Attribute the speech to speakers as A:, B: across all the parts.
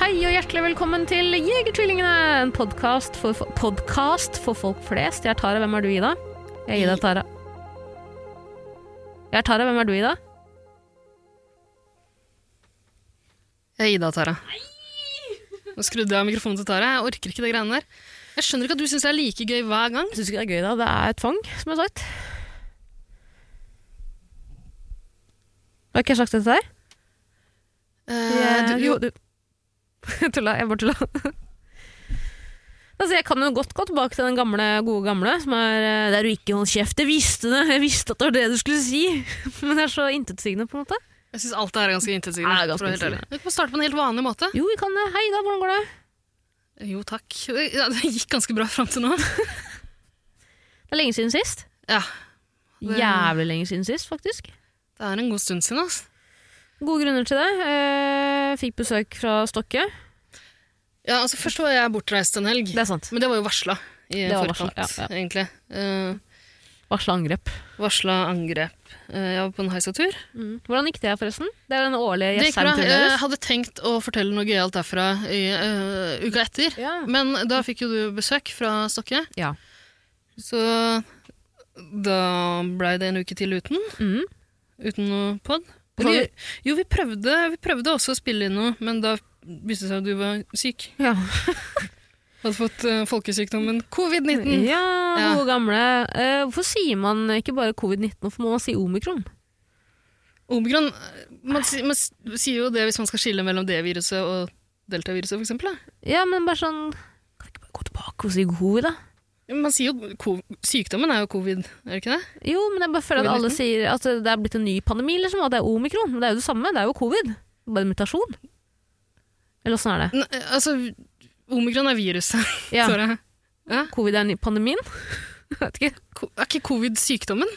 A: Hei og hjertelig velkommen til Jegertvillingene, en podkast for, fo- podcast for folk flest. Jeg er Tara, hvem er du, Ida? Jeg er Ida Tara. Jeg er Tara, hvem er du, Ida?
B: Jeg er Ida Tara. Nå skrudde jeg av mikrofonen til Tara. Jeg orker ikke det greiene der. Jeg skjønner ikke at du syns det er like gøy hver gang.
A: Syns ikke det er gøy, da. Det er tvang, som jeg har sagt. Har ikke jeg sagt dette der?
B: Eh, du, jo,
A: du. Tulla. Jeg bare tulla. Altså, jeg kan jo godt gå tilbake til den gamle, gode gamle, som er eh, der du ikke holdt kjeft. Jeg visste det! Jeg visste at det var det du skulle si! Men det er så intetsigende, på en måte.
B: jeg syns alt det her er ganske
A: Ja, det er
B: intetsigende.
A: ganske
B: for å være helt ærlig.
A: intetsigende.
B: Vi kan starte på en helt vanlig måte.
A: Jo, vi kan det. Hei da, hvordan går det?
B: Jo, takk. Ja, det gikk ganske bra fram til nå.
A: Det er lenge siden sist.
B: Ja, Det-
A: Jævlig lenge siden sist, faktisk.
B: det er en god stund siden, altså.
A: Gode grunner til det. Eh, fikk besøk fra Stokke.
B: Ja, altså først var jeg bortreist en helg.
A: Det er sant.
B: Men det var jo varsla i
A: Det var
B: forkant,
A: varsla, ja,
B: egentlig. Eh,
A: Varsla angrep.
B: varsla angrep. Eh, jeg var på en heisatur.
A: Mm. Hvordan gikk det, forresten? Det Eh, er den årlige
B: Det gikk bra.
A: gjesteturen
B: Jeg
A: deres.
B: hadde tenkt å fortelle noe gøyalt derfra i eh, uka etter.
A: Ja.
B: Men da fikk jo du besøk fra Stokke,
A: ja.
B: så da blei det en uke til uten.
A: Mm.
B: Uten noe pod.
A: Hva
B: Eller, jo, vi prøvde, vi prøvde også å spille inn noe, men da viste det seg at du var syk.
A: ja.
B: Hadde fått eh, folkesykdommen covid-19.
A: Mm. Ja,
B: Ja.
A: gode gamle. Eh, hvorfor sier man ikke bare covid-19, hvorfor må man si omikron?
B: Omikron eh, man, si- man s- sier jo det hvis man skal skille mellom det viruset og deltaviruset, for eksempel. Da.
A: Ja, men bare sånn Kan vi ikke bare gå tilbake og si covid, da?
B: Man sier jo ko- Sykdommen er jo covid, er det ikke det?
A: Jo, men jeg bare føler at alle
B: Covid-19?
A: sier at det er blitt en ny pandemi, liksom, og at det er omikron. Men det er jo det samme, det er jo covid. Bare en mutasjon. Eller åssen er det?
B: Nei, altså, omikron er viruset,
A: Ja,
B: Tore.
A: Covid er ny- pandemien? Jeg vet ikke.
B: Ko- Er ikke covid sykdommen?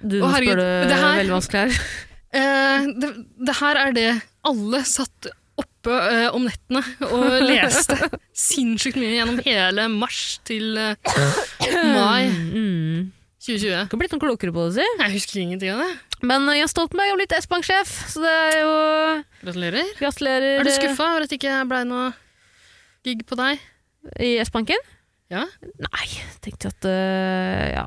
A: Du,
B: Å,
A: nå
B: herregud,
A: spør du
B: det her-
A: veldig vanskelig her.
B: Eh, det, det her er det alle satt oppe eh, om nettene og leste sinnssykt mye gjennom hele mars til eh, mai
A: Mm.
B: 2020.
A: Ikke blitt noe klokere på det, si.
B: Jeg husker ingenting av det.
A: Men eh, Jens Stoltenberg er blitt S-banksjef, så det er jo
B: Gratulerer.
A: Gratulerer
B: Er du skuffa over at det ikke blei noe gig på deg?
A: eh, i S-banken?
B: Ja.
A: Nei, tenkte at eh, Ja.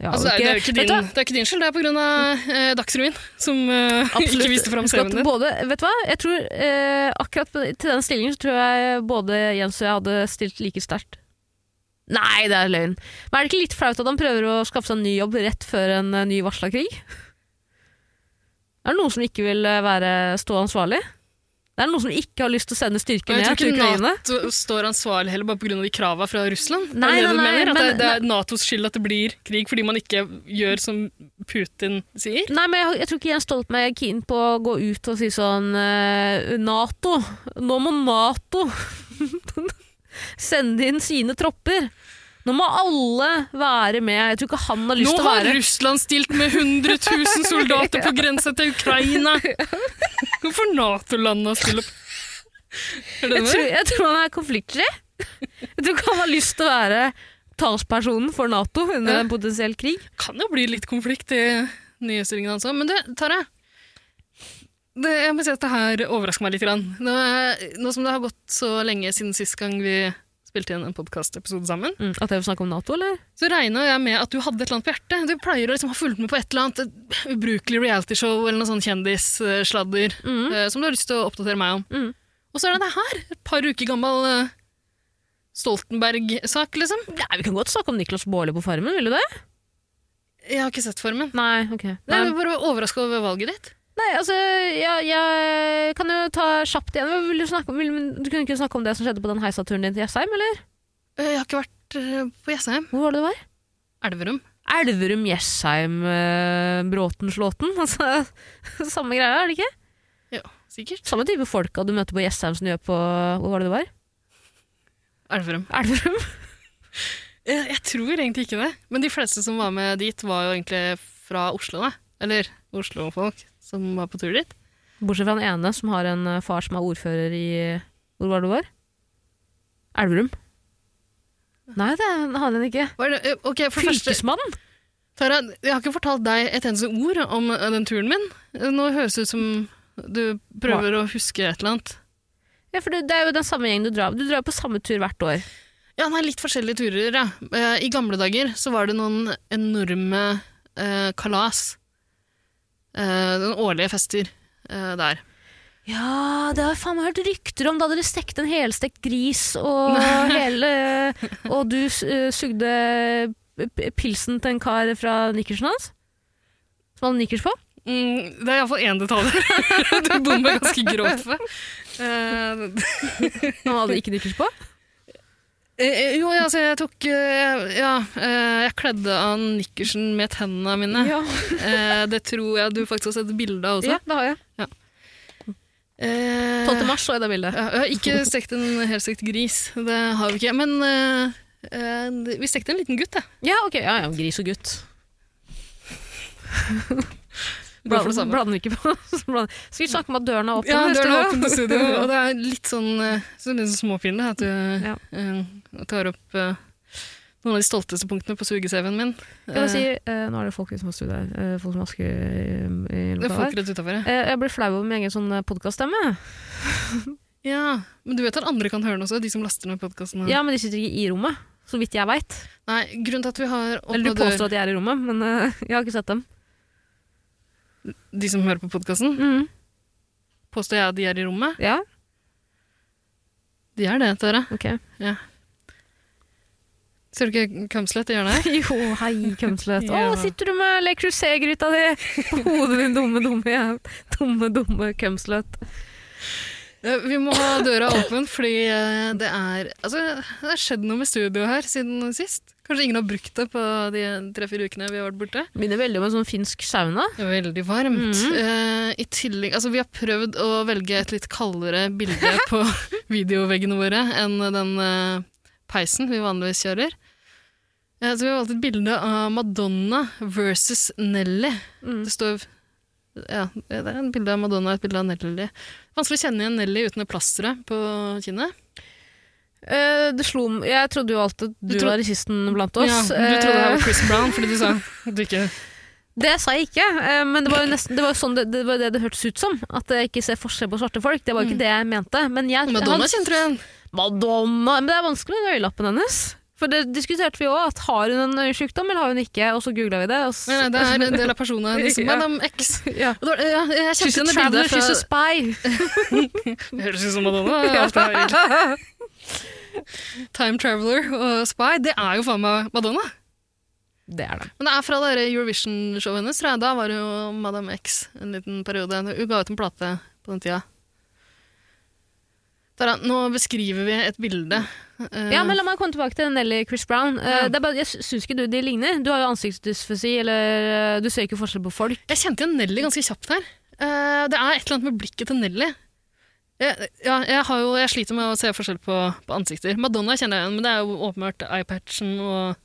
A: ja
B: Altså, det, er, det, er jo ikke
A: Vet
B: din,
A: du hva?
B: det er ikke din skyld, det er på grunn av eh, Dagsrevyen, som eh,
A: Absolutt.
B: ikke viste fram
A: Husk at
B: CV-en din.
A: Både, vet du hva? Jeg tror eh, akkurat på- til den stillingen så tror jeg både Jens og jeg hadde stilt like sterkt. Nei, det er løgn. Men er det ikke litt flaut at han prøver å skaffe seg en ny jobb rett før en eh, ny varsla krig? Er det noen som ikke vil eh, være, stå ansvarlig? Det er noen som ikke har lyst til å sende styrker
B: Jeg
A: ned
B: tror
A: til
B: ikke
A: Ukraina.
B: Nato står ansvarlig heller bare pga. de krava fra Russland. Er det
A: Nei,
B: det du
A: nei, nei,
B: mener? At
A: men-
B: det, det er Natos skyld at det blir krig fordi man ikke gjør som Putin sier?
A: Nei, men jeg, jeg tror ikke Jens Stoltenberg er keen på å gå ut og si sånn eh, Nato! Nå må Nato sende inn sine tropper! Nå må alle være med. Jeg tror ikke han har lyst
B: Nå
A: til å
B: har
A: være
B: Russland stilt med 100 000 soldater på grensa til Ukraina! Hvorfor Nato-landene stiller opp? Er det
A: jeg
B: det?
A: tror, jeg tror han er konfliktsky. Jeg tror ikke han har lyst til å være talspersonen for Nato under
B: Ja.
A: en potensiell krig.
B: kan jo bli litt konflikt i nyhetsstillingen hans òg. Men du, Tara. Det, jeg må si at det her overrasker meg litt. Grann. Nå, er- nå som det har gått så lenge siden sist gang vi spilte inn en podkastepisode sammen,
A: Mm, at jeg vil snakke om Nato, eller?
B: så regna jeg med at du hadde et eller annet på hjertet. Du pleier å liksom ha fulgt med på et eller annet eh, ubrukelig realityshow eller noe sånn kjendissladder
A: Mm.
B: eh, som du har lyst til å oppdatere meg om.
A: Mm.
B: Og så er det det her! Et par uker gammel eh, Stoltenberg-sak, liksom.
A: Nei, vi kan godt snakke om Niklas Baarli på Farmen, vil du det?
B: Jeg har ikke sett formen.
A: Nei, ok.
B: Nei, jeg ble bare overraska over valget ditt.
A: Nei, altså, jeg, jeg kan jo ta kjapt igjen. Hva Vil du, snakke om, vil, du kunne ikke snakke om det som skjedde på den heisaturen din til Jessheim, eller?
B: Eh, Jeg har ikke vært eh, på Jessheim.
A: Hvor var det du var?
B: Elverum.
A: Elverum, Jessheim, eh, Bråten, Slåten. Altså, samme greia, er det ikke?
B: Ja, sikkert.
A: Samme type folka du møter på Jessheim som du gjør på Hvor var det du var?
B: Elverum.
A: Elverum.
B: Eh, Jeg tror egentlig ikke det. Men de fleste som var med dit, var jo egentlig fra Oslo, da. Eller Oslo-folk som var på tur dit.
A: Bortsett fra den ene som har en eh, far som er ordfører i Hvor var det du var? Elverum. Nei, det har han ikke.
B: Var det, eh, ok, for det første,
A: Fylkesmannen!
B: Tara, jeg har ikke fortalt deg et eneste ord om eh, den turen min. Eh, Nå høres det ut som du prøver å huske et eller annet.
A: Ja, for det, det er jo den samme gjengen du drar Du drar jo på samme tur hvert år.
B: Ja, nei, litt forskjellige turer, ja. Eh, I gamle dager så var det noen enorme eh, kalas. Eh, noen årlige fester eh, der.
A: Ja, det har jeg faen meg hørt rykter om da dere stekte en helstekt gris, og, hele, og du eh, sugde p- pilsen til en kar fra nikkersen hans? Som hadde nikkers på?
B: Mm, det er iallfall én detalj du bommer ganske grovt på. Eh,
A: Han hadde ikke nikkers på?
B: eh, jo, ja, altså, jeg tok eh, Ja, eh, jeg kledde av nikkersen med tennene mine.
A: Ja,
B: Eh, det tror jeg du faktisk har sett bilde av også.
A: ja, det har jeg.
B: Eh,
A: 12. mars så jeg det bildet.
B: ja, jeg har ikke stekt en helstekt gris. Det har vi ikke. Men eh, eh, vi stekte en liten gutt, jeg.
A: Ja, ok. Ja, ja, gris og gutt.
B: Går for det samme.
A: blander ikke på så blander- Skal vi snakke om at døren er åpen?
B: Ja,
A: neste
B: døren er
A: gang?
B: åpen til studio, og det er litt sånn, eh, så litt sånn småpinlig at du
A: Ja.
B: eh, tar opp eh, noen av de stolteste punktene på suge-CV-en min.
A: Jeg må si, eh, nå er det folk som har studier, eh, folk som asker i, i
B: Eh, det er
A: lokalet.
B: folk rett utenfor, ja.
A: Eh, Jeg ble flau over min egen sånn podkaststemme.
B: ja. Men du vet at andre kan høre den også, de som laster ned podkasten.
A: Ja, men de sitter ikke i rommet, så vidt jeg veit.
B: Nei, grunnen til at vi har
A: Eller
B: åpna
A: du
B: dør,
A: påstår at de er i rommet, men eh, jeg har ikke sett dem.
B: de som hører på podkasten,
A: Mm.
B: påstår jeg at de er i rommet.
A: Ja,
B: De er det, Tara.
A: ok.
B: Ser du ikke Kamslet i hjørnet her?
A: Jo, hei, kømsløt. Å,
B: Ja.
A: sitter du med Le Crusé-gryta di på hodet din, dumme, dumme, jæv- dumme, dumme kømsløt.
B: Eh, Vi må ha døra åpen, fordi eh, det er Altså, det har skjedd noe med studioet her siden sist. Kanskje ingen har brukt det på de tre-fire ukene vi har vært borte.
A: Minner veldig om en sånn finsk sauna.
B: Det var Veldig varmt.
A: Mhm.
B: Eh, I tillegg, altså Vi har prøvd å velge et litt kaldere bilde på videoveggene våre enn den eh, peisen vi vanligvis kjører. Eh, så vi har valgt et bilde av Madonna versus Nelly.
A: Mm.
B: Det står ja, det er et bilde av Madonna og et bilde av Nelly. Vanskelig å kjenne igjen Nelly uten det plasteret på kinnet.
A: Eh, det slo m- Jeg trodde jo alltid du,
B: Du tro-
A: var rasisten blant
B: Ja,
A: oss.
B: du trodde det
A: Eh,
B: var Chris Brown fordi du sa at du ikke
A: Det sa jeg ikke, eh, men det var jo nesten, det var jo sånn det, det, var det det hørtes ut som. At jeg ikke ser forskjell på svarte folk. Det var jo ikke det jeg mente. Mm. Men jeg,
B: Madonna
A: han-
B: kjente du igjen!
A: Madonna! Men det er vanskelig med den øyelappen hennes. For det diskuterte vi òg, at har hun en øyesykdom eller har hun ikke? Og så googla vi det. Og så,
B: Nei, nei, det er en del av personene hennes.
A: Ja.
B: Madame X.
A: ja.
B: Og det var- Ja, jeg
A: She's
B: kjente
A: a
B: igjen det
A: traveler,
B: bildet
A: she's
B: fra
A: a spy.
B: Høres ut som Madonna. alt det her, egentlig. Time Traveler og Spy, det er jo faen meg Madonna.
A: Det er det.
B: Men det er fra det der Eurovision-showet hennes. tror jeg. Da var det jo Madame X en liten periode. Hun ga ut en plate på den tida. Tara, nå beskriver vi et bilde. Eh,
A: Ja, men La meg komme tilbake til Nelly Chris Brown. Eh,
B: Ja.
A: det er bare, jeg sy- syns ikke du de ligner. Du har jo ansiktsdysfasi, eller eh, du ser ikke forskjell på folk.
B: Jeg kjente igjen Nelly ganske kjapt her. Eh, det er et eller annet med blikket til Nelly. Jeg, ja, jeg, har jo, jeg sliter med å se forskjell på, på ansikter. Madonna kjenner jeg igjen, men det er jo åpenbart eyepatchen og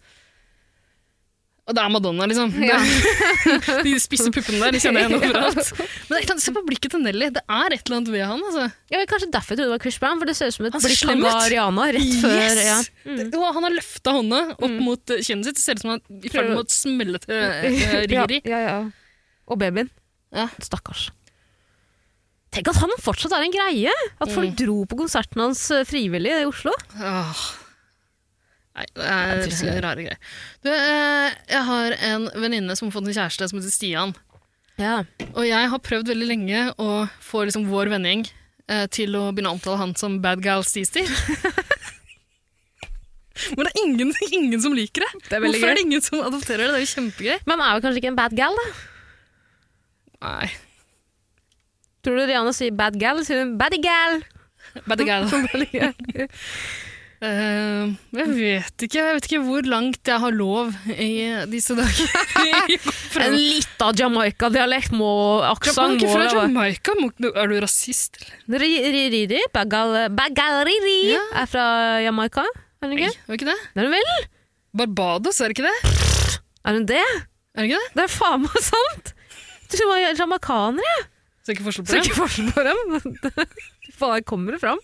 B: Og det er Madonna, liksom. Det er- de spisse puppene der de kjenner jeg igjen overalt. Men det er et eller annet, se på blikket til Nelly. Det er et eller annet ved han. altså.
A: Ja, men Kanskje derfor jeg trodde det var Chris Brown, for det ser ut som et
B: Han ser
A: blikk han
B: slem ut.
A: ga Rihanna rett før. Ja.
B: Yes! Det- Og han har løfta hånda opp mot eh, kinnet sitt. Det ser ut som han er i ferd med å smelle til eh, Riri.
A: Ja, ja, ja. Og babyen.
B: Ja.
A: Stakkars. Tenk at han fortsatt er en greie! At folk dro på konserten hans eh, frivillig i Oslo.
B: Åh. Nei, det
A: Jeg
B: er,
A: tror ikke det.
B: rare greier. Du, eh, jeg har en venninne som har fått en kjæreste som heter Stian.
A: Ja.
B: Og jeg har prøvd veldig lenge å få liksom vår vennegjeng eh, til å begynne å omtale han som bad gal Stee-Stee. Men det er ingen, ingen som liker det.
A: Det er veldig
B: Hvorfor er det ingen som adopterer det? Det er jo kjempegøy.
A: Men han er jo kanskje ikke en bad gal, da?
B: Nei,
A: Tror du Rihanna sier bad gal, sier hun baddy gal?
B: bad gal.
A: ja,
B: Eh, jeg vet ikke. Jeg vet ikke hvor langt jeg har lov i disse dager.
A: en lita Jamaica-dialekt må
B: Japan,
A: aksent
B: ikke
A: må
B: fra
A: det være.
B: Jamaica. Må- Er du rasist, eller?
A: Ri- ri- ri- ri, Bad gal- bad gal, ri- ri,
B: Ja.
A: er fra Jamaica, er hun
B: Nei,
A: ikke?
B: var ikke det?
A: Det er hun vel?
B: Barbados, er det ikke det?
A: Er hun det?
B: Er det ikke det?
A: Det er faen meg sant! Du var jo jamaicanere, jeg.
B: Ser ikke forskjell på
A: Ser
B: det.
A: ikke forskjell på dem. Fy faen, her kommer det fram.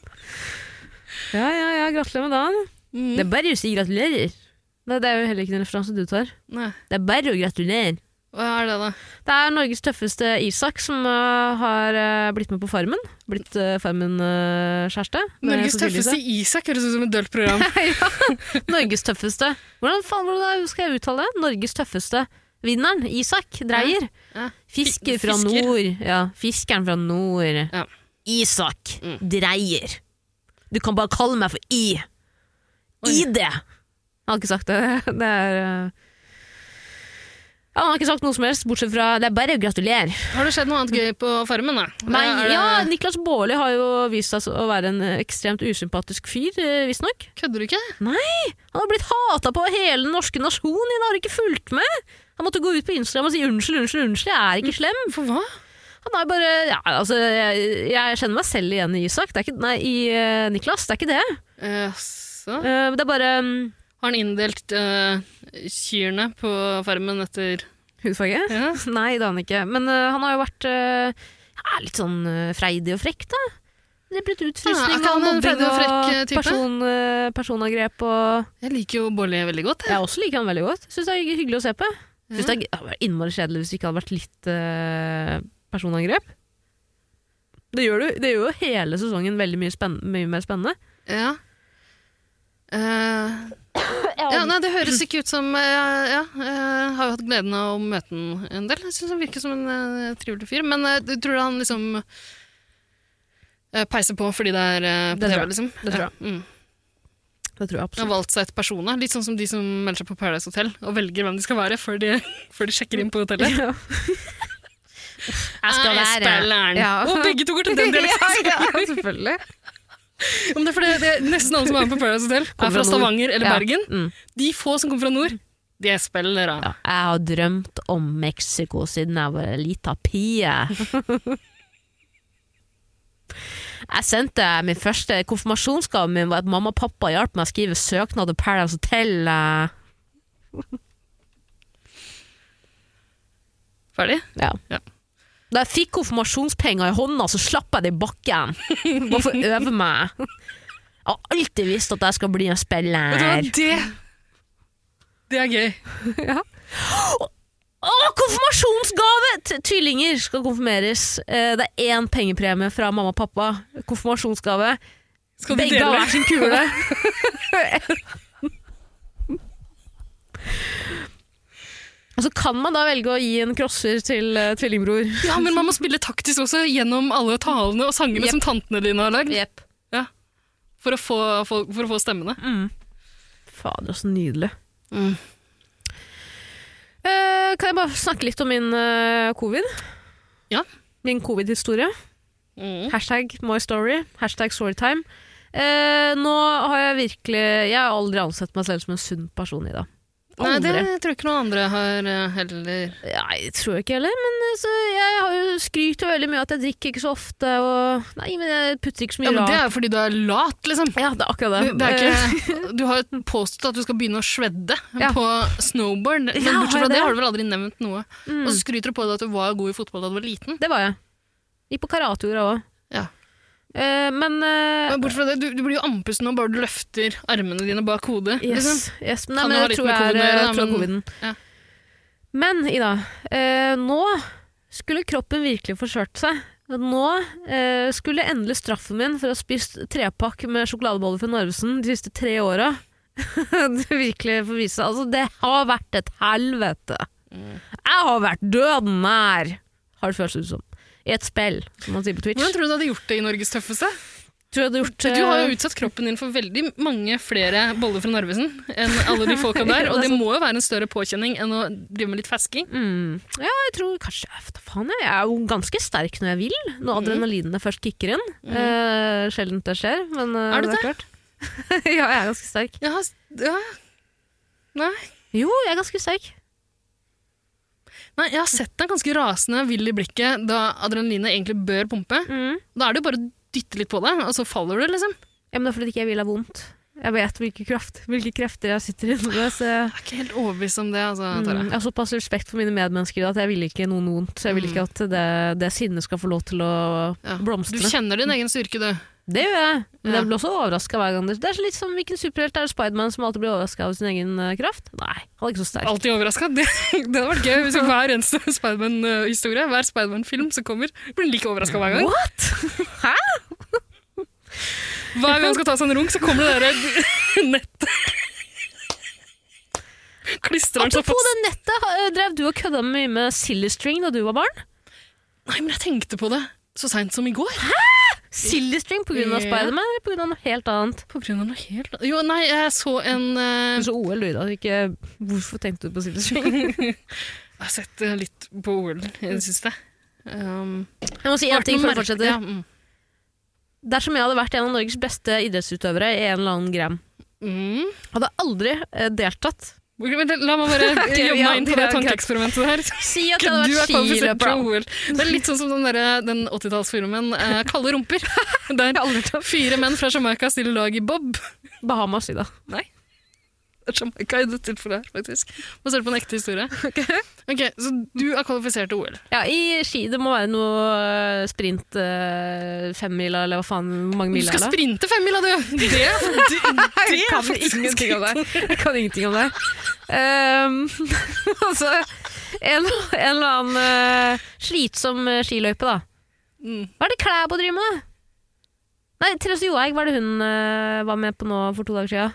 A: Ja, ja, ja, gratulerer med dagen.
B: Mm.
A: Det er bare å si gratulerer. Nei, det er jo heller ikke den referansen du tar.
B: Nei.
A: Det er bare å gratulere.
B: Hva er det, da?
A: Det er Norges tøffeste Isak som øh, har øh, blitt med på Farmen. Blitt eh, øh, Farmen-kjæreste.
B: Norges tøffeste Isak høres ut som et dølt program.
A: ja, Norges tøffeste. Hvordan faen hvordan skal jeg uttale det? Norges tøffeste vinneren, Isak Dreyer.
B: Ja, ja.
A: Fisker
B: Fi-
A: fra
B: fisker.
A: nord. Ja, fiskeren fra nord.
B: Ja.
A: Isak
B: Mm.
A: Dreyer. Du kan bare kalle meg for I.
B: Oi.
A: ID! Han har ikke sagt det. Det er eh, ja, Han har ikke sagt noe som helst, bortsett fra det er bare å gratulere.
B: Har det skjedd noe annet gøy på Farmen, da?
A: Nei,
B: Er det-
A: ja, Niklas Baarli har jo vist seg å være en ekstremt usympatisk fyr, eh, visstnok.
B: Kødder du ikke?
A: Han har blitt hata på av hele den norske nasjonen. Han har ikke fulgt med. Han måtte gå ut på Instagram og si unnskyld, unnskyld, unnskyld, jeg er ikke slem.
B: For hva?
A: Han er bare, ja, altså, jeg, jeg kjenner meg selv igjen i Isak, det er ikke, nei, i eh, Niklas, det er ikke det.
B: Jaså?
A: Eh, det er bare mm,
B: Har han inndelt eh, kyrne på Farmen etter
A: Hudfarge?
B: ja.
A: Nei, det har han ikke. Men eh, han har jo vært eh, ja, litt sånn eh, freidig og frekk, da. Det er blitt
B: Ja, er
A: utfrysning og
B: ikke han en
A: mobbing
B: freidig og frekk, eh,
A: og
B: type?
A: person, eh, personangrep og
B: Jeg liker jo Bolle veldig godt. Jeg.
A: Jeg også liker han veldig godt. Syns det er hyggelig å se på. Synes det, er, det hadde vært innmari kjedelig hvis det ikke hadde vært litt eh, personangrep. Det gjør, du, det gjør jo hele sesongen veldig mye, spenn- mye mer spennende.
B: Ja. Eh, ja, nei, det høres ikke ut som eh, Ja, eh, har jo hatt gleden av å møte han en del. Jeg syns han virker som en eh, trivelig fyr. Men eh, du tror han liksom eh, peiser på fordi det er eh, på
A: Det tror
B: TV,
A: jeg.
B: liksom?
A: Det tror jeg.
B: Ja, mm.
A: Det tror jeg
B: Han har
A: absolutt.
B: valgt seg et persona. Litt sånn som de som melder seg på Paradise Hotel og velger hvem de skal være før de, før de sjekker inn på hotellet.
A: Ja.
B: Jeg
A: skal være-
B: Eh, spilleren.
A: Ja.
B: Og begge to går til den dialekten!
A: ja, selvfølgelig.
B: Ja, men det er fordi det er nesten alle som er med på Paradise Hotel,
A: Kommer
B: er
A: fra
B: fra
A: nord.
B: Stavanger eller
A: Ja.
B: Bergen.
A: Mm.
B: De få som kommer fra nord, de er spillere.
A: Ja. Jeg har drømt om Mexico siden jeg var ei lita pie. Jeg sendte min første konfirmasjonsgave min var at mamma og pappa hjalp meg å skrive søknad til Paradise Hotel. eh.
B: Ferdig?
A: Ja.
B: Ja.
A: Da jeg fikk konfirmasjonspenger i hånda, så slapp jeg det i bakken. Bare for å øve meg. Jeg har alltid visst at jeg skal bli en
B: Vet du hva,
A: spiller.
B: det Det er gøy.
A: Å, konfirmasjonsgave! T- Tvillinger skal konfirmeres. Eh, Det er én pengepremie fra mamma og pappa. Konfirmasjonsgave.
B: Skal de
A: Begge har
B: dele?
A: hver sin kule. Og så kan man da velge å gi en crosser til eh, tvillingbror.
B: Ja, men man må spille taktisk også gjennom alle talene og sangene
A: Jep.
B: som tantene dine har lagd,
A: Jepp.
B: for, å få, for, for å få stemmene.
A: Mm. Fader, så nydelig. Mm. Eh, kan jeg bare snakke litt om min eh, covid?
B: Ja.
A: Min covid-historie.
B: Mm.
A: Hashtag my story. Hashtag storytime. Eh, nå har jeg virkelig Jeg har aldri ansett meg selv som en sunn person, Ida.
B: Nei, det
A: Aldri.
B: tror jeg ikke noen andre har eh, heller.
A: Nei, jeg tror ikke heller, men eh, så jeg har jo skryter veldig mye at jeg drikker ikke så ofte. Og, nei, men jeg putter ikke så
B: Ja,
A: mye
B: men Det
A: rart.
B: er jo fordi du er lat, liksom.
A: Ja, det er akkurat
B: Du,
A: det.
B: det er ikke, du har jo påstått at du skal begynne å shredde
A: Ja.
B: på snowboard, men
A: Ja,
B: bortsett
A: har jeg
B: fra det
A: det?
B: har du vel aldri nevnt noe.
A: Eh, mm.
B: Og så skryter du på deg at du var god i fotball da du var liten.
A: Det var jeg. Gikk på karatejorda òg.
B: Ja.
A: men eh,
B: Men bortsett fra det, du, du blir jo andpusten nå bare du løfter armene dine bak hodet. Liksom.
A: Yes, yes. Men,
B: Kan
A: nei, men
B: jo ha
A: det
B: litt
A: tror
B: med
A: jeg er
B: covid å gjøre, da,
A: jeg tror det er coviden.
B: men- ja.
A: Men Ida, eh, nå skulle kroppen virkelig forskjørt seg. Nå eh, skulle endelig straffen min for å ha spist trepakk med sjokoladeboller fra Narvesen de siste tre åra Det virkelig få vise seg. Altså, det har vært et helvete.
B: Mm.
A: Jeg har vært døden nær, har det føltes ut som. I et spill, som man sier på Twitch.
B: Hvordan tror du du hadde gjort det i Norges tøffeste?
A: tror jeg hadde gjort,
B: Du har
A: eh,
B: jo utsatt kroppen din for veldig mange flere boller fra Narvesen enn alle de folka der,
A: Ja, altså-
B: og
A: det
B: det
A: er
B: må jo være en større påkjenning enn å drive med litt fasking.
A: Mm. Ja, jeg tror kanskje jeg vet da faen, jeg. jeg er jo ganske sterk når jeg vil, når adrenalinene først kicker inn. Mm. sjelden det skjer, men eh,
B: Er du
A: det er klart. ja, jeg er ganske sterk.
B: Ja, s- ja. Nei.
A: Jo, jeg er ganske sterk.
B: Nei, jeg har sett deg ganske rasende vill i blikket da adrenalinet egentlig bør pumpe.
A: Mm.
B: Da er det jo bare å dytte litt på det, og så faller du, liksom.
A: Ja, men det er fordi ikke jeg vil ha vondt. Jeg vet hvilke, kraft, hvilke krefter jeg sitter inne med. Så jeg,
B: Jeg er ikke helt overbevist om det, altså, Tara.
A: mm, Ah, jeg har såpass respekt for mine medmennesker i dag at jeg vil ikke noen vondt. Så jeg vil ikke at det, det sinnet skal få lov til å
B: Ja. Du
A: blomstre.
B: kjenner din egen styrke, du.
A: Det gjør jeg, men
B: Ja.
A: jeg blir også overraska hver gang. Det det er så litt som hvilken superhelt er det Spiderman som alltid blir overraska av sin egen eh, kraft? Nei, han er ikke så sterk.
B: Alltid overraska. Det, det hadde vært gøy hvis hver eneste Spiderman-historie, hver Spiderman-film som kommer, blir like overraska hver gang.
A: What?! Hæ?!
B: Hver gang han skal ta seg en runk, så kommer det derre nettet. Klistrer han seg
A: Apropos
B: fast.
A: det sånn nettet, ha- eh, drev du og kødda mye med Silly String da du var barn?
B: Nei, men jeg tenkte på det så seint som i går.
A: Silly String pga.
B: Ja.
A: Yeah. Spiderman eller pga. noe helt annet?
B: På grunn av noe helt Jo, nei, jeg så en eh,
A: Kanskje OL, du, da. Ikke, hvorfor tenkte du på Silly String?
B: Jeg har sett eh, litt på OL i det siste. Um,
A: Jeg må si en ting for å fortsette.
B: Ja, mm.
A: Dersom jeg hadde vært en av Norges beste idrettsutøvere i en eller annen gram,
B: Mm. hadde
A: hadde jeg aldri eh, deltatt.
B: Vent, La meg bare
A: Ok,
B: jobbe
A: ja,
B: meg inn på det
A: greit.
B: tankeeksperimentet her.
A: Si at
B: Du
A: jeg hadde
B: er
A: vært
B: kvalifisert
A: skiløper.
B: fra
A: da.
B: OL. Det er litt sånn som den, der, den 80-tallsfilmen eh, Kalde rumper.
A: Jeg
B: Der
A: har aldri tatt
B: fire menn fra Jamaica stiller lag i bob.
A: Bahamas i dag.
B: Det er Jamaica i det tilfellet her, faktisk. Basert på en ekte historie. Ok, Så du er kvalifisert til OL.
A: Ja, i ski. Det må være noe eh, sprint eh, femmila, eller hva faen, hvor mange
B: Du
A: mil er
B: skal
A: det?
B: sprinte femmila, du! Det, det, det
A: Jeg
B: er
A: kan
B: faktisk
A: ingenting om
B: skritt.
A: det. Jeg kan ingenting om det. Ehm, altså, en, en eller annen eh, slitsom eh, skiløype, da.
B: Mm.
A: Hva er det Klæbo driver med? da? Nei, Therese Johaug, hva er det hun eh, var med på nå for to dager siden?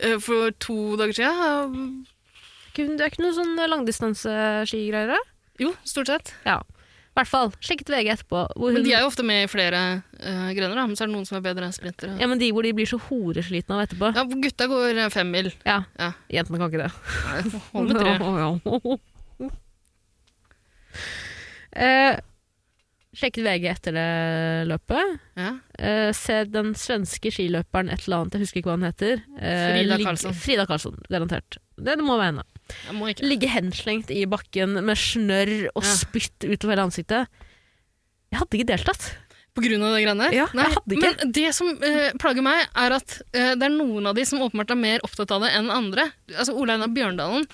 B: Eh, For to dager siden eh,
A: Er ikke hun- Det er ikke noe sånn langdistanseskigreier? da?
B: Jo, stort sett.
A: Ja. I hvert fall. Sjekket VG etterpå. Hvor hun,
B: Men de er jo ofte med i flere eh, grener, da. men så er det noen som er bedre enn sprintere.
A: ja, men de hvor de blir så horeslitne av etterpå.
B: Ja, gutta går eh, fem mil.
A: Ja.
B: Ja.
A: Jentene kan ikke det.
B: Hold med tre.
A: Eh, sjekket VG etter det løpet.
B: Ja.
A: Eh, ser den svenske skiløperen et eller annet, jeg husker ikke hva han heter. Eh,
B: Frida
A: ligge-
B: Karlsson.
A: Frida Karlsson, garantert. Det, det må være henne.
B: Jeg må ikke.
A: Ligge henslengt i bakken med snørr og
B: Ja.
A: spytt utover hele ansiktet. Jeg hadde ikke deltatt.
B: På grunn av det greiene der?
A: Ja, jeg hadde ikke.
B: Eh, Men det som eh, plager meg, er at eh, det er noen av de som åpenbart er mer opptatt av det enn andre. Altså Ole Einar Bjørndalen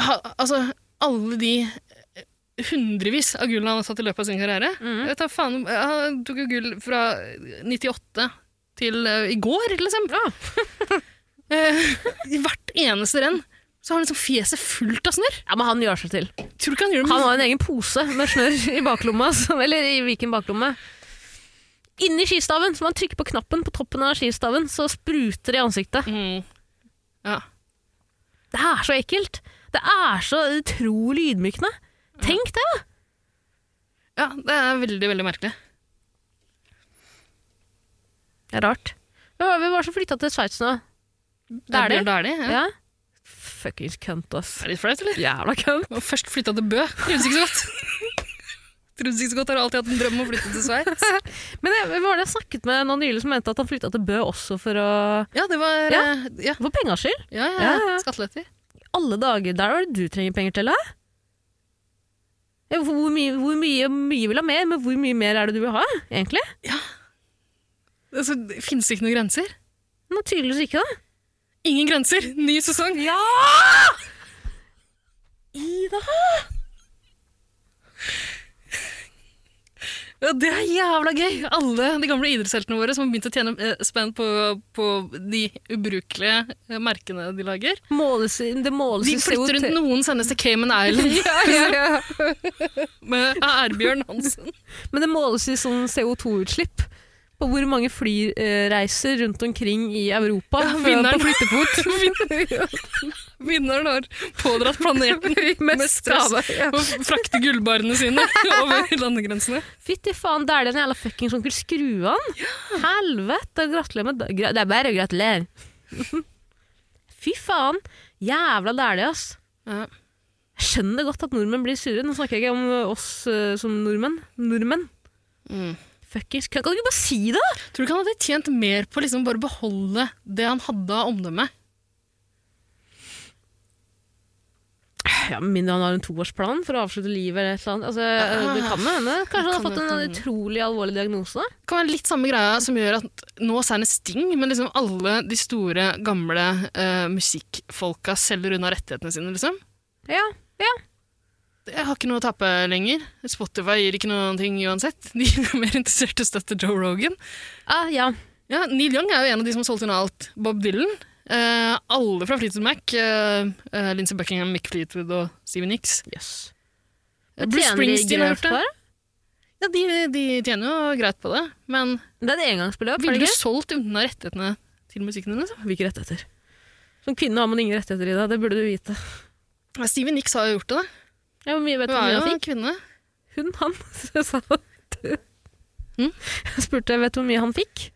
B: ha, Altså, alle de eh, hundrevis av gull han har tatt i løpet av sin karriere.
A: Mhm.
B: Jeg tar faen, eh, Han tok jo gull fra 98 til eh, i går, liksom. Eh, I hvert eneste renn så har han liksom fjeset fullt av snørr.
A: Ja, Men han gjør seg til.
B: Tror du ikke han gjør det
A: Han
B: med
A: har en egen pose med snørr i baklomma. som- Eller i hvilken baklomme? Inni skistaven, så man trykker på knappen på toppen av skistaven, så spruter det i ansiktet.
B: mm. Ja.
A: Det er så ekkelt! Det er så utrolig ydmykende. Tenk det!
B: ja, det er veldig, veldig merkelig.
A: Det er rart. Vi var, vi var så flytta til Sveits nå.
B: Det er
A: Dæhlie?
B: Bjørn Dæhlie. Ja.
A: Ja. Fuckings kønt, ass.
B: Er det litt flaut, eller?
A: Jævla kønt.
B: Og først flytta til Bø. Trivdes ikke så godt. Trivdes ikke så godt, Har alltid hatt en drøm om å flytte til Sveits.
A: Men jeg, hva var det jeg snakket med noen nylig som mente at han flytta til Bø også for å
B: Ja, det var Ja,
A: Ja.
B: ja,
A: For pengas skyld?
B: ja. ja,
A: Ja, ja.
B: Skatteletter.
A: alle dager, der er det du trenger penger til, hæ? Ja, hvor, hvor, mye, hvor mye, mye vil ha mer, men hvor mye mer er det du vil ha, egentlig?
B: Altså, det Finnes det ikke noen grenser?
A: Nå tydeligvis ikke, da.
B: Ingen grenser! Ny sesong!
A: Ja! Ida!
B: Ja, det er jævla gøy! Alle de gamle idrettsheltene våre som har begynt å tjene eh, spenn på, på de ubrukelige eh, merkene de lager.
A: Måles, det måles
B: De flytter rundt noen sendes til Cayman Island
A: Ja, ja, ja.
B: med Ærbjørn Hansen.
A: Men det måles i sånn CO2-utslipp. På hvor mange flyreiser rundt omkring i Europa
B: Ja,
A: før-
B: vinneren.
A: på flyttefot.
B: Vinneren har pådratt planeten
A: Med
B: stress.
A: skade. Ja.
B: og frakte gullbarene sine over landegrensene.
A: Fytti faen, det er den jævla fuckings onkel Skruan. Helvete, gratulerer med da- gra- Det er bare å gratulere. Fy faen. Jævla dæhlig, ass.
B: Ja.
A: Jeg skjønner godt at nordmenn blir sure. Nå snakker jeg ikke om ø, oss ø, som nordmenn. Nordmenn. Fuckings kø- Kan du ikke bare si det?
B: mm. Tror du ikke han hadde tjent mer på å liksom bare beholde det han hadde av omdømme?
A: Ja, Med mindre han har en toårsplan for å avslutte livet eller et eller annet. Altså, eh, det kan jo hende. Kanskje han har
B: Kan
A: fått
B: jo
A: en
B: hende.
A: utrolig alvorlig diagnose. da?
B: Det kan være litt samme greia som gjør at nå senest Sting, men liksom alle de store, gamle eh, musikkfolka selger unna rettighetene sine, liksom.
A: Ja, ja.
B: Jeg har ikke noe å tape lenger. Spotify gir ikke noen ting uansett. De er mer interessert i å støtte Joe Rogan.
A: Ah, ja.
B: Ja, Neil Young er jo en av de som har solgt unna alt. Bob Dylan. eh, alle fra Fleetwood Mac. Uh, Lindsey Buckingham, Mick Fleetwood og Stevie Nicks.
A: Yes.
B: Eh, Bruce
A: Tjener de
B: Springsteen
A: greit
B: har gjort det.
A: på det?
B: Ja, de, de tjener jo greit på det, men
A: Det er et engangsbeløp. er
B: ville
A: det
B: du
A: ikke?
B: solgt unna rettighetene til musikken din? Liksom?
A: Hvilke rettigheter? Som kvinne har man ingen rettigheter i det, det burde du vite.
B: Ja, Stevie Nicks har jo gjort det. da.
A: Ja, hvor mye vet du
B: Hun
A: hvor
B: er
A: mye
B: jo
A: han
B: en
A: fikk?
B: kvinne.
A: Hun, han. Så jeg sa
B: Mm?
A: Jeg spurte vet du hvor mye han fikk.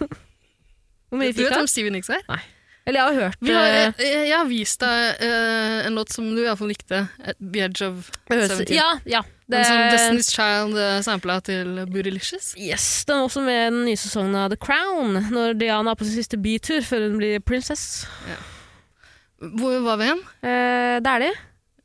A: hvor mye
B: Du
A: fikk
B: vet
A: han?
B: hvem Stevie Nicks er?
A: Eller jeg har hørt
B: Vi har,
A: eh,
B: jeg, jeg har vist deg eh, en låt som du iallfall likte. At The Edge of
A: det høres-
B: 17.
A: Ja, ja. Det,
B: Den som Destiny's Child eh, sampla til Bootylicious.
A: yes, den er også med i den nye sesongen av The Crown, når Diana er på sin siste bytur før hun blir prinsess.
B: Hvor var vi igjen?
A: Eh, det er de.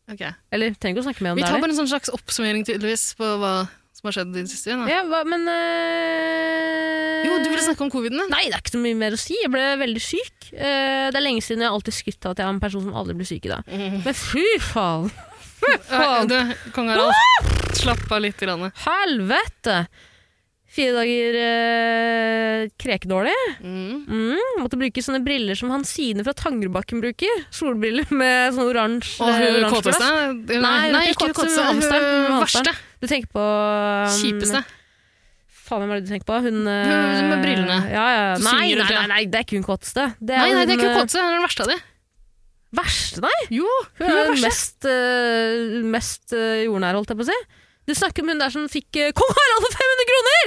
B: Ok.
A: Eller trenger ikke å snakke mer om
B: Vi
A: det. er
B: tar
A: de.
B: bare en sånn slags oppsummering tydeligvis på hva som har skjedd i det siste. Da.
A: Ja, hva, men eh,
B: Jo, du ville snakke om coviden din.
A: Nei, det er ikke så mye mer å si. Jeg ble veldig syk. Eh, det er lenge siden jeg har alltid skutt av at jeg er en person som aldri blir syk i dag.
B: Mm.
A: Men fy faen!
B: Ja, Du, kong Harald, slapp av litt. Grann.
A: Helvete! Fire dager eh, krekedårlig.
B: Mm.
A: Mm, måtte bruke sånne briller som Hansine fra Tangerudbakken bruker. Solbriller med sånn oransje
B: Og hun
A: oransje
B: kåteste?
A: glass. Nei,
B: nei,
A: hun
B: ikke
A: kåteste,
B: hun kåteste.
A: hun-
B: Amstein.
A: hun-
B: Hun
A: Amstein.
B: verste.
A: Du tenker på um,
B: Kjipeste.
A: Faen, hvem er det du tenker på? Hun eh,
B: Hun med brillene.
A: Ja, ja.
B: Som
A: Nei, nei,
B: synger hele
A: nei,
B: tiden.
A: nei, det er ikke hun kåteste. Det
B: Nei, nei, det er
A: hun,
B: ikke hun
A: eh,
B: kåteste. Hun er den verste av de.
A: Verste, nei!
B: Jo,
A: Hun
B: Hun er
A: er den
B: verste.
A: mest, eh, mest eh, jordnær, holdt jeg på å si. Du snakker om hun der som fikk eh, kong Harald for 500 kroner!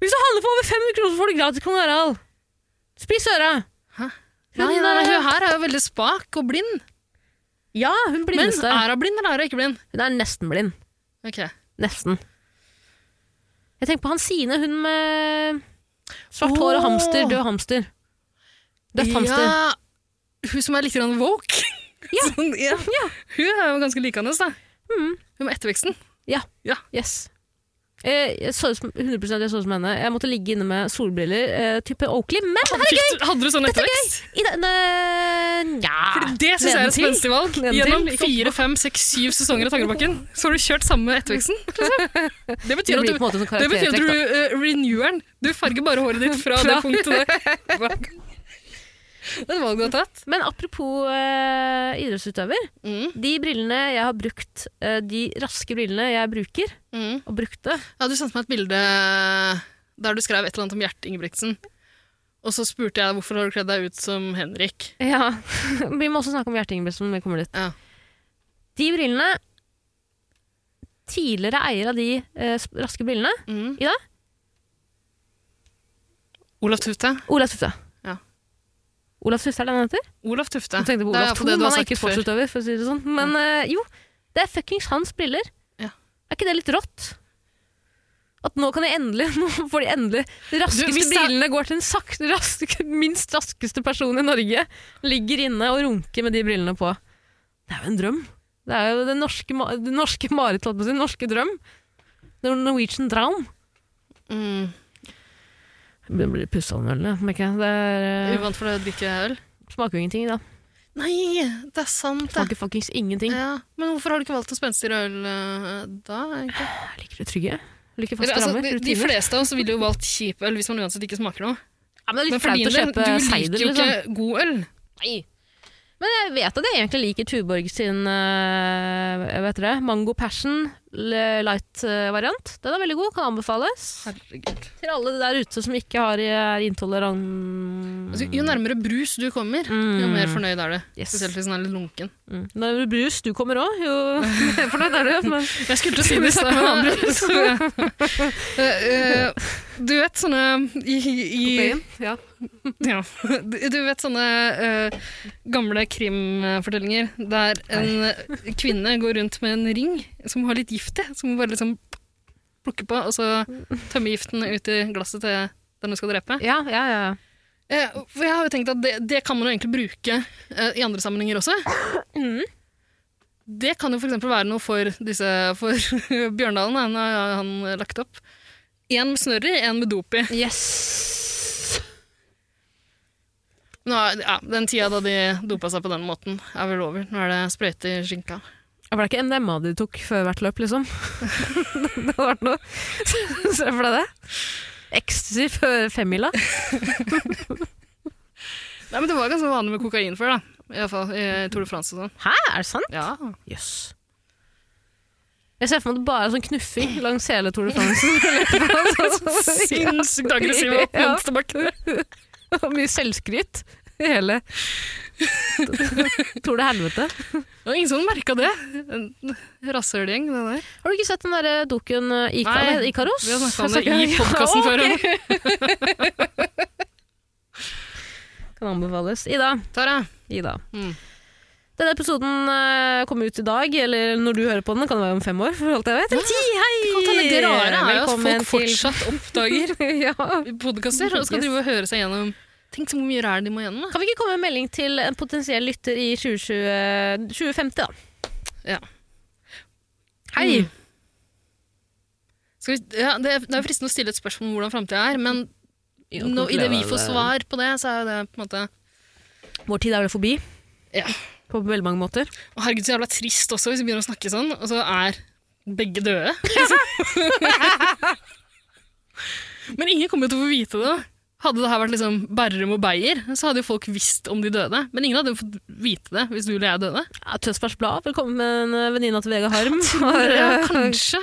A: Hvis du handler for over 500 kroner, så får du gratis kong Harald! Spis øra!
B: Hæ?
A: Hun,
B: Nei, nei, nei,
A: eh,
B: hun her er jo veldig spak og blind.
A: Ja, hun
B: Men
A: blindeste.
B: er hun blind, eller er hun ikke blind?
A: Hun er nesten blind.
B: Ok.
A: Nesten. Jeg tenker på Hansine, hun med svart hår og
B: Åh.
A: hamster, død hamster. Dødt hamster.
B: Ja, hun som er litt grann woke.
A: Ja.
B: sånn, ja.
A: Ja.
B: Hun er jo ganske likende, da.
A: Mm.
B: Hun med etterveksten.
A: Yes. Eh, Jeg så ut som, 100 jeg så ut som henne. Jeg måtte ligge inne med solbriller, eh, type Oakley. Men
B: Hadde, fikk, hadde du sånn ettervekst?
A: i denne Nja
B: Fordi
A: Ah,
B: det syns jeg er
A: Gleden
B: et
A: til.
B: spenstig valg.
A: Gleden til.
B: Gjennom fire, fem, seks, syv sesonger av Tangerudbakken så har du kjørt samme etterveksten. Liksom. Det
A: Det
B: betyr at
A: blir på en
B: du,
A: måte sånn
B: det betyr at du
A: karaktertrekk. da.
B: eh, renewer den. Du farger bare håret ditt fra det
A: Fra-
B: punktet der. Det er et valg du har tatt.
A: Men apropos eh, idrettsutøver.
B: Mm,
A: De brillene jeg har brukt, eh, de raske brillene jeg bruker og brukte
B: mm. Ja, du sendte meg et bilde eh, der du skrev et eller annet om Gjert Ingebrigtsen. Og så spurte jeg hvorfor har du kledd deg ut som Henrik.
A: Ja, Vi må også snakke om hjerteingebrigtsen når vi kommer dit.
B: Ja.
A: De brillene Tidligere eier av de eh, sp- raske brillene
B: Mm.
A: Ida?
B: Olav Tufte.
A: Olav Tufte.
B: Ja.
A: Olav Tufte er det han heter?
B: Olav Tufte.
A: Jeg tenkte på
B: Det er
A: Olav
B: iallfall
A: Thon,
B: det du
A: han
B: har
A: er
B: sagt
A: ikke
B: før.
A: sportsutøver, for å si det sånn. Men eh, jo, det er fuckings hans briller.
B: Ja.
A: Er ikke det litt rått? At nå kan jeg endelig Nå får de endelig De raskeste
B: hvis det er-
A: brillene går til den sakte, raske, minst raskeste personen i Norge. Ligger inne og runker med de brillene på. Det er jo en drøm. Det er jo den norske, ma- det norske Marit, holdt på å si. den Norske drøm. The Norwegian drown.
B: Mm.
A: Det blir pussa den ølen, jeg, merker jeg. Det er, eh,
B: Uvant for å drikke øl.
A: smaker jo ingenting i dag.
B: Nei, det er sant, det.
A: Smaker fuckings ingenting.
B: Ja. Men hvorfor har du ikke valgt en spenstigere øl eh, da? egentlig?
A: Jeg liker det trygge. Jeg liker
B: Eller,
A: faste
B: altså,
A: rammer.
B: de, de
A: rutiner.
B: fleste av oss ville jo valgt kjip øl hvis man uansett ikke smaker noe.
A: Ja, men det er
B: Men
A: litt
B: for
A: flaut
B: din
A: å
B: del, du
A: kjøpe
B: liker
A: Seidel,
B: jo
A: liksom.
B: ikke god øl.
A: Nei. Men jeg vet at jeg egentlig liker Tuborg sin øh, vet dere, Mango Passion l- light-variant. Den er veldig god, kan anbefales.
B: Herregud.
A: Til alle der ute som ikke har, er
B: Altså,
A: intolerant...
B: jo nærmere brus du kommer, jo
A: Mm.
B: mer fornøyd er du.
A: Yes.
B: Spesielt hvis den er litt lunken.
A: Mm. Når det blir brus, du kommer òg. Jo, fornøyd er du. Men...
B: Jeg skulle til å si
A: Vi
B: det i stad,
A: snakker om
B: men-
A: brus.
B: så- Eh, eh, Du vet sånne i, i,
A: Kokain, Ja.
B: ja. Du du vet sånne eh, gamle krimfortellinger der en kvinne går rundt med en ring som har litt gift i, som hun bare liksom plukker på, og så tømmer giften ut i glasset til den hun skal drepe.
A: ja, ja, ja.
B: Eh, for jeg har jo tenkt at det, det kan man jo egentlig bruke eh, i andre sammenhenger også. Det kan jo f.eks. være noe for, disse, for Bjørndalen. da. Nå har han lagt opp. Én med snørr i, én med dop i.
A: Yes!
B: Nå, er- ja, den tida da de dopa seg på den måten, er vel over. Nå er det sprøyte i skinka.
A: Det var ikke MDMA de tok før hvert løp, liksom. det hadde vært noe. Se for deg det. Ecstasy før femmila.
B: Nei, men Det var ganske vanlig med kokain før, da. I, alle fall, i Tour de France og sånn.
A: Hæ, er det sant?
B: Ja.
A: Jøss. Yes. Jeg ser for meg at det bare er sånn knuffing langs hele Tour de France.
B: Sinnssykt aggressiv og
A: sånn Ja.
B: venstre
A: Og mye selvskryt i hele Tour de helvete.
B: Det var ingen som merka det. En Rasshølgjeng, det der.
A: Har du ikke sett den derre dukken eh, Ika,
B: Nei,
A: eller Ikaros?
B: Vi har snakka om det
A: Jeg
B: i
A: snakker- Å,
B: podkasten før.
A: ok. Kan anbefales. Ida.
B: Tara,
A: Ida.
B: Mm.
A: Denne episoden eh, kom ut i dag, eller når du hører på den, kan det være om fem år, for alt jeg vet. Eller ti, hei!
B: det kan hende det rare er jo at
A: Velkommen
B: folk fortsatt oppdager
A: til... ja.
B: podkaster og skal drive og høre seg gjennom Tenk så mye ræl de må gjennom. da.
A: Kan vi ikke komme med en melding til en potensiell lytter i 2020, 2050, da?
B: Ja.
A: Hei!
B: Mm. Skal vi, ja, det, er- det er jo fristende å stille et spørmål om hvordan framtida er, men nå, i det vi får svar på det, så er jo det på en måte
A: Vår tid er vel forbi,
B: Ja.
A: på veldig mange måter.
B: Å, herregud, så jævla trist også hvis vi begynner å snakke sånn, og så er begge døde. Liksom. Men ingen kommer jo til å få vite det. Hadde det her vært liksom Berrum og Beyer, så hadde jo folk visst om de døde. Men ingen hadde jo fått vite det hvis du eller jeg døde.
A: Ja, Tønsbergs Blad, velkommen med en eh, venninne til Vega Harm.
B: Ja,
A: Har, eh,
B: kanskje.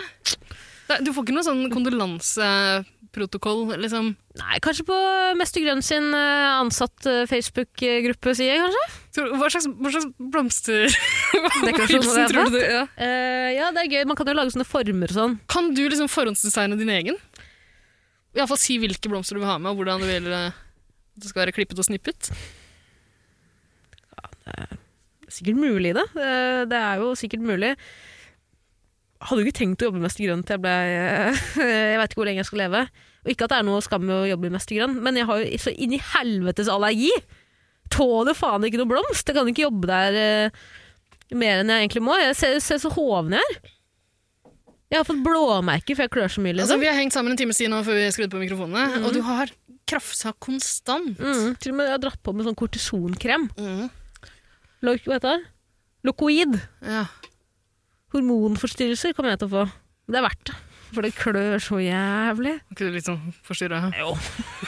B: Nei, Du får ikke noe sånn kondolanseprotokoll, liksom.
A: Nei, kanskje på Mester Grønn sin eh, ansatt eh, Facebook-gruppe, sier jeg kanskje?
B: Tror- Hva slags, hva slags blomster
A: Dekorasjon
B: Hilsen,
A: hadde jeg
B: tror du det- ja.
A: Eh, ja, det er gøy. Man kan jo lage sånne former og sånn.
B: Kan du liksom forhåndsdesigne din egen? I alle fall si hvilke blomster du vil ha med, og hvordan du vil eh, det skal være klippet og snippet.
A: Det er Sikkert mulig i det. Eh, det er jo sikkert mulig. Hadde jo ikke tenkt å jobbe med Mester Grønn til jeg ble eh, Jeg veit ikke hvor lenge jeg skal leve. Og ikke at det er noe skam med å jobbe med Mester Grønn, men jeg har jo så inn i helvetes allergi! Tåler faen ikke noe blomst! Jeg kan ikke jobbe der eh, mer enn jeg egentlig må. Jeg ser, ser så hoven jeg er. Jeg har fått blåmerker, for jeg klør så mye.
B: Altså,
A: Liksom.
B: vi har hengt sammen en times tid nå før vi skrudde på mikrofonene, og du har krafsa konstant.
A: Mm, til og med jeg har dratt på med sånn kortisonkrem. Lo- Hva heter det? Lokoid.
B: Ja.
A: Hormonforstyrrelser kommer jeg til å få. Men Det er verdt det. For det klør så jævlig.
B: Var Ikke du litt sånn forstyrra?
A: Jo.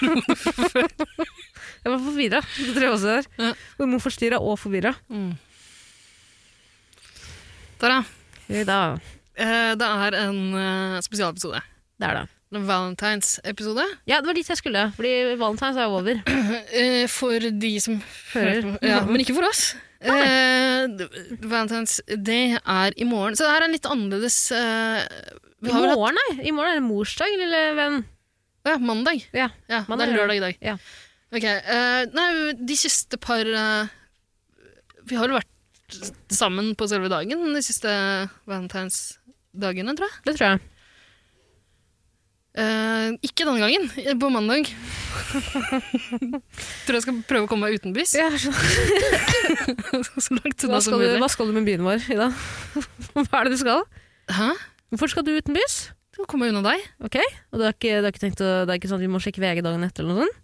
A: jeg var forvirra. Det tror jeg også det
B: Ja.
A: er. Hormonforstyrra og forvirra.
B: Mm. Tara,
A: Ja, da.
B: eh, det er en eh, spesialepisode.
A: Det er det.
B: En Valentines-episode.
A: Ja, det var dit jeg skulle. Fordi valentines er jo over.
B: Eh, For de som
A: Hører.
B: Ja, men ikke for oss. Eh, d- Valentine's Day er i morgen, så det her er en litt annerledes eh, Vi
A: I
B: har vel hatt
A: morgen, nei. I morgen er det morsdag, lille venn.
B: ja, mandag.
A: Ja.
B: Ja,
A: Mandag,
B: det
A: ja.
B: er lørdag i dag.
A: Ja.
B: Ok, eh, nei, de siste par eh, Vi har vel vært sammen på selve dagen de siste valentinsdagene, tror jeg.
A: Det tror jeg.
B: Eh, ikke denne gangen, eh, på mandag. tror jeg skal prøve å komme meg utenbys. så langt
A: Hva
B: unna som
A: skal, du,
B: mulig.
A: hva skal du med byen vår, Ida? Hva er det du skal?
B: Hæ?
A: Hvorfor skal du utenbys?
B: Skal komme meg unna deg?
A: Ok, og du har ikke, du har ikke tenkt å, Det er ikke sånn at vi må sjekke VG dagen etter eller noe sånt?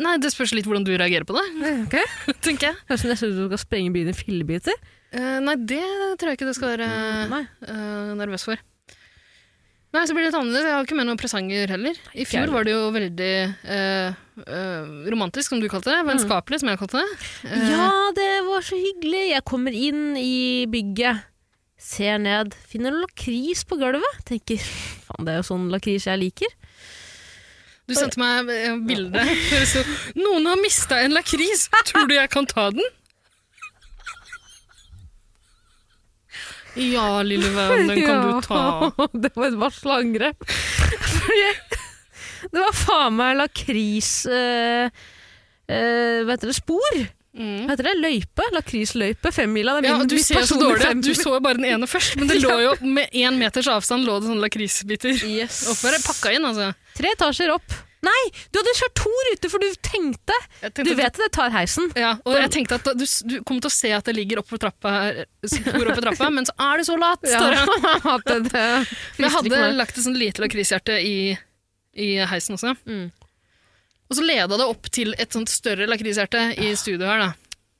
B: Nei, det spørs litt hvordan du reagerer på det,
A: Ok.
B: tenker jeg.
A: Høres nesten ut som du skal sprenge byen i fillebiter.
B: Eh, nei, det tror jeg ikke du skal være
A: Nei.
B: eh, nervøs for. Nei, så blir det litt annerledes. Jeg har ikke med noen presanger heller. I
A: heller.
B: fjor var det jo veldig eh, eh, romantisk, som du kalte det. Vennskapelig, som jeg kalte det. Eh,
A: Ja, det var så hyggelig. Jeg kommer inn i bygget, ser ned, finner noe lakris på gulvet. Tenker faen, det er jo sånn lakris jeg liker.
B: Du sendte meg eh, bilde. hvor det sto, Noen har mista en lakris! Tror du jeg kan ta den? Ja, lille venn, den kan du ta.
A: Ja, det var et varsla angrep. Fordi det var faen meg lakris eh, eh, Hva heter det? Spor?
B: Mm.
A: Hva heter det? Løype? Lakrisløype? Femmila? Det er
B: Ja,
A: min-
B: du
A: mitt
B: ser jo så
A: personlige
B: dårlig at du
A: femmila.
B: så jo bare den ene først, men det lå jo med én meters avstand lå det sånne lakrisbiter.
A: Yes.
B: Oppå der pakka inn, altså.
A: Tre etasjer opp. Nei, du hadde kjørt to ruter, for du tenkte
B: Jeg
A: Du
B: tenkte at-
A: vet at jeg tar heisen.
B: Ja, og jeg tenkte at du, du kommer til å se at det ligger oppå trappa, her, spor oppå trappa, men så er det så lavt! står det.
A: At det, det
B: Men jeg
A: frister ikke
B: hadde
A: meg.
B: lagt et sånn lite lakrishjerte i, i heisen også.
A: Mm.
B: Og så leda det opp til et sånt større lakrishjerte i studio her. da.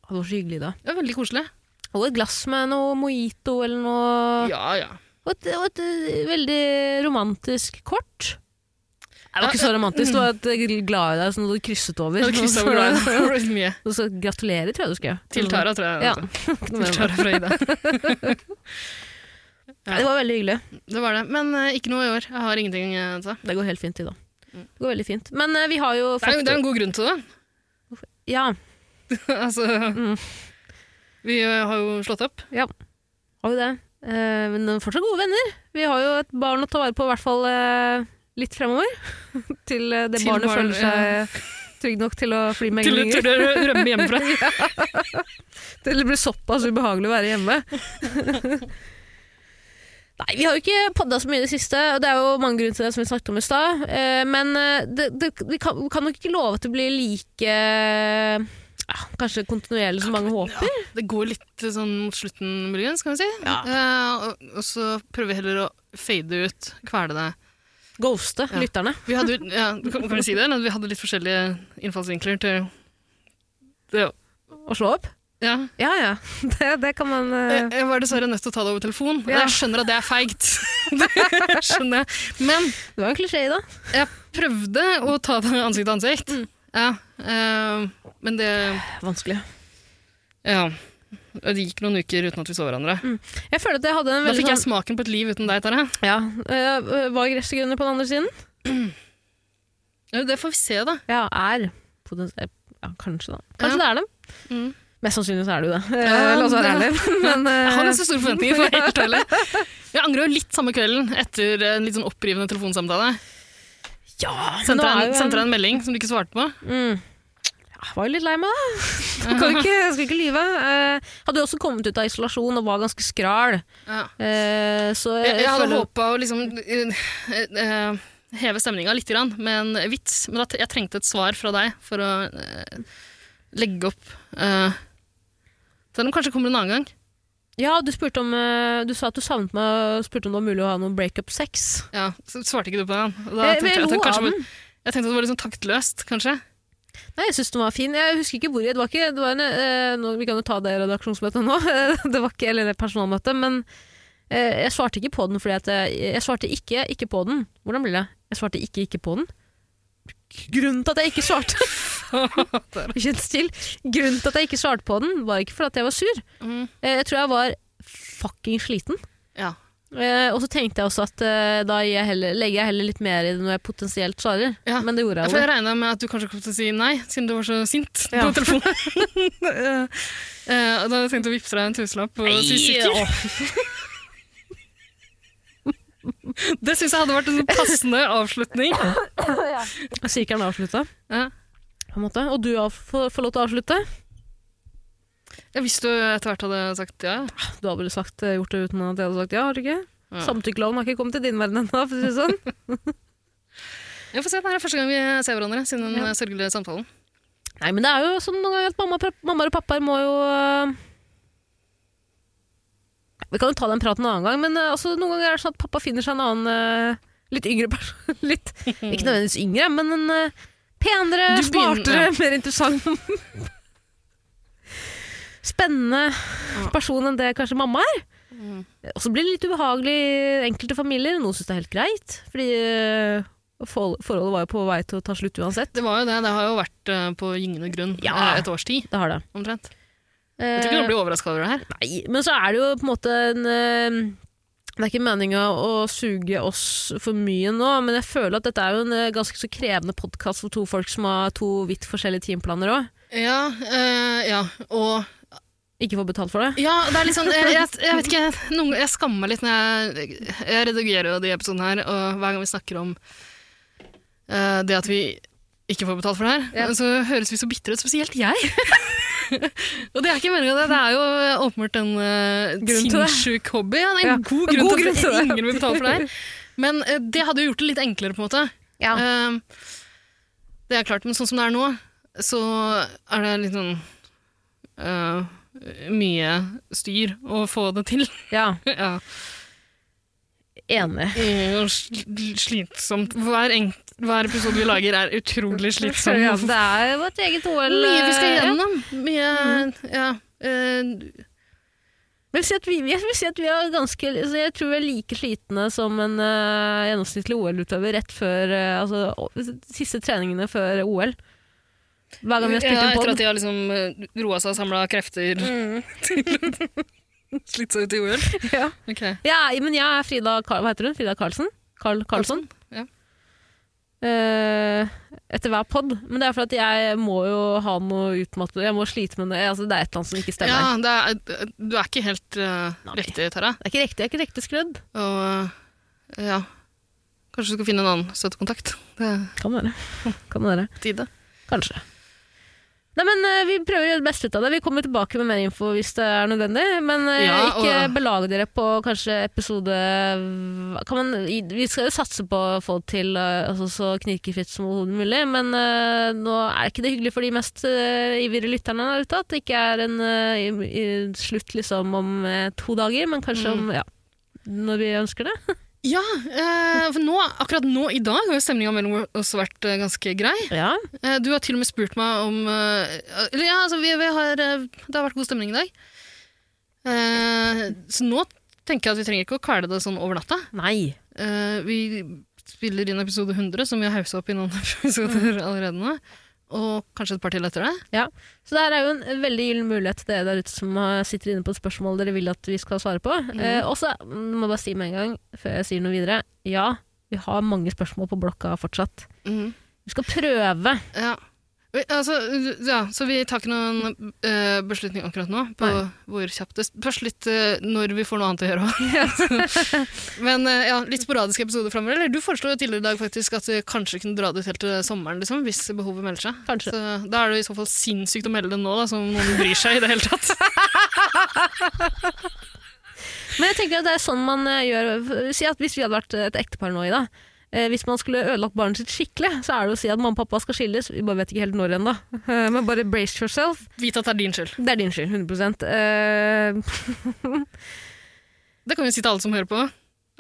A: Å, Det var så hyggelig, da.
B: Det var veldig koselig.
A: Og et glass med noe mojito eller noe
B: Ja, ja.
A: og, et, og et eh, veldig romantisk kort. Det var
B: Ja,
A: ikke så romantisk, det var et eh, glad i deg som du hadde krysset over.
B: Jeg hadde krysset over der. Det var litt mye.
A: Og så gratulerer, tror jeg du Sånn- skrev.
B: Til Tara, tror jeg.
A: Ja.
B: altså.
A: Ikke noe
B: Til
A: mer enn det.
B: Tara fra Ida. Ja.
A: Det var veldig hyggelig.
B: Det var det. Men eh, ikke noe i år. Jeg har ingenting. eh, altså.
A: Det går helt fint i dag. Det går veldig fint. Men eh, vi har Mm. jo
B: Det er, jo-
A: fått
B: det er en god grunn til det.
A: Ja.
B: altså,
A: Mm.
B: Vi eh, har jo slått opp.
A: Har vi det. Eh, men de er fortsatt gode venner. Vi har jo et barn å ta vare på, i hvert fall eh, litt fremover. til eh, det
B: Til
A: barnet
B: barn,
A: føler seg trygg nok til å fly med
B: Til du
A: englinger.
B: tør å rømme hjemmefra.
A: Til det blir såpass ubehagelig å være hjemme. Nei, vi har jo ikke podda så mye i det siste, og det er jo mange grunner til det som vi snakket om i stad. Eh, Men eh, det, det, vi, kan, vi kan nok ikke love at det blir like ja, Kanskje kontinuerlig som mange håper.
B: Det går litt sånn mot slutten, muligens, kan vi si.
A: Ja.
B: Eh, og, og så prøver vi heller å fade ut, kvele det.
A: Ghoste
B: Ja.
A: lytterne.
B: Vi hadde, jo- ja, kan, kan vi si det? eller? Vi hadde litt forskjellige innfallsvinkler til det.
A: Og slå opp.
B: Ja.
A: Ja ja, det, det kan man eh,
B: Jeg, jeg var dessverre nødt til å ta det over telefon.
A: Ja.
B: Jeg skjønner at det er feigt. Det skjønner jeg. Men
A: Det var en klisjé, da.
B: jeg prøvde å ta det ansikt til ansikt.
A: Mm.
B: Ja, eh, men det
A: Vanskelig.
B: Ja. Det gikk noen uker uten at vi så hverandre.
A: Jeg føler at jeg hadde en
B: Da
A: veldig
B: fikk jeg smaken på et liv uten deg, Tara.
A: sånn Ja, eh, Var gresset grønnere på den andre siden?
B: Ja, Det får vi se, da.
A: Ja, er. Potens- eh, Ja, kanskje, da. Kanskje det er dem.
B: Mm.
A: Mest sannsynlig så er det jo det.
B: Ja,
A: Eh, La oss være
B: det-
A: ærlige. Men,
B: Jeg har
A: eh,
B: ikke så store forventninger, for å være helt ærlig. Jeg angrer jo litt samme kvelden etter en litt sånn opprivende telefonsamtale.
A: ja, men
B: Sendte
A: det var
B: deg
A: jo
B: en,
A: en-
B: sendte deg en melding som du ikke svarte på.
A: Mm. Ja, jeg var jo litt lei meg, da. Kan ikke, jeg skal ikke lyve. Eh, hadde jo også kommet ut av isolasjon og var ganske skral. Eh, så
B: Jeg, jeg hadde
A: føler-
B: håpa å liksom eh, eh, heve stemninga litt grann, med en vits, men at jeg trengte et svar fra deg for å eh, legge opp eh, Selv om det kanskje kommer en annen gang.
A: Ja, du, spurte om, eh, du sa at du savnet meg og spurte om det var mulig å ha noe breakup-sex.
B: Ja, så svarte ikke du på den. Og Da
A: Jeg,
B: tenkte jeg, at det
A: lo av
B: kanskje,
A: den.
B: var- jeg tenkte at det var litt sånn taktløst, kanskje.
A: Nei, jeg syns den var fin. Jeg husker ikke hvor jeg det var. Ikke, det var en, eh, nå, vi kan jo ta det redaksjonsmøtet nå, det var ikke, eller det personalmøtet, men eh, jeg svarte ikke på den fordi at jeg, jeg svarte ikke ikke på den. Hvordan blir det? Jeg svarte ikke ikke på den. Grunnen til at jeg ikke svarte Kjent still. Grunnen til at jeg ikke svarte på den, var ikke fordi at jeg var sur.
B: Mm.
A: Eh, Jeg tror jeg var fucking sliten.
B: Ja.
A: Eh, og så tenkte jeg også at eh, da gir jeg heller, legger jeg heller litt mer i det når jeg potensielt svarer.
B: Ja.
A: Men det gjorde jeg
B: For
A: aldri.
B: jeg regna med at du kanskje kom til å si nei, siden du var så sint
A: Ja.
B: på telefonen. Eh, og da hadde jeg tenkt å vippse deg en tusenlapp og si sikker. Det syns jeg hadde vært en sånn passende avslutning.
A: Sirkelen avslutta,
B: Ja.
A: på en måte. Og du av- får får lov til å avslutte.
B: Ja, hvis du etter hvert hadde sagt ja.
A: Du har vel sagt, eh, gjort det uten at jeg hadde sagt ja, har du ikke?
B: Ja.
A: Samtykkeloven har ikke kommet til din verden ennå, for å si det sånn.
B: Jeg får se, Det er første gang vi ser hverandre siden den eh, sørgelige samtalen.
A: Nei, men det er jo sånn noen ganger at mamma, og pap- mammaer og pappaer må jo eh, Vi kan jo ta den praten en annen gang, men eh, altså, noen ganger er det sånn at pappa finner seg en annen eh, litt yngre person. Litt, ikke nødvendigvis yngre, men en eh, penere,
B: Du begynner-
A: smartere, mer interessant Spennende person enn det kanskje mamma er.
B: Mm.
A: Og så blir det litt ubehagelig i enkelte familier. Noen syns det er helt greit, fordi eh, forhold- forholdet var jo på vei til å ta slutt uansett.
B: Det var jo det, det har jo vært eh, på gyngende grunn
A: Ja.
B: eh, et års tid
A: Det har det.
B: omtrent. Jeg tror ikke noen blir overraska over det her.
A: Nei, men så er det jo på en måte en eh, Det er ikke meninga å suge oss for mye nå, men jeg føler at dette er jo en eh, ganske så krevende podkast for to folk som har to vidt forskjellige timeplaner òg.
B: Ja, eh, ja, og
A: Ikke får betalt for det.
B: Ja, det er litt sånn Jeg, jeg, jeg vet ikke, noen, jeg skammer meg litt når jeg Jeg redigerer jo de episodene her, og hver gang vi snakker om eh, det at vi ikke får betalt for det her,
A: Ja.
B: så høres vi så bitre ut, spesielt jeg. og det er ikke meningen, det. Det er jo åpenbart en eh,
A: Grunn til det.
B: sinnssyk hobby. Ja, det
A: Ja,
B: er en god
A: en
B: grunn
A: god
B: til at
A: grunn til det.
B: ingen vil betale for det her. Men eh, det hadde jo gjort det litt enklere, på en måte.
A: Ja.
B: Eh, det er klart, men sånn som det er nå, så er det litt sånn eh, mye styr å få det til.
A: Eh, Ja,
B: ja.
A: enig.
B: Eh, Og sl slitsomt. Hver, enk- hver episode vi lager, er utrolig slitsom.
A: Ja, det er vårt eget OL.
B: Mye vi skal
A: eh, ja. Mm.
B: gjennom. Mye Ja. eh,
A: Men si at vi, jeg vil si at vi er ganske altså Jeg tror vi er like slitne som en eh, gjennomsnittlig OL-utøver rett før eh, altså, å- siste treningene før OL. Hver gang vi har spilt
B: ja,
A: en
B: etter
A: pod.
B: at de har liksom eh, roa seg og samla krefter. Slitt seg ut i OL.
A: Ja.
B: Ok.
A: Ja, men jeg er Frida Karl, Hva heter hun? Frida Karlsen? Karl Karlsson?
B: Ja.
A: Eh, etter hver pod. Men det er fordi at jeg må jo ha noe utmattende Jeg må slite med noe. Altså, det er et eller annet som ikke stemmer.
B: Ja, det er, du er ikke helt eh,
A: Nei.
B: riktig, Tara.
A: Det er ikke riktig. Jeg er ikke riktig skrudd.
B: Og eh, ja Kanskje du skal finne en annen støttekontakt. Det er
A: Kan være. Kan være.
B: tide.
A: Kanskje. Nei, men eh, Vi prøver å gjøre det beste ut av det. Vi kommer tilbake med mer info hvis det er nødvendig. Men eh,
B: Ja, og-
A: ikke belag dere på kanskje episode kan man, i- Vi skal jo satse på å få det til eh, altså, så knirkefritt som overhodet mulig. Men eh, nå er ikke det hyggelig for de mest eh, ivrige lytterne der ute at det ikke er en eh, i, i, slutt liksom om eh, to dager, men
B: Mm.
A: kanskje om ja, når vi ønsker det.
B: Ja, eh, for nå, akkurat nå i dag har jo stemninga mellom oss vært eh, ganske grei.
A: Ja,
B: Eh, Du har til og med spurt meg om eh, Eller ja, altså, vi, vi har, eh, det har vært god stemning i dag. Eh, så nå tenker jeg at vi trenger ikke å kvele det sånn over natta.
A: Nei.
B: Eh, vi spiller inn episode 100, som vi har hausa opp i noen episoder allerede nå. Og kanskje et par til etter det.
A: Så det her er jo en veldig gyllen mulighet til dere der ute som eh, sitter inne på et spørsmål dere vil at vi skal svare på. Eh, og så mm, må jeg bare si med en gang, før jeg sier noe videre, ja, vi har mange spørsmål på blokka fortsatt.
B: Mm.
A: Vi skal prøve.
B: Ja. Vi, altså, ja, så vi tar ikke noen eh, beslutning akkurat nå på
A: Nei.
B: hvor kjapt det Først litt eh, når vi får noe annet å gjøre òg. Men eh, ja, litt sporadiske episoder framover. Eller du foreslo jo tidligere i dag faktisk at vi kanskje kunne dra det ut helt til sommeren liksom, hvis behovet melder seg.
A: Kanskje.
B: Så da er det i så fall sinnssykt å melde det nå, da, som om noen bryr seg i det hele tatt.
A: Men jeg tenker at det er sånn man eh, gjør Si at hvis vi hadde vært et ektepar nå, Ida. Eh, hvis man skulle ødelagt barnet sitt skikkelig, så er det å si at mamma og pappa skal skilles. Vi bare vet ikke helt når ennå. Eh, men bare brace yourself.
B: Vit at det er din skyld.
A: Det er din skyld, 100 eh,
B: Det kan vi si til alle som hører på.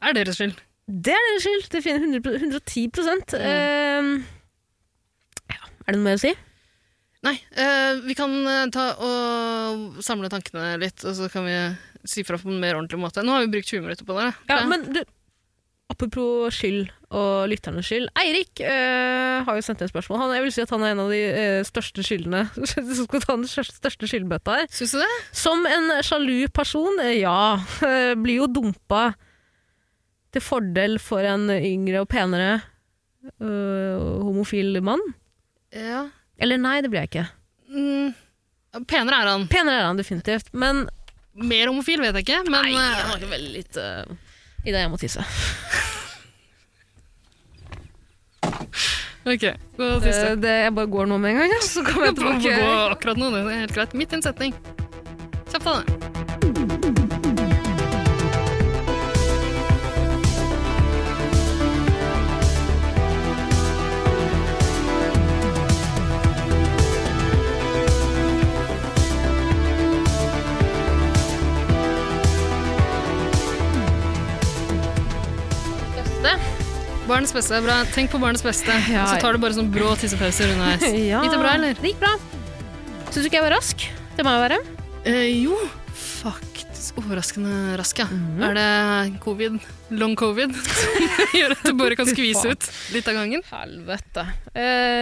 B: Er deres skyld.
A: Det er deres skyld. Det finner 100, 110 Ehm, ja, Er det noe mer å si?
B: Nei, eh, vi kan eh, ta og samle tankene litt, og så kan vi si fra på en mer ordentlig måte. Nå har vi brukt 20 minutter på det.
A: Ja, men du, Apropos skyld og lytternes skyld. Eirik eh, har jo sendt inn spørsmål. Han, jeg vil si at han er en av de eh, største skyldene som skal ta den største- største skyldbøtta her.
B: Syns du det?
A: Som en sjalu person, eh, ja, eh, blir jo dumpa til fordel for en yngre og penere eh, homofil mann.
B: Ja.
A: Eller nei, det blir jeg ikke.
B: Mm. Penere er han.
A: Penere er han definitivt, men
B: Mer homofil vet jeg ikke, men
A: Nei, jeg
B: eh,
A: har ikke veldig litt eh, Ida, jeg må tisse.
B: Ok, gå og tisse.
A: Eh, det, jeg bare går nå med en gang, ja, så kommer jeg
B: Du må
A: tilbake.
B: gå akkurat nå, det er helt greit. Midt i en setning. Kjapt ta det. Barnets beste er bra. Tenk på barnets beste.
A: Ja.
B: Så tar du bare sånn brå tissepauser underveis.
A: Ja.
B: Gikk det bra, eller?
A: Det gikk bra. Syns du ikke jeg var rask? Det må jeg være.
B: Eh, jo, faktisk overraskende rask, ja.
A: Mhm.
B: Er det covid, long covid, som gjør at du bare kan
A: Fy
B: skvise
A: faen.
B: ut litt av gangen?
A: Helvete.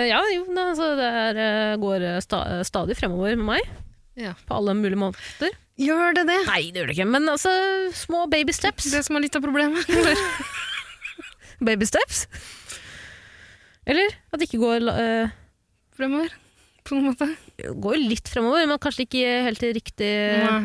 A: ja, jo, ne, altså, det er, eh, går eh, sta stadig fremover med meg.
B: Ja.
A: På alle mulige måter.
B: Gjør det det?
A: Nei, det gjør det ikke, men altså små baby steps.
B: Det som er litt av problemet. Eller?
A: Baby steps? Eller at det ikke går la- eh,
B: Fremover, på noen måte.
A: Går jo litt fremover, men kanskje ikke helt i riktig
B: Nei.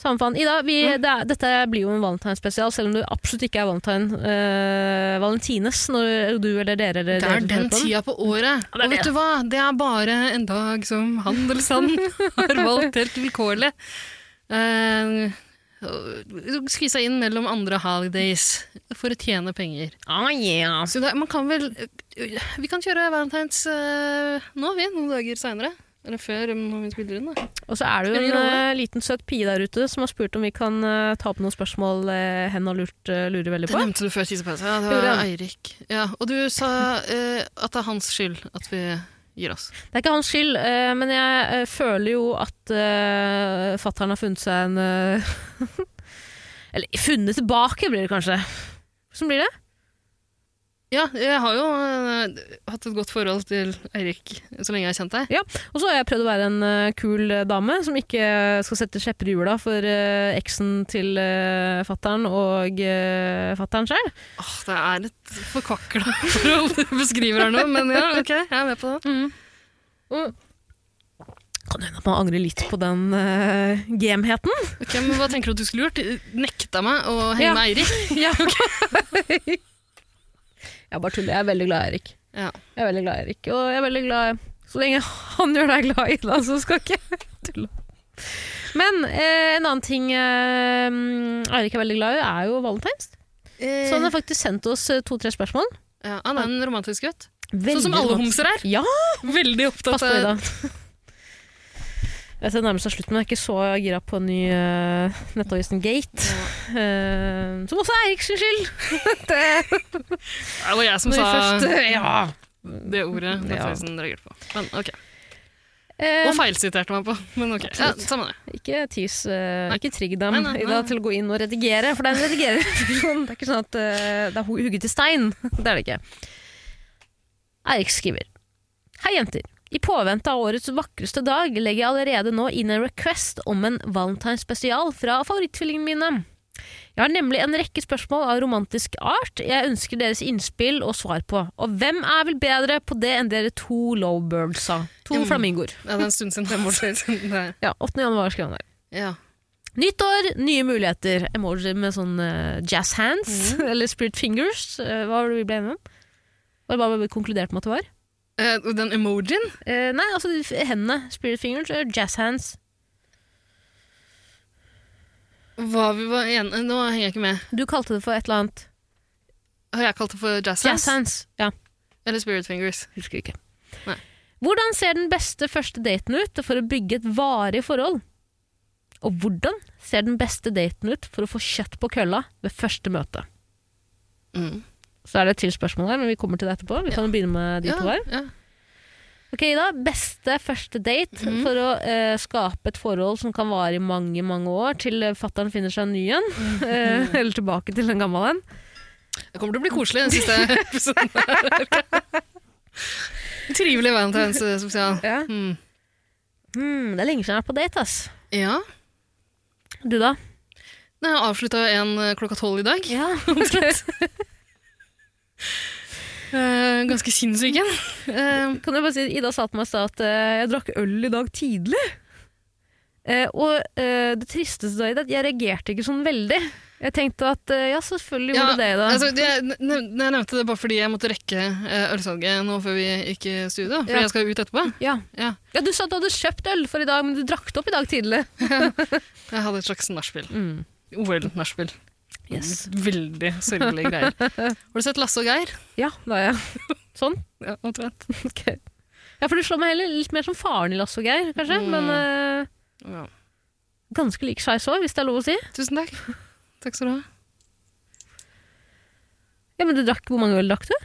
A: Samme faen. Ida, vi,
B: Mm.
A: det er, dette blir jo en valentinespesial, selv om du absolutt ikke er valentine, eh, valentines når du eller dere eller dere
B: Det er
A: som hører på
B: den
A: den.
B: tida på året.
A: Ja, det er
B: Og vet
A: det.
B: du hva? Det er bare en dag som handelsstanden har valgt helt vilkårlig. Eh, og skli seg inn mellom andre holidays for å tjene penger.
A: Oh, yeah.
B: Så Altså, det, man kan vel Vi kan kjøre Valentine's eh, nå, vi, noen dager seinere. Eller før, um, når vi spiller inn. da.
A: Og så er det jo
B: Spiller
A: en
B: ingen
A: eh, liten søt pie der ute som har spurt om vi kan eh, ta opp noen spørsmål eh, hen og lurt, eh, lurer veldig
B: Det
A: på.
B: nevnte du før tissepause. Ja, det
A: Gjorde
B: var
A: jeg.
B: Eirik. Ja, og du sa eh, at det er hans skyld at vi gir oss.
A: Det er ikke hans skyld, eh, men jeg eh, føler jo at uh, fattern har funnet seg en eh, Eller funnet tilbake, blir det kanskje. Hvordan blir det?
B: Ja, jeg har jo eh, hatt et godt forhold til Eirik så lenge jeg har kjent deg.
A: Og så har jeg prøvd å være en eh, kul eh, dame som ikke eh, skal sette skjepper i hjula for eh, eksen til uh, fattern og uh, fattern sjøl.
B: Åh, det er et forkvakla forhold du beskriver her nå, men ja, ok, jeg er med på det.
A: Kan hende at man angrer litt på den eh, gemheten.
B: Ok, men Hva tenker du at du skulle gjort? Nekta meg å henge
A: Ja.
B: med Eirik?
A: Jeg bare tuller. Jeg er veldig glad i Erik.
B: Ja.
A: Jeg er veldig glad i Erik, og jeg er veldig glad Så lenge han gjør deg glad i deg, så skal ikke jeg tulle. Men eh, en annen ting eh, Eirik er veldig glad i, er jo valentines. Så han har faktisk sendt oss eh, to-tre spørsmål.
B: ja, han er en romantisk gutt.
A: Veldig
B: Sånn som alle
A: godt.
B: homser er. eh,
A: Ja,
B: Veldig opptatt
A: pass på,
B: av
A: Ida. Jeg ser nærmer seg slutten, men jeg er ikke så gira på en ny uh, nettavisen Gate. eh, som også er Eiriks skyld! det
B: Det var jeg
A: når
B: som
A: vi
B: sa
A: først eh, Ja!
B: det ordet
A: Ja.
B: Mathisen reagerte på. Men, ok.
A: Eh,
B: Og feilsiterte meg på. Men ok, ja,
A: Absolutt.
B: samme det.
A: Ikke tis, eh, ikke trigg dem
B: Nei, nei,
A: Ida,
B: nei.
A: til å gå inn og redigere, for det er en redigererfunksjon. Det er ikke sånn at eh, det er hu- hugget i stein. Det er det ikke. Eirik skriver. Hei, jenter. I påvente av årets vakreste dag legger jeg allerede nå inn en request om en Valentine's spesial fra favoritttvillingene mine. Jeg har nemlig en rekke spørsmål av romantisk art jeg ønsker deres innspill og svar på. Og hvem er vel bedre på det enn dere to lowbirdsa? To
B: Mm.
A: flamingoer.
B: Ja, det er en stund siden. Fem år siden. Det er-
A: Ja, 8. januar skrev han det.
B: Ja.
A: Nytt år, nye muligheter. Emoji med sånn eh, jazz hands, eller spirit fingers. Eh, hva var det vi ble enige om? Var det bare vi konkluderte med at det var?
B: Eh, og den emojien?
A: Eh, nei, altså de f- hendene. Spirit fingers eller jazz hands.
B: Hva vi var enige Nå henger jeg ikke med.
A: Du kalte det for et eller annet.
B: Har jeg kalt det for jazz
A: Jazz
B: hands?
A: hands. Ja,
B: Eller spirit fingers?
A: husker ikke.
B: Nei.
A: Hvordan ser den beste første daten ut for å bygge et varig forhold? Og hvordan ser den beste daten ut for å få kjøtt på kølla ved første møte?
B: Mm.
A: Så er det et til spørsmål her, men vi kommer til det etterpå. Vi kan jo begynne med de
B: Ja,
A: to her.
B: ja.
A: Ok, Ida. Beste første date for å eh, skape et forhold som kan vare i mange mange år, til eh, fattern finner seg en ny en. eh, eller tilbake til en gammel en.
B: Det kommer til å bli koselig den siste episoden. her. Trivelig Valentine's eh, spesial.
A: Ja.
B: Mm.
A: Mm, det er lenge siden jeg har vært på date. ass.
B: Ja.
A: Du, da?
B: Nei, Jeg avslutta en eh, klokka tolv i dag.
A: Ja.
B: Eh, ganske sinnssyk en. Eh,
A: kan jeg bare si, Ida sa til meg i stad at eh, jeg drakk øl i dag tidlig. Eh, og eh, det tristeste da, Ida, at jeg reagerte ikke sånn veldig. Jeg tenkte at eh, ja, selvfølgelig gjorde du det, Ida.
B: altså, jeg, ne- ne- jeg nevnte det bare fordi jeg måtte rekke eh, ølsalget nå før vi gikk i studio. Fordi
A: Ja.
B: jeg skal ut etterpå.
A: ja.
B: Ja,
A: ja, Du sa at du hadde kjøpt øl for i dag, men du drakk det opp i dag tidlig.
B: jeg hadde et slags nachspiel.
A: Mm.
B: OL-nachspiel.
A: Yes.
B: Veldig sørgelige greier. Har du sett Lasse og Geir?
A: Ja, da er jeg. Sånn?
B: Ja, omtrent.
A: Ok. Ja, for du slår meg heller litt mer som faren i Lasse og Geir, kanskje.
B: Mm.
A: Men eh,
B: Ja.
A: ganske lik skeis òg, hvis det er lov å si.
B: Tusen takk. Takk skal du ha.
A: Ja, men du drakk, Hvor mange øl drakk du?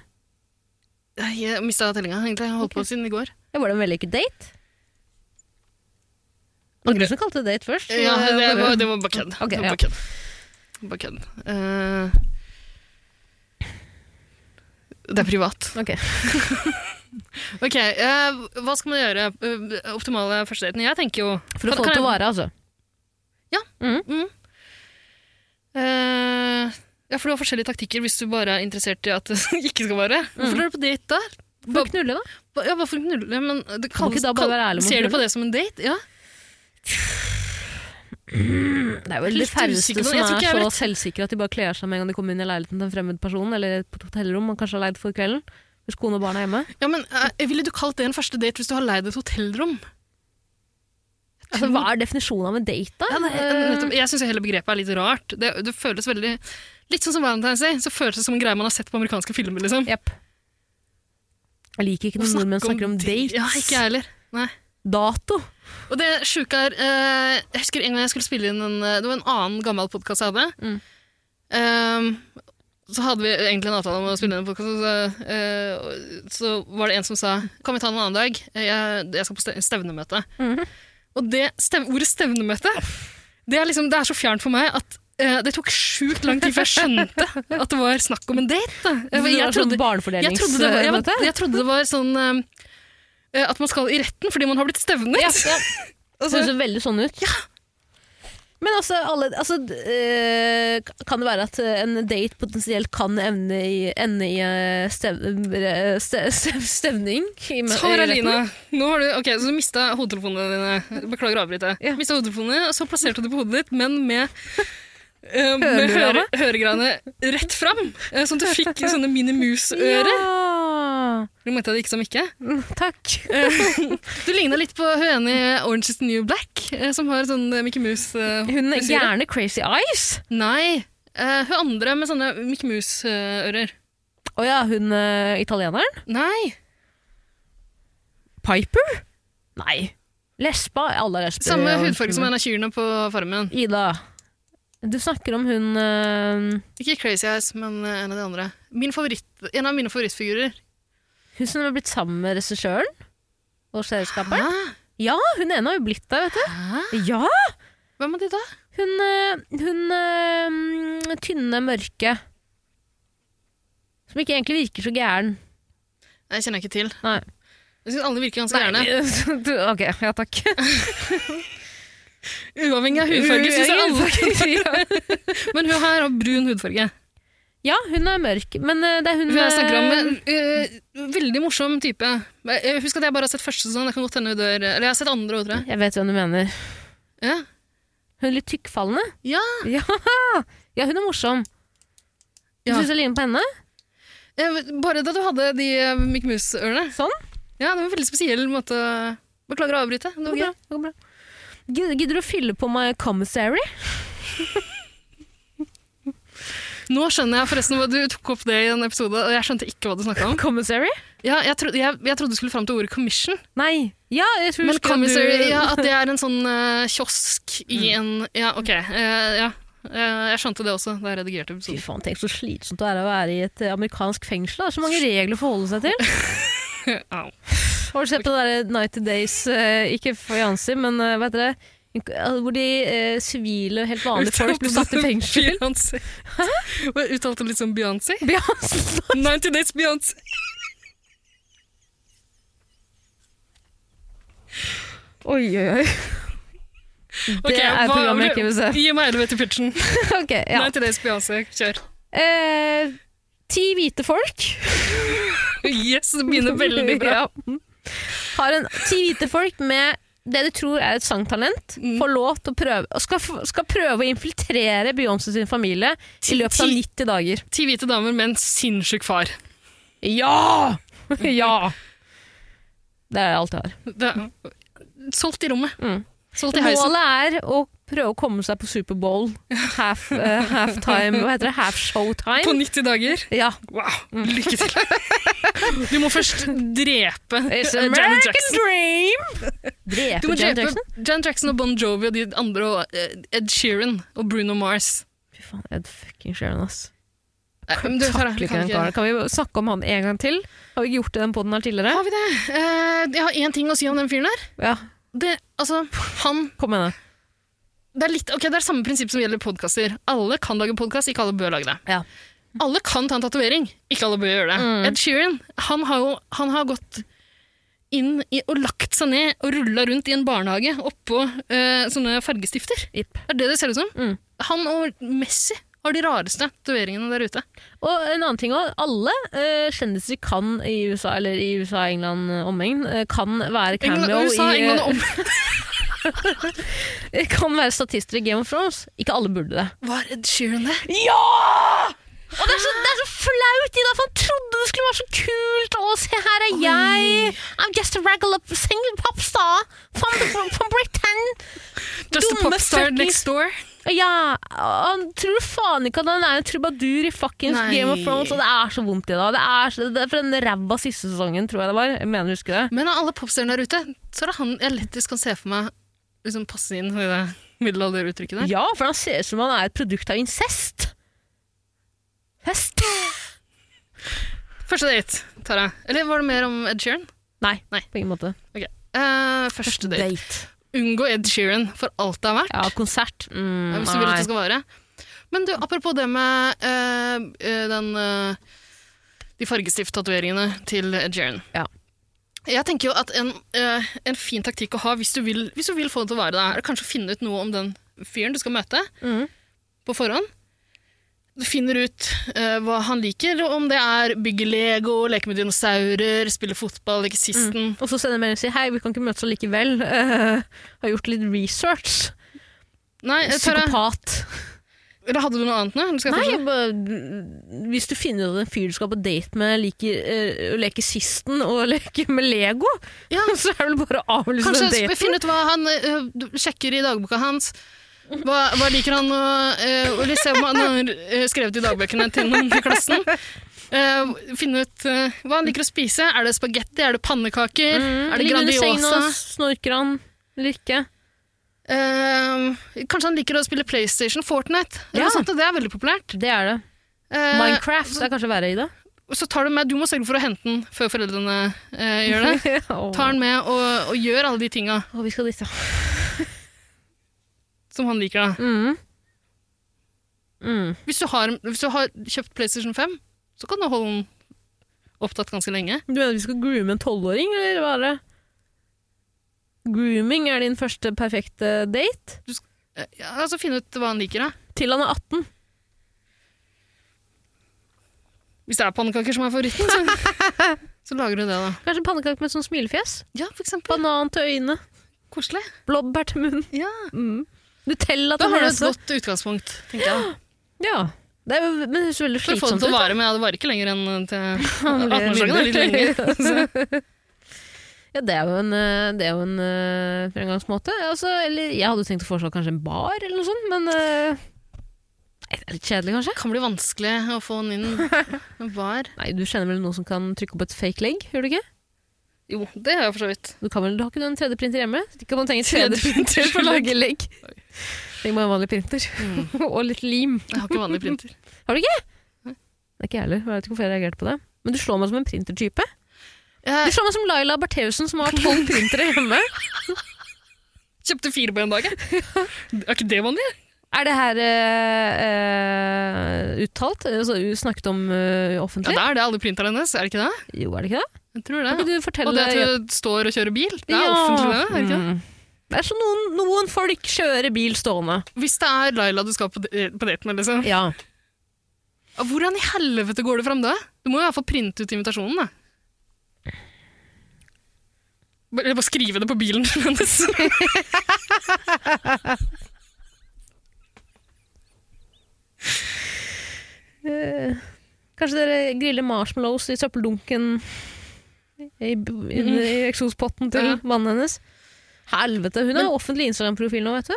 B: Nei, Jeg mista tellinga, egentlig. Jeg har holdt på siden i går.
A: Ja, var det en vellykket date? Det var du som kalte det date først.
B: Ja,
A: så
B: det
A: bare-
B: var, det var bare kødd.
A: Ok,
B: Det var
A: ja.
B: bare kødd. Det var Bare kødd. Eh, det er privat.
A: Ok.
B: Ok, eh, hva skal man gjøre? Eh, optimale førstedaten? Jeg tenker jo
A: For å
B: Kan-
A: få
B: kan
A: det til å
B: jeg-
A: vare, altså.
B: Eh, ja, for du har forskjellige taktikker hvis du bare er interessert i at det ikke skal vare.
A: Mm.
B: Hvorfor drar du på date da?
A: For å knulle, da.
B: Ba- Ja, Hvorfor knulle? Men det
A: Kan du ikke
B: kalles,
A: da bare være ærlig om å
B: ser du
A: knulle?
B: på det som en date? Ja.
A: Det er vel de
B: Litt
A: færreste
B: usikker på-
A: som
B: jeg tror
A: er
B: ikke jeg
A: så selvsikre at de bare kler seg med en gang de kommer inn i leiligheten til en fremmed person, eller på et hotellrom man kanskje har leid for kvelden. Hvis kone og barn er hjemme.
B: ja men eh, Ville du kalt det en første date hvis du har leid et hotellrom? Jeg
A: Altså, hva er definisjonen av en date, da?
B: Ja, nei,
A: Eh,
B: nettopp. Jeg syns hele begrepet er litt rart. Det, det føles veldig Litt sånn som Valentine's Day. Så føles det som en greie man har sett på amerikanske filmer. liksom.
A: Eh, Jepp. Jeg liker ikke
B: Å
A: når
B: snakke
A: nordmenn
B: om
A: snakker om dates.
B: Ja, ikke jeg heller. Nei.
A: Dato.
B: Og det sjuke er eh, Jeg husker en gang jeg skulle spille inn en eh, Det var en annen gammel podkast jeg hadde.
A: Mm.
B: Ehm, så hadde vi egentlig en avtale om å spille inn en podkast, så, eh, og- så var det en som sa Kan vi ta den en annen dag? Jeg, jeg skal på ste- stevnemøte.
A: Mhm.
B: Og det stev, ordet stevnemøte det er, liksom, det er så fjernt for meg at eh, det tok sjukt lang tid før jeg skjønte at det var snakk om en date. Da.
A: Det
B: Jeg, jeg,
A: er sånn
B: trodde, jeg, trodde det var, jeg,
A: barnefordelingsmøte.
B: jeg trodde det var sånn eh, at man skal i retten fordi man har blitt stevnet.
A: Ja, ja.
B: Altså-
A: Høres jo veldig sånn ut. Men altså, alle, altså d- eh, kan det være at eh, en date potensielt kan evne i, ende i eh, stev, eh, ste, stev, stevning? i me- i
B: Tara
A: retten?
B: Lina, nå har du, ok, så du mista hodetelefonene dine. Beklager å avbryte.
A: Ja.
B: Mistet hodetelefonene, og så plasserte du det på hodet ditt, men med eh, med høre,
A: Høregreiene?
B: høregreiene rett fram, eh, sånn at du fikk sånne mini-mus-ører.
A: Ja.
B: Du mente jeg det ikke som ikke.
A: Mm, Takk.
B: Du ligna litt på høna i Orange is the New Black, eh, som har sånn eh, Mickey Mouse-frisyre.
A: Hun er gjerne crazy eyes.
B: Nei, eh, hun andre med sånne Mickey eh, Mouse-ører.
A: Å ja, hun eh, italieneren?
B: Nei,
A: Piper? Nei. Lesba? Alle er lesber.
B: samme
A: og-
B: hudfarge som en av kyrne på Farmen.
A: Ida. Du snakker om hun eh,
B: Ikke Crazy Eyes, men eh, en av de andre. Min favoritt, en av mine favorittfigurer.
A: Hun som har blitt sammen med regissøren og serieskaperen?
B: Hæ?
A: Ja, hun ene har jo blitt der, vet
B: Hæ?
A: du. Ja,
B: Hvem er de da?
A: Hun, øh, hun øh, mm, tynne, mørke Som ikke egentlig virker så gæren.
B: Jeg kjenner ikke til.
A: Nei.
B: Jeg syns alle virker ganske gjerne.
A: du, ok, ja takk.
B: Uavhengig av hudfarge, syns jeg alle.
A: alle.
B: Men hun her har brun hudfarge.
A: ja, hun er mørk, men øh, det er hun
B: Hun jeg snakker om
A: øh,
B: en øh, veldig morsom type. Jeg- Husk at jeg bare har sett første sesong. Det kan godt hende hun dør. Eller jeg har sett andre og tror jeg.
A: Jeg vet hvem du mener.
B: Ja.
A: Hun er litt tykkfallende.
B: Ja.
A: Ja, ja hun er morsom. Du
B: Ja.
A: syns jeg ligner på henne?
B: Eh, Bare da du hadde de eh, Mickey Mouse-ørene.
A: Sånn?
B: Ja, det var en veldig spesiell måte å- Beklager å avbryte. Det
A: Det går
B: var
A: bra.
B: gøy.
A: Det går bra. Gidder gidder du å fylle på meg commissary?
B: Nå skjønner jeg forresten hva du tok opp det i en episode, og jeg skjønte ikke hva du snakka om.
A: Commissary?
B: Ja, jeg, trodde, jeg, jeg trodde du skulle fram til ordet 'commission'.
A: Nei. Ja, jeg tror
B: Men
A: husker at
B: commissary,
A: du-
B: ja, at det er en sånn eh, kiosk i
A: Mm.
B: en Ja, ok. eh, ja. Eh, jeg skjønte det også da jeg redigerte
A: Fy
B: episoden.
A: faen, tenk så slitsomt det er å være i et eh, amerikansk fengsel. Det er så mange regler å forholde seg til.
B: Au.
A: Har du sett på det der Night to Days, eh, ikke Fayansi, men eh, hva heter det? Ink- eh, Hvor de eh, sivile, helt vanlige folk blir satt i fengsel.
B: Beyoncé. Hva, jeg Uttalte litt som Beyoncé?
A: Beyoncé!
B: 90 Days Beyoncé.
A: Oi, oi, oi. Det
B: Ok,
A: er
B: hva-
A: programmet jeg ikke vil se.
B: Gi meg elevator pitchen.
A: Ok, ja.
B: 90 Days Beyoncé, kjør.
A: Eh, ti hvite folk.
B: Yes, det begynner veldig bra.
A: Ja. Har en, ti hvite folk med det de tror er et sangtalent,
B: Mm.
A: får lov til å prøve, og skal, f- skal prøve å infiltrere Beyoncé sin familie i løpet av
B: ti-
A: 90 dager.
B: Ti hvite damer med en sinnssyk far.
A: Ja! ja! Det er alt jeg har.
B: Det, solgt i rommet.
A: Mm.
B: Solgt i heisen.
A: Målet er å prøve å komme seg på Superbowl. Half, eh, halftime Hva heter det? Half
B: På
A: showtime?
B: 90 dager.
A: Ja.
B: Wow,
A: Mm.
B: lykke til. Du må først drepe
A: It's
B: eh, Janet
A: American
B: Jackson.
A: dream!
B: Du
A: Drepe
B: må
A: Janet
B: drepe
A: Jackson?
B: Janet Jackson og Bon Jovi og de andre, og eh, Ed Sheeran og Bruno Mars.
A: Fy faen, Ed fucking Sheeran, ass.
B: Nei, men du, Tara,
A: Takler
B: vi
A: ikke
B: kan
A: den
B: ikke-
A: karen. Kan vi snakke om han en gang til? Har vi ikke gjort det i den podden her tidligere?
B: Har vi det? Eh, jeg har én ting å si om den fyren der.
A: Ja,
B: Det, altså, han,
A: kom igjen da.
B: det, er litt, ok, det er samme prinsipp som gjelder podkaster. Alle kan lage podkast, ikke alle bør lage det.
A: Ja.
B: Alle kan ta en tatovering, ikke alle bør gjøre det.
A: Mm.
B: Ed Sheeran han har jo han har gått inn i, og lagt seg ned og rulla rundt i en barnehage oppå eh, sånne fargestifter.
A: Jipp.
B: Det er det det ser ut som.
A: Mm.
B: Han og Messi har de rareste tatoveringene der ute.
A: Og en annen ting også, alle eh, kjendiser kan i USA, eller i USA, England, eh, omegn, eh, kan være cameo
B: England, USA,
A: i, eh,
B: England og om...
A: kan være statister i Game of Thrones. Ikke alle burde det.
B: Var Ed Sheeran det?
A: Ja! Og det er så, det er så flaut, Ida, for han trodde det skulle være så kult. Å, se her er jeg. I'm just a regular single popstar from, from Britain.
B: Just a
A: Dumme
B: popstar
A: fuckings-
B: next door.
A: Ja, han tror faen ikke at han er en trubadur i fuckings
B: Nei.
A: Game of Thrones, og det er så vondt i dag. Det er, så, det er for den ræva siste sesongen, tror jeg det var. Jeg mener, husker det.
B: Men av alle popstjerner der ute, så er det han jeg lettest kan se for meg liksom passe inn i det middelalderuttrykket der.
A: Ja, for han ser ut som han er et produkt av incest. Hest?
B: Første date, Tara. Eller var det mer om Ed Sheeran?
A: Nei,
B: Nei.
A: på ingen måte.
B: Ok. Eh, første date. Unngå Ed Sheeran for alt det er verdt. Eh,
A: Ja, konsert. Mm,
B: hvis du vil at
A: nei.
B: det skal vare. Men du, apropos det med eh, eh, den eh, De fargestift-tatoveringene til Ed Sheeran.
A: Ja.
B: Jeg tenker jo at en, eh, en fin taktikk å ha hvis du, vil, hvis du vil få det til å vare deg, er kanskje å finne ut noe om den fyren du skal Mm. møte,
A: Mhm.
B: på forhånd. Du finner ut eh, hva han liker, eller om det er bygge Lego, leke med dinosaurer, spille fotball, leke sisten.
A: Og så sender jeg melding og sier hei, vi kan ikke møtes allikevel. Eh, har gjort litt research.
B: Nei, eh, Tara,
A: Psykopat.
B: eller hadde du noe annet nå? Eller skal jeg
A: Nei,
B: fortsette?
A: bare, mm, hvis du finner ut at en fyr du skal på date med, liker eh, å leke sisten og leke med Lego,
B: Ja.
A: så er det vel bare å avlyse den
B: Kanskje
A: daten.
B: finne ut hva han eh, du sjekker i dagboka hans. Hva, hva liker han å eh, og liksom, se om han har eh, skrevet i dagbøkene til noen i klassen? Eh, finne ut eh, hva han liker å spise. Er det spagetti? Er det pannekaker?
A: Mm,
B: er det
A: ligger under sengen
B: Grandiosa?
A: og Snorker han eller ikke?
B: Eh, kanskje han liker å spille PlayStation, Fortnite? eller
A: Ja.
B: noe sånt, og det er veldig populært.
A: Det er det.
B: Eh,
A: Minecraft er kanskje verre i det.
B: Så tar du med Du må sørge for å hente den før foreldrene eh, gjør det. Tar den med og, og gjør alle de tinga
A: Å, vi skal dit, ja.
B: som han liker. da.
A: Mm. Mm.
B: Hvis du, har, hvis du har kjøpt PlayStation 5, så kan du holde den opptatt ganske lenge.
A: Du mener vi skal groome en tolvåring, eller hva er det? Grooming er din første perfekte date?
B: Eh, Ja, altså Finne ut hva han liker. da.
A: Til han er 18.
B: Hvis det er pannekaker som er favoritten, så, så lager du det, da.
A: Kanskje pannekake med sånn smilefjes?
B: Ja, for eksempel.
A: Banan til øynene.
B: Koselig.
A: Blåbær til munnen.
B: Ja.
A: Mm. Nutella
B: Da
A: til
B: har du et
A: nesa.
B: godt utgangspunkt, tenker jeg.
A: Ja. Det er jo, men det høres veldig
B: For å få det
A: slitsomt
B: til
A: ut.
B: å vare, men ja, det varer ikke lenger enn til
A: Han blir
B: 18-årsdagen. er litt
A: mindre.
B: lenger. Så,
A: Ja, det er jo en, eh, det er jo en eh, fremgangsmåte. Altså, eller, jeg hadde tenkt å foreslå kanskje en bar, eller noe sånt, men eh, Nei, det er litt kjedelig, kanskje?
B: det kan bli vanskelig å få han inn. Var.
A: Nei, Du kjenner vel noen som kan trykke opp et fake legg? gjør Du ikke?
B: Jo, det har jeg for så vidt.
A: Du, kan vel, du har ikke du en 3D-printer hjemme? Ikke at man trenger
B: 3D-printer
A: 3D-printer for å lage legg. Trenger bare en vanlig printer.
B: Mm.
A: Og litt lim.
B: Jeg har ikke vanlig printer.
A: Det er ikke jeg heller. Jeg vet ikke hvorfor jeg reagerte på det. Men du slår meg som en printertype.
B: Jeg
A: Du slår meg som Laila Bertheussen, som har tolv printere hjemme.
B: kjøpte fire på en dag, jeg. Er ikke det vanlig?
A: Er det her eh, eh, uttalt? Altså, u- snakket om eh,
B: Ja,
A: offentlig?
B: det er det alle printerne hennes, er det ikke det?
A: jo, er det ikke det?
B: Jeg tror det.
A: Kan ikke du fortelle
B: Og det at du står og kjører bil, det er
A: Ja.
B: offentlig det, er det ikke det?
A: Mm. Det er så noen, noen folk kjører bil stående.
B: Hvis det er Laila du skal på de- på date med, liksom.
A: Ja.
B: Hvordan i helvete går det fram da? Du må jo i hvert fall printe ut invitasjonen, da. Bare- Eller bare skrive det på bilen hennes.
A: Kanskje dere griller marshmallows i søppeldunken i, b- under- i eksospotten til
B: Mhm. Ja.
A: mannen hennes. Helvete, hun har offentlig Instagram-profil nå, vet du.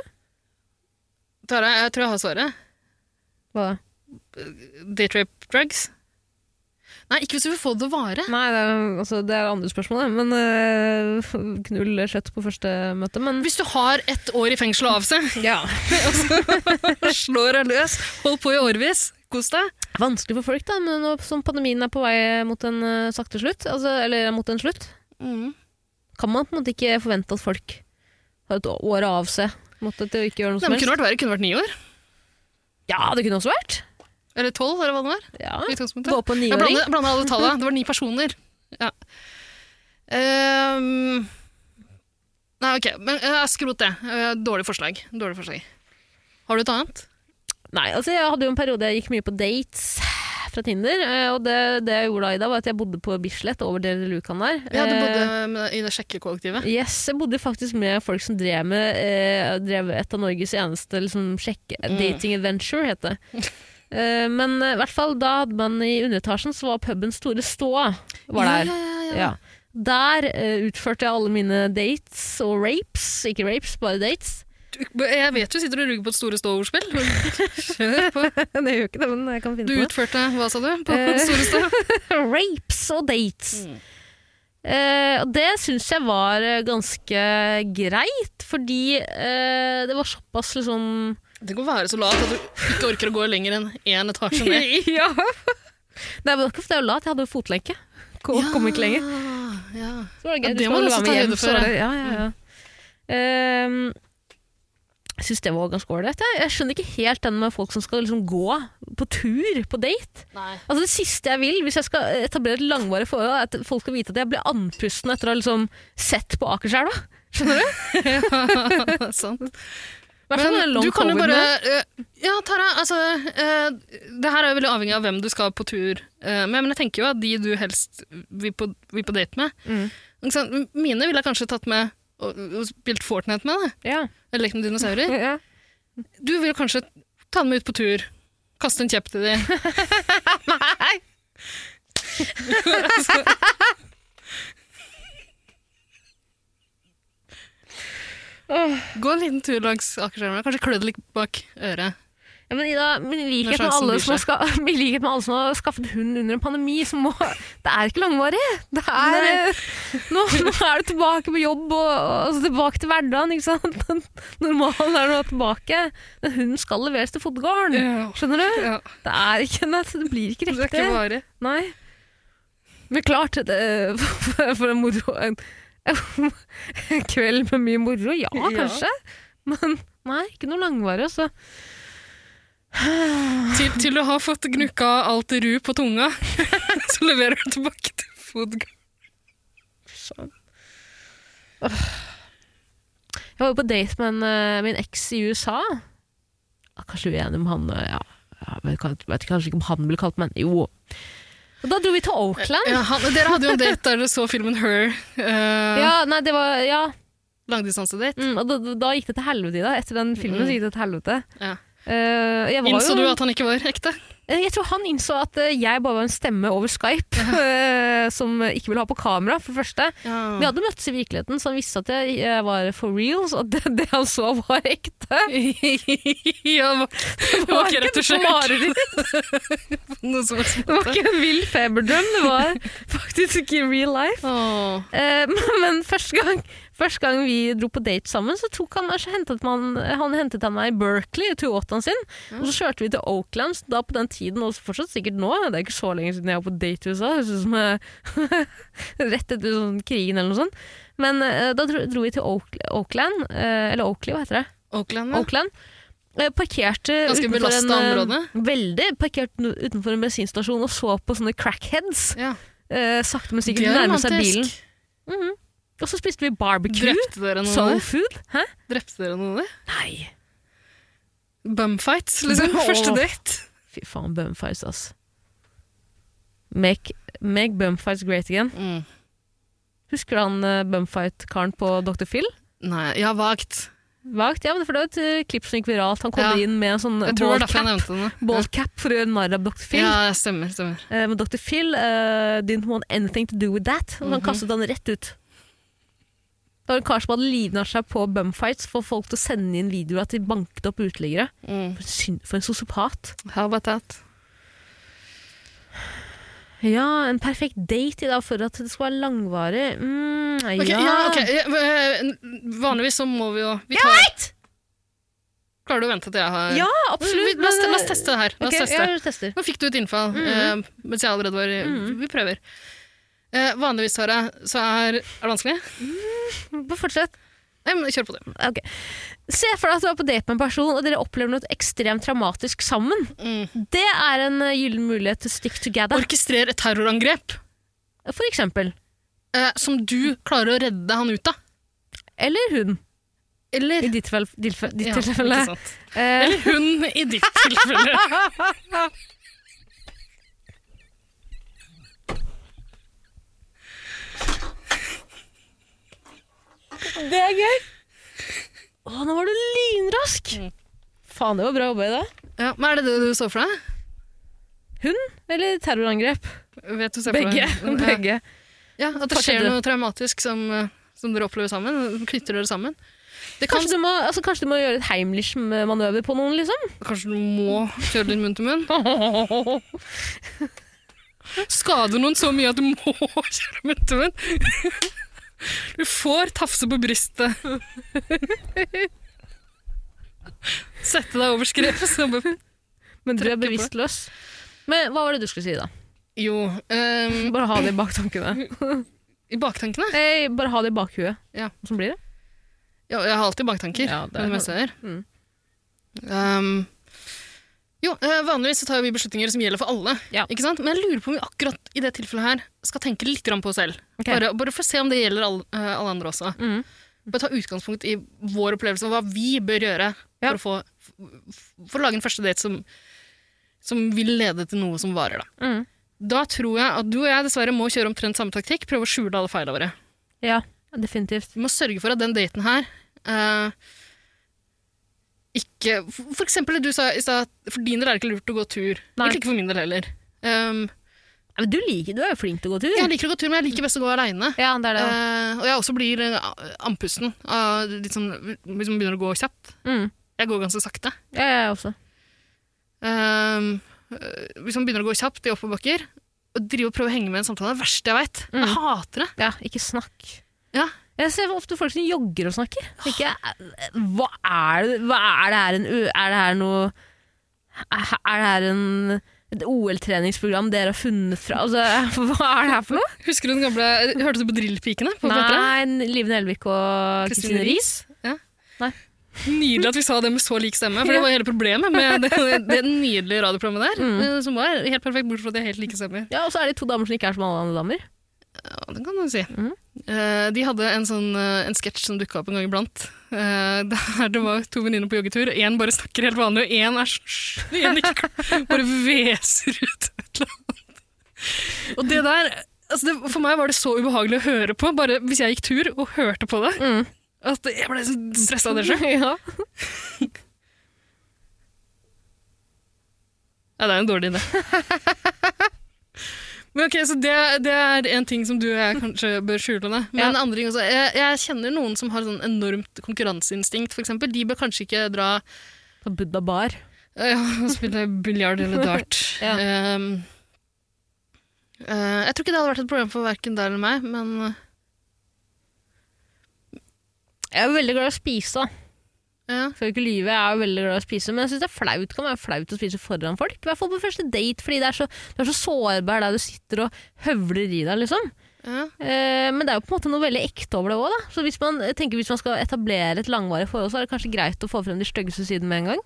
B: Tara, jeg tror jeg har svaret.
A: Hva da?
B: Daytrape drugs? Nei, ikke hvis du vil få det å vare.
A: Nei, det er, altså, det er andre spørsmål, det, men øh, knull kjøtt på første møte, men
B: Hvis du har ett år i fengsel å avse,
A: ja.
B: slår deg løs, hold på i årevis, kos deg.
A: Vanskelig for folk, da, men nå som pandemien er på vei mot en øh, sakte slutt, altså, eller mot en slutt,
B: Mm.
A: kan man på en måte ikke forvente at folk har et år å avse på en måte, til å ikke gjøre noe
B: Nei,
A: som
B: men
A: helst.
B: kunne vært verre, kunne vært ni år.
A: Ja, det kunne også vært.
B: Eller tolv, eller hva det var.
A: Ja.
B: i utgangspunktet.
A: Gå på en
B: Jeg
A: niåring.
B: blander, blander alle tallene. Det var ni personer. Ja. Ehm, nei, ok. Men eh, skrot det. Eh, dårlig forslag. Dårlig forslag. Har du et annet?
A: Nei, altså jeg hadde jo en periode jeg gikk mye på dates fra Tinder, eh, og det, det jeg gjorde da, Ida, var at jeg bodde på Bislett over dere lukan der.
B: Ja, du
A: Eh,
B: bodde med- i det sjekkekollektivet.
A: Yes, jeg bodde faktisk med folk som drev med eh, drev et av Norges eneste liksom, sjekke,
B: Mm.
A: dating adventure, het det. Eh, Men eh, i hvert fall da hadde man i underetasjen så var puben Store Stå var der.
B: Ja, ja, ja, ja.
A: Ja. Der eh, utførte jeg alle mine dates og rapes. Ikke rapes, bare dates.
B: Du- Jeg vet du sitter og ruger på et store stå-ordspill. Kjør på.
A: det gjør jo ikke det, men jeg kan
B: Du utførte hva, sa du? På
A: Eh.
B: store stå?
A: rapes og dates.
B: Mm.
A: Eh, og det syns jeg var eh, ganske greit, fordi eh, det var såpass liksom
B: Det kan være så lavt at du ikke orker å gå lenger enn én etasje ned.
A: Ja! Nei, men det var jo lat, jeg hadde jo fotlenke. Kom, kom ikke lenger.
B: Ja.
A: Så var det
B: Ja,
A: gøy.
B: det
A: Du skal
B: må du
A: vel
B: også
A: være
B: ta
A: med hjem,
B: høyde for,
A: så var
B: ja.
A: det- Ja, ja, ja. Ehm, jeg syns det var ganske ålreit. Jeg. jeg skjønner ikke helt den med folk som skal liksom gå på tur på date.
B: Nei.
A: Altså Det siste jeg vil hvis jeg skal etablere et langvarig forhold, er at folk skal vite at jeg blir andpusten etter å ha liksom sett på Akerselva. Skjønner du?
B: sant.
A: I hvert fall med den
B: Men
A: long
B: du kan jo
A: coviden
B: bare
A: der.
B: eh, Ja, Tara, altså eh, Det her er jo veldig avhengig av hvem du skal på tur eh, med, men jeg tenker jo at de du helst vil på, vil på date med
A: Mm.
B: ikke sant? Mine ville jeg kanskje tatt med og, og spilt Fortnite med, da.
A: Ja.
B: eller lekt med dinosaurer.
A: Ja.
B: Du vil kanskje ta dem med ut på tur. Kaste en kjepp til dem.
A: Nei!
B: Gå en liten tur langs Akerselva. Kanskje klø det litt bak øret.
A: Ja, men Ida, men i likhet, med
B: Når sjansen
A: alle
B: byr
A: som har ska- i likhet med alle som har skaffet hund under en pandemi, så må Det er ikke langvarig. Det er,
B: Nei.
A: eh, nå, nå er du tilbake på jobb og, og altså, tilbake til hverdagen. Ikke sant? Den Normalen er nå tilbake. Den hunden skal leveres til fotgården. Skjønner du?
B: Mm. Ja.
A: Det, er ikke, nei, det blir ikke
B: Det er
A: riktig.
B: ikke varig.
A: Nei. Men klart, det, for, for en moro en, en kveld med mye moro, ja,
B: Ja.
A: kanskje. Men nei, ikke noe langvarig, altså.
B: Til, til du har fått gnukka alt ru på tunga, så leverer du tilbake til fotgang.
A: Sånn. Jeg var jo på date med en, eh, min eks i USA. Ah, Kanskje uenig om han eh, ja, ja, vet, kan- vet kanskje ikke om han ble kalt, men jo. Og da dro vi til Oakland. Ja,
B: Ja, han, dere hadde jo en date der dere så filmen Her. eh,
A: nei, det var, ja.
B: Langdistansedate.
A: Mm, og da, da gikk det til helvete, Ida. Etter den filmen så gikk det til helvete.
B: Mm. Ja.
A: Eh, jeg, var
B: Mm. Innså du
A: jo,
B: at han ikke var ekte?
A: eh, jeg tror han innså at eh, jeg bare var en stemme over Skype eh, som ikke ville ha på kamera, for det første. Vi hadde møttes i virkeligheten, så han visste at jeg, jeg var for real, så at det, det han så var ekte.
B: ja, det var, det var ikke retusjert.
A: mareritt.
B: Noe som helst.
A: Det var ikke en vill feberdrøm, det var faktisk ikke real life.
B: Åh.
A: Eh, men men første, gang, første gang vi dro på date sammen, så tok han, så hentet man, han hentet han meg i Berkeley, i 288-en sin. Og så kjørte vi til Oakland, så da på den tiden, og fortsatt sikkert nå, det er ikke så lenge siden jeg var på date i USA, det høres ut som jeg- rett etter sånn krigen eller noe sånt. Men eh, da dro, dro vi til Oak, Oakland, eh, eller Oakley, hva heter det?
B: Oakland, ja.
A: Oakland. Eh, Parkerte
B: Ganske
A: utenfor
B: belastet
A: en, eh,
B: område.
A: Veldig. Parkert nu- utenfor en bensinstasjon og så på sånne crackheads.
B: ja.
A: Eh, sakte, men
B: Det
A: sikkert
B: er
A: nærme seg bilen.
B: romantisk.
A: Mhm. Og så spiste vi barbecue.
B: Drepte dere noen
A: Soul
B: av det?
A: food. Hæ?
B: Drepte dere noen av det?
A: Nei.
B: Bumfights, liksom.
A: Åh.
B: Første date.
A: Fy faen, bumfights, ass. Make, make bumfights great again.
B: Mm.
A: Husker du han eh, bumfight-karen på Dr. Phil?
B: Nei, ja, vagt.
A: Vagt, ja, men for Det var et eh, klipp som gikk viralt. Han kom
B: Ja.
A: inn med en sånn
B: Jeg tror det var derfor jeg
A: ballcap,
B: nevnte den.
A: ballcap for å gjøre narr av Dr. Phil.
B: Ja, stemmer, stemmer.
A: Eh, Men Dr. Phil eh, didn't want anything to do with that. Og han
B: Mhm.
A: kastet han rett ut. Det var en kar som hadde livnært seg på bumfights for folk til å sende inn videoer at de banket opp uteliggere.
B: Mm.
A: For en syn- For en sosiopat.
B: How about that?
A: Ja, en perfekt date i dag for at det skal være langvarig. Mm,
B: Ok,
A: ja.
B: ja, ok. Ja, eh, Vanligvis så må vi jo vi tar, Klarer du å vente til jeg har
A: Ja,
B: Vi-
A: absolutt.
B: La oss,
A: men, eh,
B: la oss teste det her. La oss
A: Ok,
B: teste.
A: ja, vi tester.
B: Nå fikk du et innfall
A: Mhm.
B: eh, mens jeg allerede var
A: Mhm.
B: Vi prøver. Eh, vanligvis, Tara, så er Er det vanskelig?
A: Bare fortsett.
B: Nei, men kjør på det.
A: Ok. Se for deg at du er på date med en person, og dere opplever noe ekstremt traumatisk sammen. Det er en eh, gyllen mulighet til stick together.
B: Mm. Orkestrer et terrorangrep
A: For eksempel.
B: eh, som du klarer å redde han ut av.
A: Eller hun,
B: Eller
A: i ditt, vel, ditt, ditt
B: Ja,
A: tilfelle.
B: ikke sant.
A: Eh,
B: Eller hun, i ditt tilfelle.
A: det er gøy! Å, nå var du lynrask!
B: Mm.
A: Faen, det var bra jobba i dag.
B: Ja, men er det det du så for deg?
A: Eller terrorangrep?
B: Vet du, se for deg-
A: Begge.
B: Ja.
A: Begge.
B: Ja, at det
A: Hva
B: skjer
A: skjedde?
B: noe traumatisk som, eh, som dere opplever sammen. Knytter dere sammen. Det kan,
A: Kanskje, du må, altså, kanskje du må gjøre et Heimlich-manøver på noen, liksom?
B: kanskje du må kjøre litt munn til munn. Skader noen så mye at du må kjøre munn til munn. Du får tafse på brystet. Sette deg over skrevet. så bare-
A: Men du er
B: Trekke på det.
A: bevisstløs. Men hva var det du skulle si, da?
B: Jo ehm,
A: Bare ha det i baktankene.
B: I baktankene?
A: Eh, bare ha det i bakhuet.
B: Ja.
A: Sånn blir det.
B: Jo, jeg har alltid baktanker.
A: Ja, det
B: det, det meste jeg gjør.
A: Mm.
B: Ehm, jo, eh, vanligvis så tar vi beslutninger som gjelder for alle.
A: Ja.
B: Ikke sant? Men jeg lurer på om vi akkurat i det tilfellet her skal tenke litt grann på oss selv.
A: Ok.
B: Bare, bare for å se om det gjelder alle, eh, alle andre også.
A: Mm.
B: Bare ta utgangspunkt i vår opplevelse og hva vi bør gjøre
A: Ja.
B: for, å få, f- for å lage en første date som, som vil lede til noe som varer. Da.
A: Mm.
B: da tror jeg at du og jeg dessverre må kjøre omtrent samme taktikk, prøve å skjule alle feilene våre.
A: Ja, definitivt.
B: Vi må sørge for at den daten her eh, ikke for, for eksempel det du sa i stad, at for din del er det ikke lurt å gå tur.
A: Nei.
B: Egentlig ikke for min del heller. Um,
A: Ja, Men du liker, du er jo flink til å gå tur.
B: jeg liker å gå tur, men jeg liker best å gå aleine.
A: Ja, det er det.
B: Eh, og jeg også blir eh, andpusten. av litt sånn, hvis man begynner å gå kjapt.
A: Mm.
B: Jeg går ganske sakte.
A: Ja, jeg også.
B: Ehm, øh, hvis man begynner å gå kjapt i oppoverbakker og drive og prøve å henge med i en samtale, det er det verste jeg veit.
A: Mm.
B: Jeg hater det.
A: Ja, ikke snakk.
B: Ja.
A: Jeg ser ofte folk som jogger og snakker. Tenker jeg, eh, hva er det, hva er det her en, ø- Er det her noe Er det her en et OL-treningsprogram dere har funnet fra altså, Hva er det her for noe?
B: Husker du den gamle Hørte du på Drillpikene? på P3?
A: Nei, Liv Nelvik og
B: Kristine
A: Kristine Riis.
B: Nydelig at vi sa det med så lik stemme, for det var hele problemet med det, det nydelige radioprogrammet der.
A: Mm.
B: eh, Som var helt perfekt, bortsett fra at de har helt like stemmer.
A: Ja, og så er det to damer som ikke er som alle andre damer.
B: Ja, det kan du si.
A: Mhm.
B: Eh, de hadde en, sånn, eh, en sketsj som dukka opp en gang iblant. eh, der det var to venninner på joggetur. Én bare snakker helt vanlig, og én er sånn en ikke, Bare hveser ut et eller annet. Og det der altså det, For meg var det så ubehagelig å høre på, bare hvis jeg gikk tur og hørte på det,
A: Mm.
B: at jeg ble så stressa av det sjøl.
A: Ja.
B: Ja, det er en dårlig idé. Men ok, så det, det er en ting som du og jeg kanskje bør skjule. Da. Men
A: Ja.
B: en andre ting også, jeg, jeg kjenner noen som har sånn enormt konkurranseinstinkt, for eksempel. De bør kanskje ikke dra
A: På Buddha bar.
B: ja, og spille biljard eller dart.
A: Ja.
B: Ehm, eh, jeg tror ikke det hadde vært et problem for verken deg eller meg, men
A: Jeg er jo veldig glad i å spise. da.
B: øh, ja.
A: Skal ikke lyve, jeg er jo veldig glad i å spise, men jeg synes det er flaut. Det kan være flaut å spise foran folk. I hvert fall på første date, fordi det er så, du er så sårbar der du sitter og høvler i deg, liksom.
B: ja.
A: Eh, men det er jo på en måte noe veldig ekte over det òg, da. Så hvis man, jeg tenker, hvis man skal etablere et langvarig forhold, så er det kanskje greit å få frem de styggeste sidene med en gang.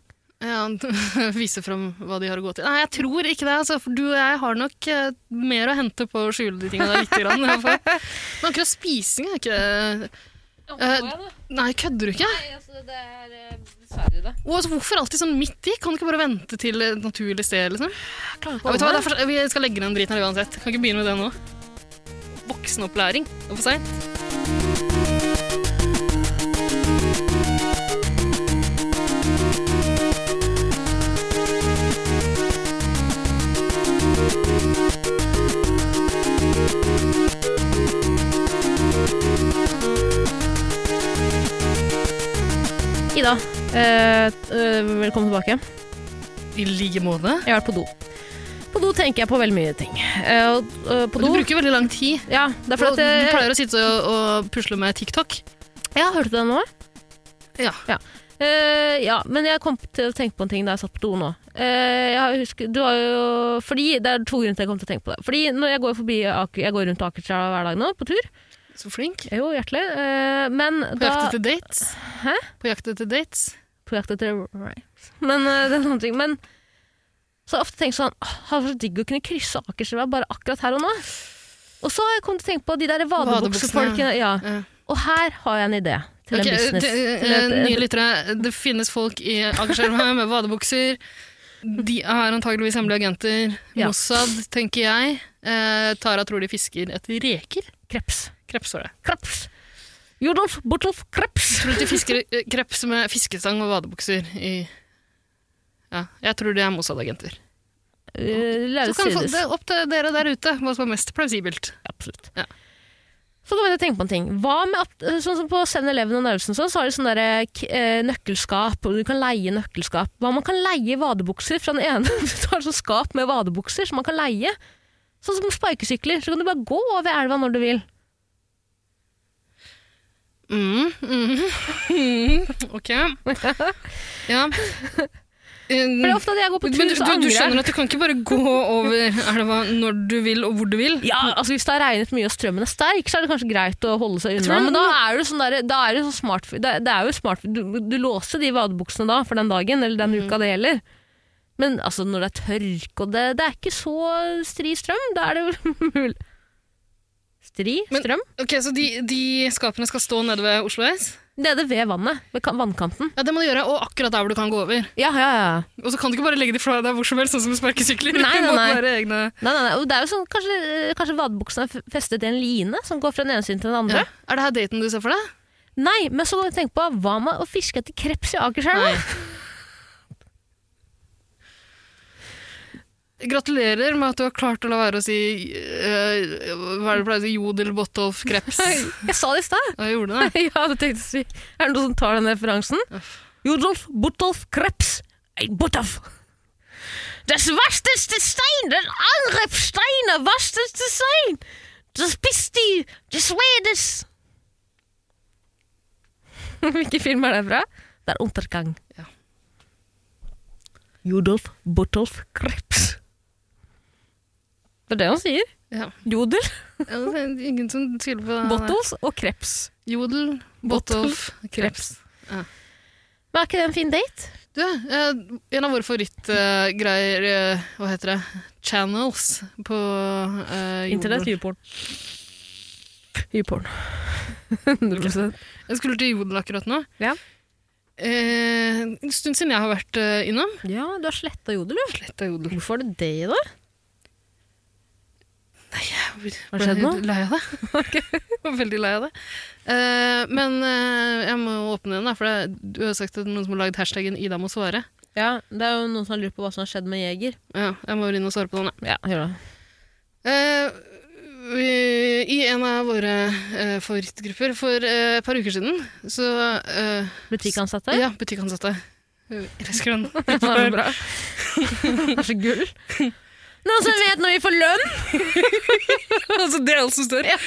B: Ja, Vise fram hva de har å gå til. Nei, jeg tror ikke det. Altså, for du og jeg har nok eh, mer å hente på å skjule de tingene der lite grann. i hvert fall. Men akkurat spising er ikke Eh, Nei, kødder du ikke?
A: altså, det er eh, dessverre det.
B: Og altså, hvorfor alltid sånn midt i? Kan du ikke bare vente til et naturlig sted? liksom?
A: Jeg klarer ikke
B: Ja, vet du
A: å
B: hva,
A: holde
B: det er for- Vi skal legge ned den driten her uansett. Kan ikke begynne med det nå. Voksenopplæring. Det er for seint.
A: meg. Ida, eh, eh, velkommen tilbake.
B: I like måte.
A: Jeg har vært på do. På do tenker jeg på veldig mye ting. Eh, og, eh, på
B: Og du
A: do
B: bruker veldig lang tid.
A: Ja, det er
B: For
A: fordi
B: at eh,
A: at
B: du
A: jeg,
B: pleier å sitte og, og pusle med TikTok.
A: Ja, hørte du det nå?
B: Ja.
A: Eh, ja, men jeg kom til å tenke på en ting da jeg satt på do nå. Eh, jeg har jo husket, du har jo, fordi Det er to grunner til jeg kom til å tenke på det. Fordi når jeg går, forbi, Aker- jeg går rundt Akerselva hver dag nå, på tur
B: Så flink.
A: Jo, hjertelig. Eh, men
B: På
A: da
B: jakt etter dates.
A: Hæ?
B: På jakt etter dates.
A: På jakt etter rhymes. Men eh, det er en annen ting. Men så har jeg ofte tenkt sånn Åh, Det hadde vært så digg å kunne krysse Akerselva bare akkurat her og nå. Og så har jeg kommet til å tenke på de der vadebuksefolkene. Ja.
B: Ja.
A: Og her har jeg en idé til
B: Ok, eh,
A: en business.
B: det-
A: Til et-
B: eh, nye lyttere, det finnes folk i Akerselva med vadebukser. De er antageligvis hemmelige agenter.
A: Ja.
B: Mossad, tenker jeg. Eh, Tara tror de fisker etter reker.
A: kreps.
B: Kreps, står det.
A: Kreps. Jodolf Bortolf Kreps.
B: Tror du de fisker eh, kreps med fiskestang og vadebukser i Ja, jeg tror de er Mossad-agenter.
A: eh,
B: Så
A: lave
B: kan få,
A: sider.
B: det er opp til dere der ute hva som er mest plausibelt.
A: Absolutt.
B: Ja.
A: Så kom jeg til å tenke på en ting. Hva med at, eh, sånn som På 7-Eleven og Narvesen og sånn, så har de sånne der, eh, k- eh, nøkkelskap, og du kan leie nøkkelskap. Hva om man kan leie vadebukser fra den ene? Du har sånn skap med vadebukser som man kan leie. Sånn som sparkesykler. Så kan du bare gå over elva når du vil.
B: Mm, mm, mm, ok. Eh, Ja.
A: For det er
B: Um,
A: ofte at jeg går på tur,
B: men du,
A: så
B: du, du
A: angrer jeg.
B: skjønner at du kan ikke bare gå over elva når du vil og hvor du vil?
A: Ja, altså Hvis det har regnet mye og strømmen er sterk, så er det kanskje greit å holde seg
B: tror
A: unna.
B: det-
A: Men da er det, sånn der, da er det sånn smart det, det er jo smart du, du låser de vadebuksene da for den dagen, eller den uka det gjelder. Men altså, når det er tørk og det, det er ikke så stri strøm, da er det vel mulig Stri
B: Men-
A: strøm?
B: Ok, Så de, de skapene skal stå nede ved Oslo S?
A: Nede ved vannet. Ved kan- vannkanten.
B: Ja, det må du gjøre, og akkurat der hvor du kan gå over.
A: Ja, ja, ja.
B: Og så kan du ikke bare legge de fra deg hvor som helst, sånn som med sparkesykler.
A: Nei,
B: Det må
A: nei, nei.
B: være egne...
A: Nei, nei, nei. Og det er jo sånn, kanskje, kanskje vadebuksene er f- festet i en line som går fra den ene siden til den andre.
B: Ja. Er det her daten du ser for deg?
A: Nei, men så kan vi tenke på hva med å fiske etter kreps i Akerselva?
B: Gratulerer med at du har klart å la være å si eh, Hva er det du pleier å si? Jodel, Bottolf, kreps.
A: Jeg sa det i stad.
B: Hva gjorde det?
A: ja, det tenkte jeg å si. Er det noen som tar den referansen? Jodolf Botolf Kreps. Ein Botolf. Das vasteste Stein, das Angriffssteine, vasteste Stein. Das Pisti, das Wedes. Hvilken film er det fra? Det er Untergang.
B: Ja.
A: Jodolf Botolf Kreps. Det er det han sier.
B: Ja.
A: Jodel,
B: Ja, det er ingen som tviler på det.
A: Bottles og Kreps.
B: Jodel, Bottolf, kreps. Ja.
A: Men er ikke det en fin date?
B: Du, eh, en av våre favorittgreier eh, Hva heter det? Channels på eh, Jodel.
A: Uporn. Uporn. 100
B: Jeg skulle til Jodel akkurat nå.
A: Ja.
B: Eh, en stund siden jeg har vært eh, innom.
A: Ja, du har sletta jodel, du.
B: Slett av Jodel.
A: Hvorfor har du det i dag?
B: Har
A: det skjedd noe?
B: Lei av det. Jeg var veldig lei av det. Eh, men eh, jeg må åpne den, da, for det, du har sagt at noen som har lagd hashtaggen 'Ida må svare'.
A: Ja, det er jo noen som har lurt på hva som har skjedd med Jeger.
B: Ja, jeg må inn og svare på den. da.
A: Ja, gjør det.
B: Eh, vi- I en av våre eh, favorittgrupper for eh, et par uker siden, så eh,
A: Butikkansatte.
B: Ja, butikkansatte. Jeg elsker den.
A: det er bra. det er så gull. Noen som vet når vi får lønn?
B: altså, det er alt som står.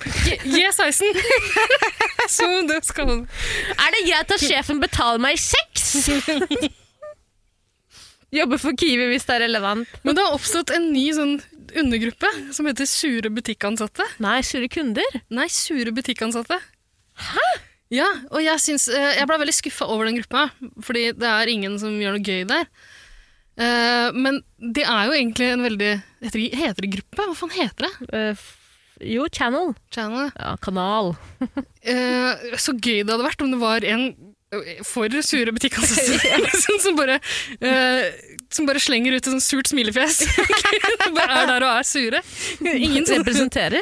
B: G16! Som det skal man.
A: Er det greit at sjefen betaler meg i sex? Jobbe for Kiwi hvis det er relevant.
B: Men det har oppstått en ny sånn undergruppe som heter sure butikkansatte.
A: Nei, sure kunder.
B: Nei, sure butikkansatte. Hæ? Ja, og jeg, syns, eh, jeg ble veldig skuffa over den gruppa, fordi det er ingen som gjør noe gøy der. Eh, Men det er jo egentlig en veldig Heter det, heter det gruppe? Hva faen heter det?
A: Eh, f- jo, channel.
B: Channel.
A: Ja, kanal.
B: Eh, Så gøy det hadde vært om det var en eh, for sure butikkansatte liksom, som, bare, eh, som bare slenger ut et sånt surt smilefjes. Som bare er der og er sure. Ingen som
A: representerer.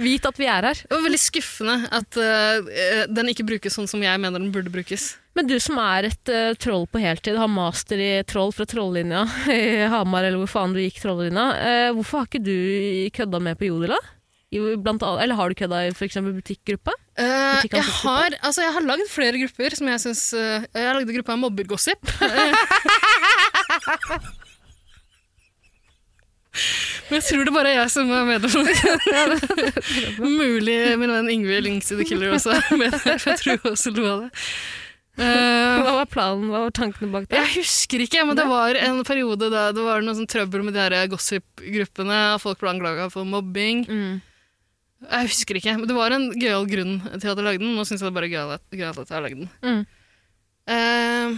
A: Vit at vi er her.
B: Det var veldig skuffende at eh, eh, den ikke brukes sånn som jeg mener den burde brukes.
A: Men du som er et eh, troll på heltid, har master i troll fra trollinja i Hamar, eller hvor faen du gikk trollinja, eh, hvorfor har ikke du kødda med på Jodel, da? I- Blant annet, eller har du kødda i f.eks. butikkgruppa?
B: Eh, jeg,
A: Butikkansattes
B: har, altså, jeg har lagd flere grupper som jeg syns Jeg har lagd en gruppe av mobbergossip. Men jeg tror det bare er jeg som er medlem. Mulig min venn Ingvild Lingsi the Killer også er med der, for jeg tror hun også lo av det. Eh,
A: Hva var planen, hva var tankene bak det?
B: jeg husker ikke, men det var en periode da det var noe sånn trøbbel med de der gossip-gruppene. og Folk ble anklaga for mobbing.
A: Mm.
B: Jeg husker ikke, men det var en gøyal grunn til at jeg lagde den. Nå syns jeg det er bare gøy at, gøy at jeg har lagd den.
A: Mm.
B: Eh,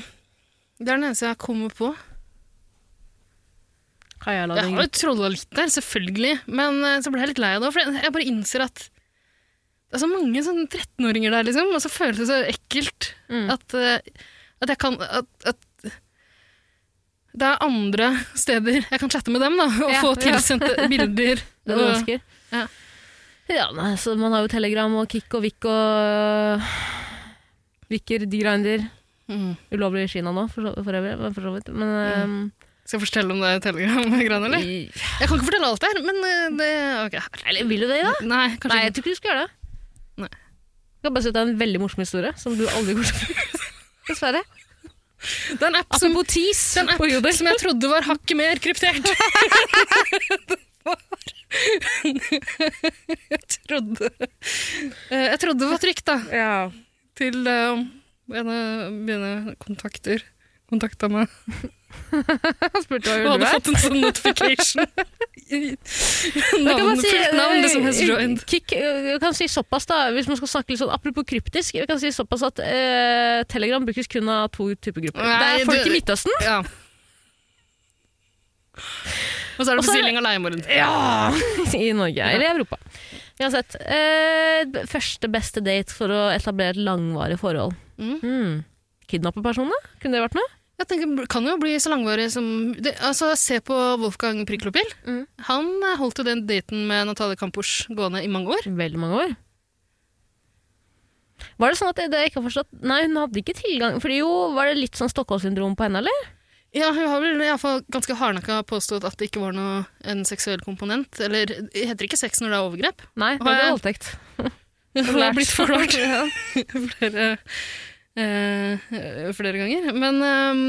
B: det er den eneste jeg kommer på.
A: Har jeg lagd
B: Jeg
A: en
B: har jo trolla litt der, selvfølgelig, men eh, så ble jeg litt lei av det. For jeg- jeg bare innser at det er så mange sånne 13-åringer der, liksom, og så føles det så ekkelt
A: Mm.
B: at, eh, at jeg kan at, at det er andre steder jeg kan chatte med dem, da, og
A: Ja,
B: få
A: ja.
B: tilsendte bilder.
A: Det du
B: og,
A: ønsker?
B: Ja.
A: Ja, nei, så man har jo Telegram og Kikk og Vikk og Vikker, Digrinder.
B: mm.
A: Ulovlig i Kina nå, for, så- for, øvrig, men for så vidt. Men, øhm,
B: Skal jeg fortelle om det telegram-greiene, Mm. eller? Jeg kan ikke fortelle alt der, men eh, det ok.
A: Eller vil du det, da?
B: Nei, kanskje
A: Nei, jeg tror ikke du skal gjøre det.
B: Nei.
A: Jeg kan bare si at det er en veldig morsom historie, som du aldri kommer til å Dessverre.
B: ikke. Det er en app, som,
A: Apropos tis
B: det er en
A: på
B: app
A: Jodel.
B: som jeg trodde var hakket mer kryptert. jeg trodde eh, Jeg trodde det var trygt, da.
A: Ja.
B: Til eh, en av mine kontakter kontakta meg
A: Han spurte hva
B: og hadde
A: gjorde du her.
B: fått en sånn notification.
A: Jeg kan bare
B: Navnet,
A: si,
B: fullt navn, det som has
A: eh,
B: joined.
A: Kick, eh, jeg kan si såpass da, hvis man skal snakke litt sånn apropos kryptisk, jeg kan si såpass at eh, Telegram brukes kun av to typer grupper.
B: Nei,
A: det er folk
B: du-
A: i Midtøsten.
B: Ja.
A: Og
B: Og så er det
A: så er
B: bestilling av leiemorgen.
A: Ja! I Norge, eller i Europa. Uansett. Eh, b- første beste date for å etablere et langvarig forhold.
B: Mm.
A: Hmm. Kidnappe personene? Kunne det vært noe?
B: Jeg tenker, det kan jo bli så langvarig som det, altså, Se på Wolfgang Priklopil.
A: Mm.
B: Han eh, holdt jo den daten med Natalie Kampors gående i mange år.
A: Veldig mange år. Var det sånn at det, det jeg ikke har forstått Nei, hun hadde ikke tilgang Fordi jo, var det litt sånn Stockholm-syndrom på henne, eller?
B: Ja, Hun har vel i alle fall ganske hardnakka påstått at det ikke var noe, en seksuell komponent. Eller det heter ikke sex når det er overgrep.
A: Nei, det
B: Hva
A: var
B: er-
A: voldtekt.
B: Det har blitt forklart flere, eh, flere ganger. Men eh,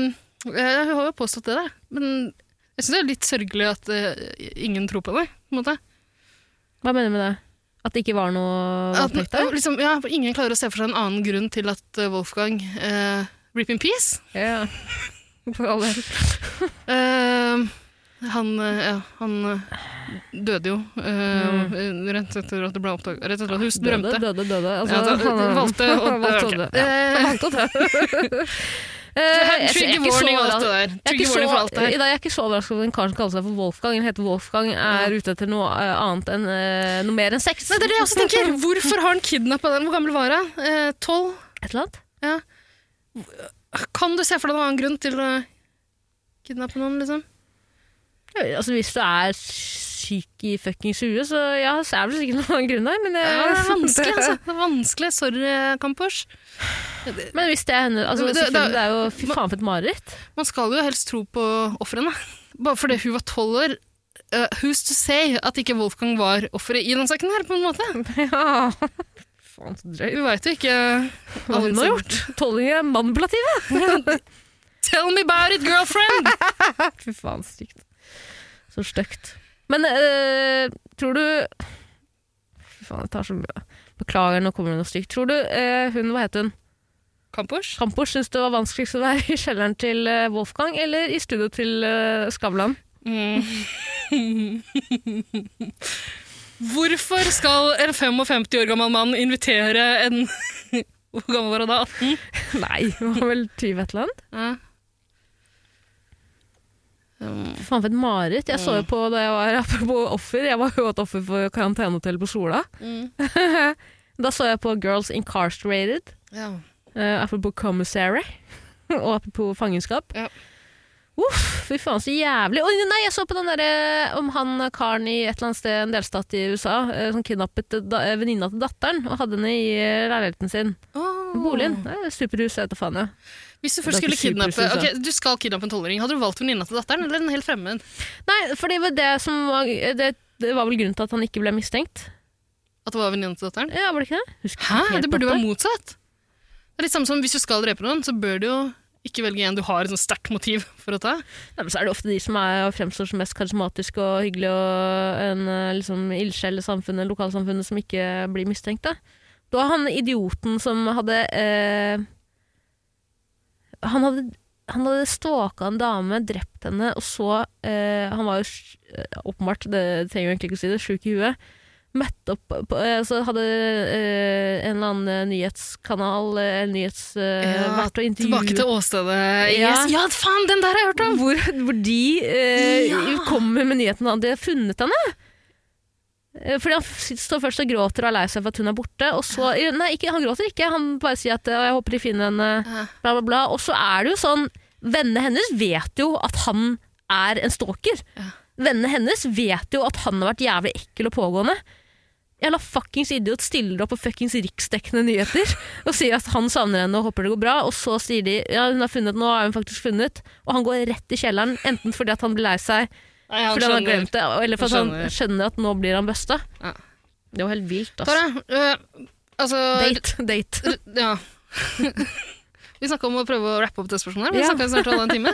B: eh, hun har jo påstått det, da. Men jeg syns det er litt sørgelig at eh, ingen tror på det. på en måte.
A: Hva mener du med det? At det ikke var noe
B: At,
A: voldtekt der?
B: liksom, ja, for ingen klarer å se for seg en annen grunn til at eh, Wolfgang eh, Rip in peace.
A: Ja. For all del.
B: Eh, han, eh, ja, han eh, døde jo eh, rett etter at det ble oppdaget. Rett etter at hun
A: Mm. Døde,
B: drømte.
A: døde, døde. Altså,
B: Ja, da-
A: han-
B: valgte å dø.
A: valgte
B: ok.
A: å dø. Ja.
B: Eh,
A: Alt og tøv. Eh, jeg- jeg er
B: Trigger
A: ikke så
B: warning og alt
A: overrasket-
B: det der.
A: jeg er ikke
B: Trigger warning for alt det
A: så-
B: her.
A: I dag, jeg er ikke så overrasket over en kar som kaller seg for Wolfgang. Han heter Wolfgang, er ute etter noe eh, annet enn eh, noe mer enn sex.
B: Nei, det er det jeg også tenker. Hvorfor har han kidnappa den? Hvor gammel var han? Eh, Tolv?
A: Et eller annet.
B: Kan du se for deg en annen grunn til å kidnappe noen, liksom?
A: Ja, Altså, hvis du er syk i fuckings huet, så ja, så er det vel sikkert noen grunn der, men eh, det,
B: Ja, det er vanskelig, altså. Det er vanskelig. Sorry, Kampers.
A: Men hvis det er henne altså,
B: Men det-
A: selvfølgelig,
B: det-
A: det er jo fy faen for et mareritt.
B: Man skal jo helst tro på ofrene. Bare fordi hun var tolv år. eh, who's to say at ikke Wolfgang var offeret i den saken her, på en måte?
A: Ja. Faen, så drøyt.
B: Vi veit jo ikke eh,
A: Hva hun har gjort. Tollinger er manipulative.
B: Tell me about it, girlfriend!
A: Fy faen, stygt. Så stygt. Men eh, tror du Fy faen, jeg tar så mye Beklager, nå kommer det noe stygt. Tror du eh, hun, hva heter hun,
B: Kampers?
A: Kampos, syns det var vanskeligst å være i kjelleren til eh, Wolfgang eller i studio til eh, Skavlan?
B: Mm. Hvorfor skal en 55 år gammel mann invitere en Hvor gammel var han da? 18?
A: Nei, hun var vel 20 et eller annet.
B: Ja. Um,
A: Fy faen, for et mareritt. Jeg så jo på da jeg var apropos offer, jeg var jo et offer for karantenehotellet på Sola. Da så jeg på Girls Incarcerated.
B: ja.
A: Eh, apropos commissary, og apropos fangenskap.
B: Ja.
A: Uff, fy faen så jævlig. Oi, nei, jeg så på den derre eh, om han karen i et eller annet sted, en delstat i USA, eh, som kidnappet eh, da, eh, venninna til datteren og hadde henne i eh, leiligheten sin. Boligen. Det er et Superhus, jeg vet da faen. Ja.
B: Hvis du
A: Det
B: først
A: er ikke
B: skulle kidnappe
A: supersusen.
B: Ok, Du skal kidnappe en tolvåring. Hadde du valgt venninna til datteren eller en helt fremmed?
A: Nei, for det var det som var eh, det, det var vel grunnen til at han ikke ble mistenkt?
B: At det var venninna til datteren?
A: Ja, var det ikke det? Husker ikke
B: Hæ?
A: helt
B: Det burde jo
A: dette.
B: være motsatt. Det er litt samme som hvis du skal drepe noen, så bør du jo ikke velge en du har et sånt sterkt motiv for å ta.
A: Nei, men så er det ofte de som er, og fremstår som mest karismatiske og hyggelige og en eh, liksom, ildsjel i samfunnet, lokalsamfunnet, som ikke blir mistenkt. Da. da han idioten som hadde eh, Han hadde han hadde stalka en dame, drept henne, og så eh, Han var jo sj- eh, åpenbart, det trenger vi egentlig ikke å si, det, sjuk i huet. Møtte opp på, eh, Så hadde eh, en eller annen eh, nyhetskanal, eh, nyhets... Eh,
B: Ja,
A: vært og
B: Tilbake
A: intervjuet
B: til åstedet.
A: Ja.
B: Yes. Ja, faen, den der har jeg hørt om!
A: hvor, hvor de eh,
B: Ja.
A: kommer med nyheten at de har funnet henne. Eh, Fordi Han f- står først og gråter og er lei seg for at hun er borte. Og så, nei, ikke, han gråter ikke, han bare sier at eh, «Å, 'jeg håper de finner henne',
B: Ja.
A: bla, bla, bla. Og så er det jo sånn Vennene hennes vet jo at han er en stalker.
B: Ja.
A: Vennene hennes vet jo at han har vært jævlig ekkel og pågående. jævla fuckings idiot stiller opp på fuckings riksdekkende nyheter og sier at han savner henne og håper det går bra, og så sier de ja, hun har funnet, nå er hun faktisk funnet, og han går rett i kjelleren, enten fordi at han blir lei seg,
B: Nei, han
A: fordi han har
B: skjønner.
A: glemt det, eller fordi
B: Han
A: han skjønner. at nå blir han busta.
B: Ja.
A: Det var helt vilt, altså.
B: Tara, eh, altså
A: Date, date.
B: r- Ja. vi snakka om å prøve å rappe opp det spørsmålet, her, men vi
A: Ja.
B: snakka snart om en time.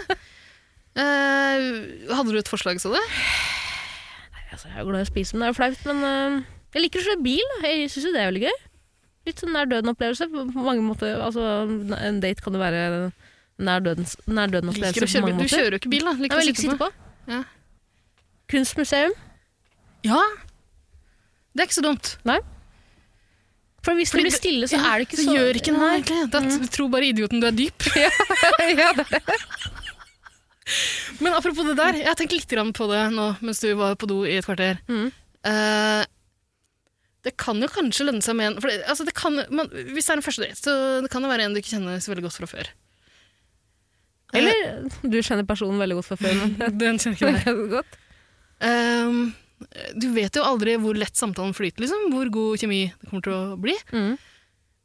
B: Eh, hadde du et forslag, så du?
A: Altså, jeg er jo glad i å spise, men det er jo flaut, men øh, jeg liker å kjøre bil, da. jeg synes jo det er veldig gøy. Litt sånn nær døden opplevelse, på på mange måter, altså en date kan jo være nær døden, nær døden
B: Liker å
A: opplevelse på
B: kjøre
A: mange
B: bil. Du
A: måter.
B: kjører jo ikke bil, da.
A: Nei, men
B: Liker å
A: jeg liker å sitte på.
B: Ja.
A: Kunstmuseum.
B: Ja. Det er ikke så dumt.
A: For hvis det
B: Fordi
A: blir
B: det-
A: stille, så
B: ja,
A: er det ikke
B: det
A: så Mm.
B: gjør ikke noe, egentlig. Det er, at- Tror bare idioten du er dyp.
A: ja, det.
B: Men apropos det der, jeg har tenkt litt grann på det nå mens du var på do i et kvarter.
A: Mhm.
B: Eh, det kan jo kanskje lønne seg med en for det, altså det kan, man, Hvis det er en første date, så det kan det være en du ikke kjenner så veldig godt fra før. Eh,
A: Eller du kjenner personen veldig godt fra før. Men.
B: Den kjenner ikke jeg.
A: godt.
B: Ehm, du vet jo aldri hvor lett samtalen flyter, liksom. Hvor god kjemi det kommer til å bli.
A: Mm.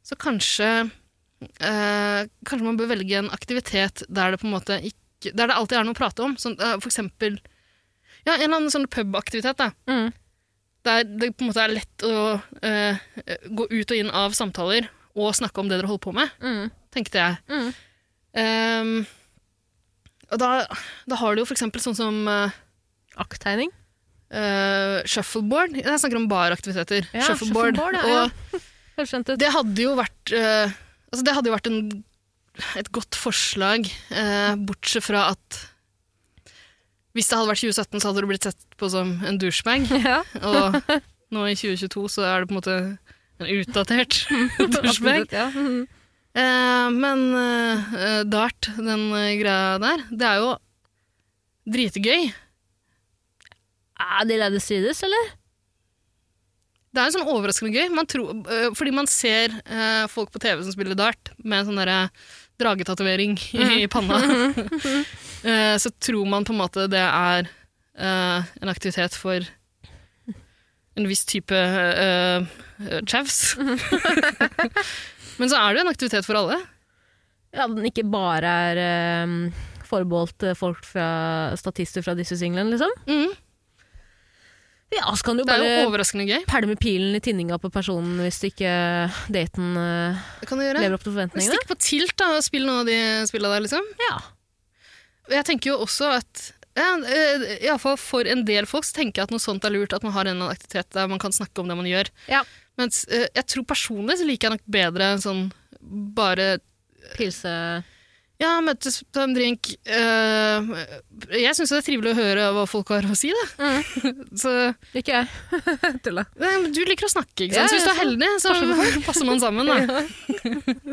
B: Så kanskje eh, Kanskje man bør velge en aktivitet der det på en måte ikke Der det alltid er noe å prate om. Sånn, eh, for eksempel ja, en eller annen sånn pubaktivitet, da.
A: Mm.
B: Der det på en måte er lett å eh, gå ut og inn av samtaler og snakke om det dere holder på med,
A: Mm.
B: tenkte jeg.
A: Mm.
B: Ehm, og da, da har du jo for eksempel sånn som eh,
A: Akttegning.
B: eh, shuffleboard. Jeg snakker om baraktiviteter.
A: Ja,
B: shuffleboard.
A: shuffleboard, ja, ja.
B: Og
A: Helt skjønt ut.
B: Det hadde jo vært, eh, altså det hadde jo vært en, et godt forslag, eh, bortsett fra at hvis det hadde vært 2017, så hadde du blitt sett på som en douchebag.
A: Ja.
B: Og nå i 2022 så er det på en måte en utdatert douchebag.
A: Absolutt, ja. Mm.
B: Eh, men eh, dart, den eh, greia der, det er jo dritgøy.
A: Ah, Er de lærde strides, eller?
B: Det er jo sånn overraskende gøy, man tror, øh, fordi man ser øh, folk på TV som spiller dart med sånn derre dragetatovering i, i panna. Eh, så tror man på en måte det er øh, en aktivitet for en viss type uh, chavs. Mhm. Men så er det jo en aktivitet for alle.
A: Ja, den ikke bare er eh, forbeholdt eh, folk fra statister fra disse singlene, liksom.
B: Mhm.
A: Ja, så kan du
B: Det er jo
A: bare
B: overraskende gøy.
A: pælme pilen i tinninga på personen hvis ikke daten eh,
B: Det kan du gjøre.
A: lever opp til forventningene.
B: Stikk på tilt da, og spill noen av de spillene der, liksom.
A: Ja.
B: Jeg tenker jo også at ja, eh, i alle fall for en del folk så tenker jeg at noe sånt er lurt, at man har en eller annen aktivitet der man kan snakke om det man gjør.
A: Ja.
B: Mens eh, jeg tror personlig så liker jeg nok bedre en sånn bare
A: Pilse...
B: ja, møtes, ta en drink. eh, jeg syns det er trivelig å høre hva folk har å si, da.
A: Mm.
B: så
A: Ikke jeg. Tulla.
B: nei, men du liker å snakke, ikke sant?
A: Ja,
B: så hvis du er
A: ja,
B: heldig, så passer man sammen, da.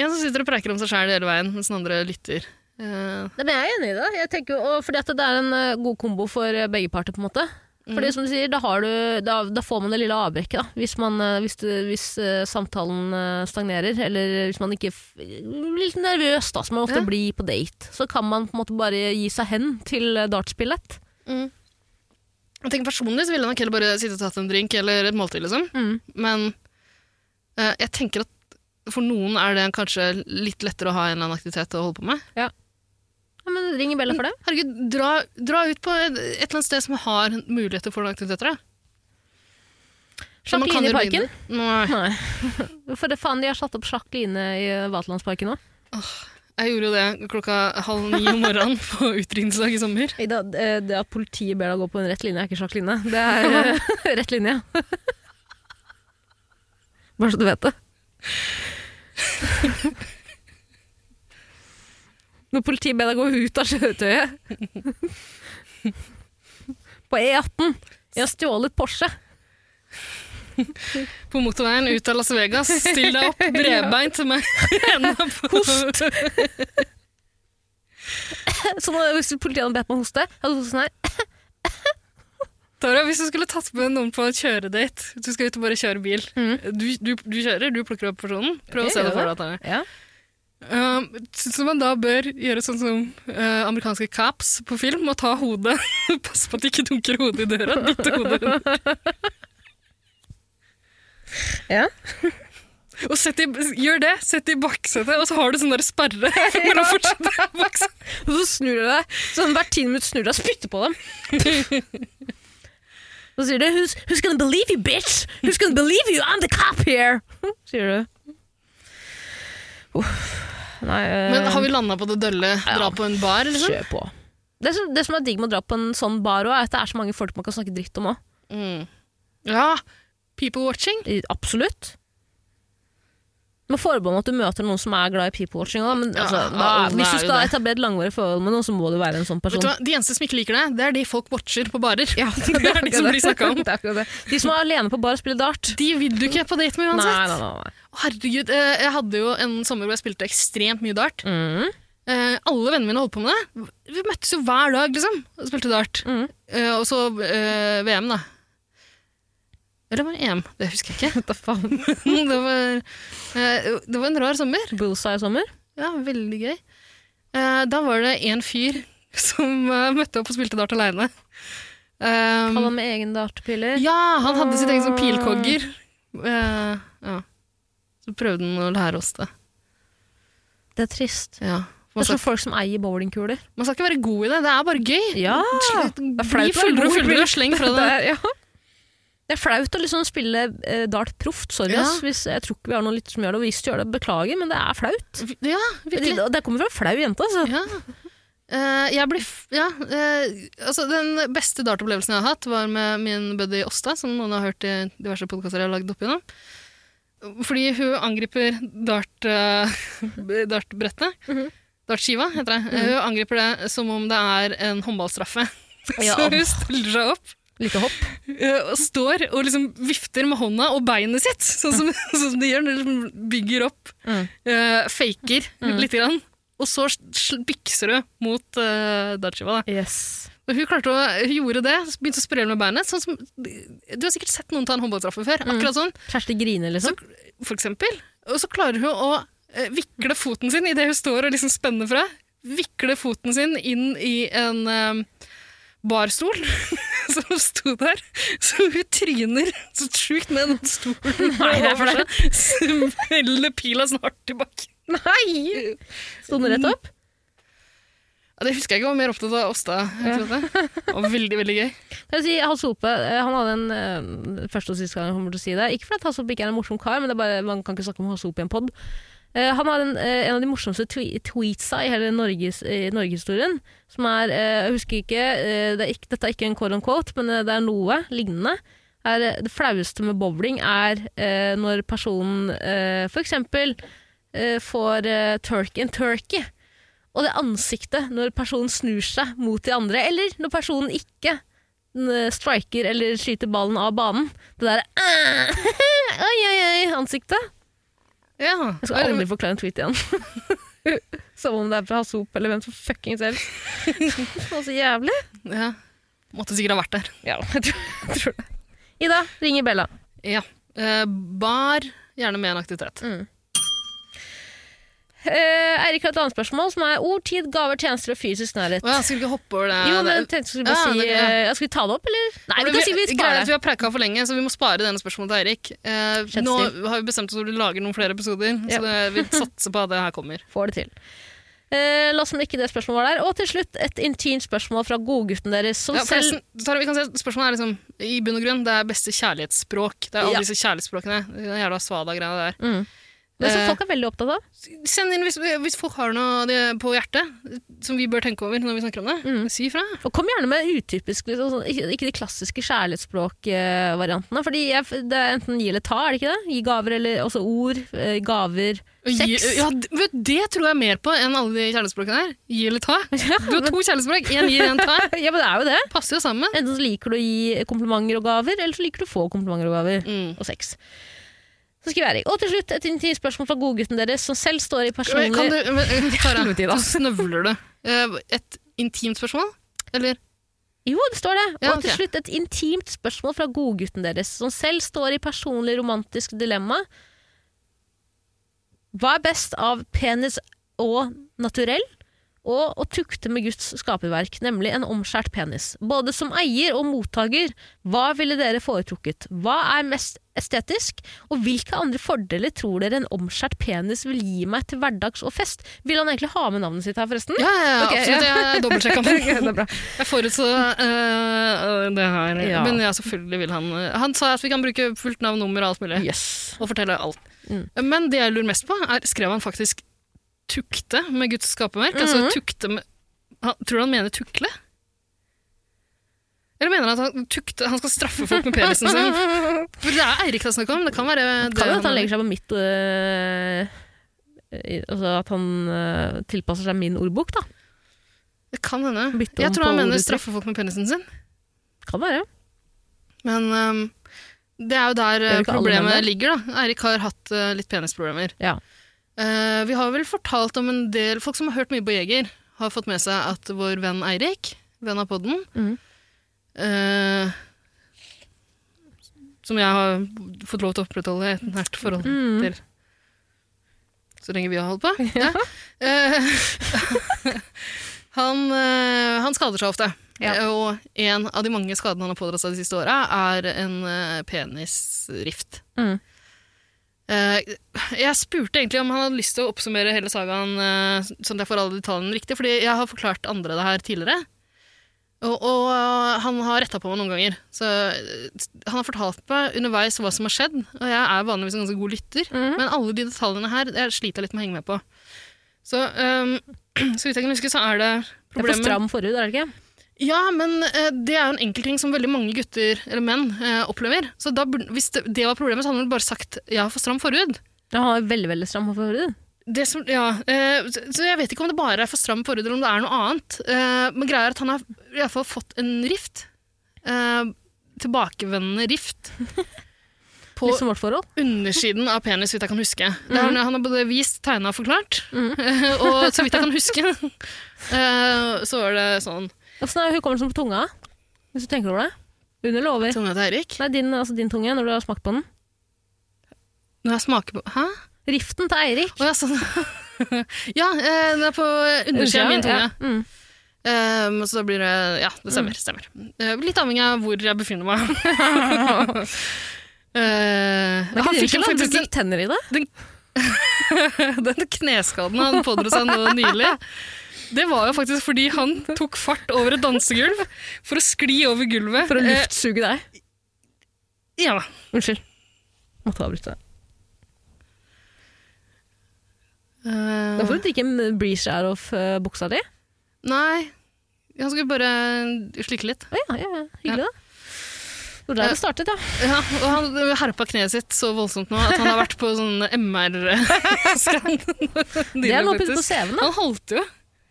B: en som sitter og preiker om seg sjæl hele veien, mens den andre lytter. Eh,
A: Nei, men jeg er enig i det. Jeg tenker, jo- og fordi at det er en ø, god kombo for ø, begge parter, på en måte. Fordi
B: Mm.
A: som du sier, da, har du, da, da får man det lille avbrekket, da. Hvis, man, ø, hvis, du, hvis ø, samtalen ø, stagnerer, eller hvis man ikke f blir litt nervøs, da, som man ofte
B: Ja.
A: blir på date, så kan man på en måte bare gi seg hen til ø, dartspillet.
B: Mm. Jeg tenker Personlig så ville jeg nok heller bare sitte og tatt en drink eller et måltid, liksom.
A: Mm.
B: Men eh, jeg tenker at for noen er det kanskje litt lettere å ha en eller annen aktivitet å holde på med.
A: Ja, men ring bjella for det.
B: Herregud, dra, dra ut på et, et eller annet sted som har muligheter for noen aktiviteter. da. Så man
A: Sjakk-line
B: kan
A: i
B: gjøre
A: parken.
B: begge deler. Nei.
A: Nei. For det faen, de har satt opp sjakk-line i ø, Vaterlandsparken nå.
B: Jeg gjorde jo det klokka halv ni om morgenen på utdrikningsdag i sommer.
A: Ida, eh, det at politiet ber deg gå på en rett linje, er ikke sjakkline. Det er eh, rett linje. Bare så du vet det. Når politiet ber deg gå ut av kjøretøyet På E18. Jeg har stjålet Porsche.
B: På motorveien ut av Las Vegas. Still deg opp bredbeint med hendene på Host!
A: Så nå, hvis politiet hadde bedt meg hoste, jeg hadde hostet sånn her.
B: Tara, hvis du skulle tatt med noen på en kjøredate Du skal ut og bare kjøre bil. Du, du, du kjører, du plukker opp personen.
A: Mm. Ok,
B: Prøv å se det
A: gjør
B: for
A: det.
B: deg. Tara.
A: Ja.
B: Um, Syns du man da bør gjøre sånn som eh, amerikanske caps på film og ta hodet Pass på at de ikke dunker hodet i døra. Dytte hodet rundt.
C: Ja.
B: Og sett i, gjør det, sett i baksetet, og så har du sånn der sperre mellom fortsetet og baksetet.
A: Og så snur du deg. Sånn hvert tiende minutt snur du deg og spytter på dem. Så sier du who's, 'Who's gonna believe you, bitch? Who's gonna believe you? I'm the cop here!' Sier du. Uff. Nei eh,
B: Men har vi landa på det dølle? Dra
A: Ja.
B: på en bar, liksom?
A: kjør på. Det som, det som er digg med å dra på en sånn bar, også, er at det er så mange folk man kan snakke dritt om òg.
B: Mm. Ja. People watching.
A: Absolutt. Med forbehold om at du møter noen som er glad i people-watching. også, Men
B: Ja,
A: altså, da,
B: alle
A: hvis
B: er
A: du
B: jo
A: skal
B: det.
A: etablere et langvarig forhold med noen, så må du være en sånn
B: Vet
A: person.
B: du hva? De eneste som ikke liker det, det er de folk watcher på barer. det
A: Det
B: er de som blir snakka om.
A: Det er akkurat det. De som er alene på bar og spiller dart.
B: De vil du ikke på date med
A: Nei,
B: uansett.
A: nei, nei. nei.
B: Å, Herregud, eh, jeg hadde jo en sommer hvor jeg spilte ekstremt mye dart.
A: Mm.
B: Eh, alle vennene mine holdt på med det. Vi møttes jo hver dag, liksom, og spilte dart.
A: Mhm.
B: Eh, og så eh, VM, da. Eller var det EM? Det husker jeg ikke.
A: Hva faen?
B: det, var, eh, det var en rar sommer.
A: Bullseye sommer?
B: Ja, veldig gøy. Eh, da var det en fyr som eh, møtte opp og spilte dart aleine. Um,
A: Alle med egen dartpiller?
B: Ja, han hadde sitt eget sånn pilkogger. Eh, ja. Så prøvde han å lære oss det.
A: Det er trist.
B: Ja.
A: Det
B: Man,
A: er som
B: skal,
A: folk som eier bowlingkuler.
B: man skal ikke være god i det, det er bare gøy.
A: Ja!
B: Slutt-
A: Det er flaut
B: Bli
A: å være
B: fullere og
A: god i
B: fullere og sleng fra det.
A: er, ja. det er flaut å liksom spille eh, dart proft. Sorry,
B: Ja.
A: ass. Hvis, jeg tror ikke vi har noen lytter som gjør det. Og hvis du gjør det, beklager, men det er flaut.
B: Ja,
A: Det,
B: virkelig.
A: det kommer fra en flau jente, altså.
B: Ja. Eh, jeg blir f ja, eh, altså Den beste dartopplevelsen jeg har hatt, var med min buddy Åsta, som noen har hørt i diverse podkaster jeg har lagd opp igjennom. Fordi hun angriper dart, eh, dartbrettet.
A: Mhm.
B: Dartskiva, heter det. Eh, Hun angriper det som om det er en håndballstraffe.
A: Ja.
B: Så hun stiller seg opp
A: Lite hopp.
B: eh, og står og liksom vifter med hånda og beinet sitt, sånn som, sånn som de gjør når de liksom bygger opp
A: Mm.
B: eh, faker litt, grann, og så sl- bykser hun mot uh, dartskiva. da.
A: Yes.
B: Og Hun klarte å, hun gjorde det, begynte å sprelle med beinet. Sånn som, du har sikkert sett noen ta en håndballstraffe før.
A: Mm.
B: akkurat sånn,
A: Kjersti griner, liksom.
B: for eksempel. Og så klarer hun å eh, vikle foten sin idet hun står og liksom spenner fra. Vikle foten sin inn i en eh, barstol som sto der. Så hun tryner så sjukt med den stolen.
A: Nei, det er for det.
B: Smeller pila sånn hardt i bakken.
A: Nei! Sto den rett opp?
B: Ja, det husker jeg ikke, jeg var mer opptatt av Åsta. etter dette. Det var veldig, veldig gøy.
A: Jeg vil si, Hans Hope eh, han hadde en eh, første og siste gang jeg kommer til å si det. Ikke fordi Hans Hope ikke er en morsom kar, men det er bare, man kan ikke snakke om Hans Hope i en pod. han har en, eh, en av de morsomste twe tweetsa i hele Norges, i Norgeshistorien. Som er eh, Jeg husker ikke, eh, det er ikke Dette er ikke en quote on quote, men eh, det er noe lignende. Er, eh, det flaueste med bowling er eh, når personen eh, for eksempel eh, får eh, turkey and turkey. Og det ansiktet når personen snur seg mot de andre, eller når personen ikke n- eh, striker eller skyter ballen av banen. Det der «Æ, Oi, oi, oi, ansiktet.
B: Ja.
A: Jeg skal aldri forklare en tweet igjen. Som om det er fra Hasse Hop eller hvem som fuckings helst. Det var så jævlig.
B: ja. Måtte sikkert ha vært der.
A: Ja, jeg tror, jeg tror det. Ida, ringer Bella.
B: Ja. Eh, bar, gjerne med en aktivitet.
A: Eh, Eirik har et annet spørsmål, som er ord, tid, gaver, tjenester og fysisk nærhet.
B: Å, jeg skulle ikke hoppe over det.
A: Jo, men
B: det
A: jeg tenkte jeg skulle bare
B: Ja,
A: si
B: det- ja.
A: eh, Skal vi ta det opp, eller? Nei, vi kan si vi
B: Greia er
A: sparer
B: at vi har preika for lenge, så vi må spare denne spørsmålet til Eirik. Eh,
A: Kjent
B: nå har vi bestemt oss for å lage noen flere episoder,
A: Ja.
B: så det, vi satser på at det her kommer.
A: får det til. Eh, la oss som ikke det spørsmålet var der. Og til slutt et intimt spørsmål fra godgutten deres. Som
B: Ja,
A: selv...
B: forresten, Tara, vi kan si at Spørsmålet er liksom, i bunn og grunn det er beste kjærlighetsspråk. Det er alle
A: Ja.
B: disse kjærlighetsspråkene. Den jævla svada-greia der.
A: Mm. Men som
B: Eh,
A: folk er veldig opptatt av.
B: Send inn hvis, hvis folk har noe de- på hjertet som vi bør tenke over når vi snakker om det.
A: Mm.
B: Si ifra.
A: Og kom gjerne med utypisk, liksom, sånn, ikke, ikke de klassiske kjærlighetsspråkvariantene. Fordi jeg, det er enten gi eller ta, er det ikke det? Gi gaver eller også ord. eh, Gaver.
B: Og gi-
A: Sex.
B: Ja, d- vet, du, det tror jeg mer på enn alle de kjærlighetsspråkene her. Gi eller ta. Du har to kjærlighetsspråk. Én gir, én tar.
A: ja, men det er jo det.
B: Passer jo sammen.
A: Enten så liker du å gi komplimenter og gaver, eller så liker du å få komplimenter og gaver.
B: Mm.
A: Og sex. Så skriver Erik. Og til slutt et intimt spørsmål fra godgutten deres, som selv står i personlig
B: Kan du, men, eh, Tara,
A: Helvete, Ida.
B: så snøvler du. Eh, Et intimt spørsmål? Eller?
A: Jo, det står det.
B: Ja,
A: Og til
B: ok.
A: slutt et intimt spørsmål fra godgutten deres, som selv står i personlig romantisk dilemma. Hva er best av penis og naturell? og å tukte med Guds skaperverk, nemlig en omskjært penis. Både som eier og mottaker, hva ville dere foretrukket? Hva er mest estetisk, og hvilke andre fordeler tror dere en omskjært penis vil gi meg til hverdags og fest? Vil han egentlig ha med navnet sitt her, forresten?
B: Ja, ja, ja
A: Ok,
B: absolutt. Jeg dobbeltsjekka meg.
A: det er bra.
B: Jeg forutså eh, det her.
A: Ja.
B: Men ja, selvfølgelig vil han eh, Han sa at vi kan bruke fullt navn, nummer og alt mulig.
A: Yes.
B: Og fortelle alt.
A: Mm.
B: Men det jeg lurer mest på, er skrev han faktisk 'tukte' med Guds skaperverk? Altså
A: Mhm.
B: tukte med han, Tror du han mener tukle? Eller mener han at han, tukte, han skal straffe folk med penisen sin? For Det er Eirik det er snakk om. Det kan være det
A: Kan jo at han legger seg på mitt øh, i- Altså at han øh, tilpasser seg min ordbok, da.
B: Det kan hende.
A: Bytte om
B: Jeg tror han
A: på
B: mener
A: orduttrykk.
B: straffe folk med penisen sin.
A: Kan være.
B: Men ehm, det er jo der eh,
A: Gjør ikke alle
B: problemet
A: menn det?
B: ligger, da. Eirik har hatt eh, litt penisproblemer.
A: Ja.
B: Eh, vi har vel fortalt om en del Folk som har hørt mye på Jeger, har fått med seg at vår venn Eirik, venn av podden
A: Mhm.
B: eh, Som jeg har fått lov til å opprettholde et nært forhold
A: Mhm.
B: til så lenge vi har holdt på. Ja. Eh, han, eh, han skader seg ofte.
A: Ja.
B: Eh, Og en av de mange skadene han har pådratt seg de siste åra, er en eh, penisrift.
A: Mm.
B: Eh, jeg spurte egentlig om han hadde lyst til å oppsummere hele sagaen eh, sånn at jeg får alle detaljene riktig, fordi jeg har forklart andre det her tidligere. Og, og eh, han har retta på meg noen ganger. Så eh, han har fortalt meg underveis hva som har skjedd, og jeg er vanligvis en ganske god lytter,
A: Mhm.
B: men alle de detaljene her jeg sliter jeg litt med å henge med på. Så, eh, så vidt jeg kan huske, så er det
A: Det er for
B: problemer
A: stram forhud, er det ikke?
B: ja, men eh, det er jo en enkel ting som veldig mange gutter, eller menn, eh, opplever. Så da, burde- hvis det, det var problemet, så hadde han vel bare sagt ja, for stram forhud.
A: Han har veldig veldig stram forhud.
B: Det som, ja, eh, så så jeg vet ikke om det bare er for stram forhud, eller om det er noe annet. Eh, men greia er at han har i hvert fall fått en rift. Eh, tilbakevendende rift. På
A: Litt som vårt forhold.
B: undersiden av penis, så vidt jeg kan huske. Det er- Han har både vist, tegna og forklart.
A: Mhm.
B: og så vidt jeg kan huske, eh, så var det sånn.
A: Åssen er hukommelsen på tunga? Hvis du tenker over det. Under eller over?
B: Tunga til sånn Eirik.
A: Nei, din, altså din tunge, når du har smakt på den.
B: Når jeg smaker på Hæ?
A: Riften til Eirik.
B: Å ja, sånn. ja, eh, den er på undersida av min tunge.
A: Ja. Mm.
B: Ehm, så da blir det Ja, det stemmer. stemmer. Eh, litt avhengig av hvor jeg befinner meg. Eh,
A: Det er
B: han
A: ikke din
B: fikk jo
A: skyld, da.
B: faktisk
A: Du fikk tenner i det.
B: den, den kneskaden han pådro seg nå nylig. Det var jo faktisk fordi han tok fart over et dansegulv for å skli over gulvet.
A: For å luftsuge deg.
B: Eh, ja,
A: Unnskyld. Måtte avbryte deg.
B: Eh,
A: Da får du drikke en breeze out of eh, buksa di.
B: Nei, han skulle bare slikke litt.
A: Å ja, ja, ja. Eh, Hyggelig, da. Det var der det startet, ja.
B: Ja, og han herpa kneet sitt så voldsomt nå at han har vært på sånn MR-skann.
A: Det er noe på på CV-en, da.
B: Han holdt jo.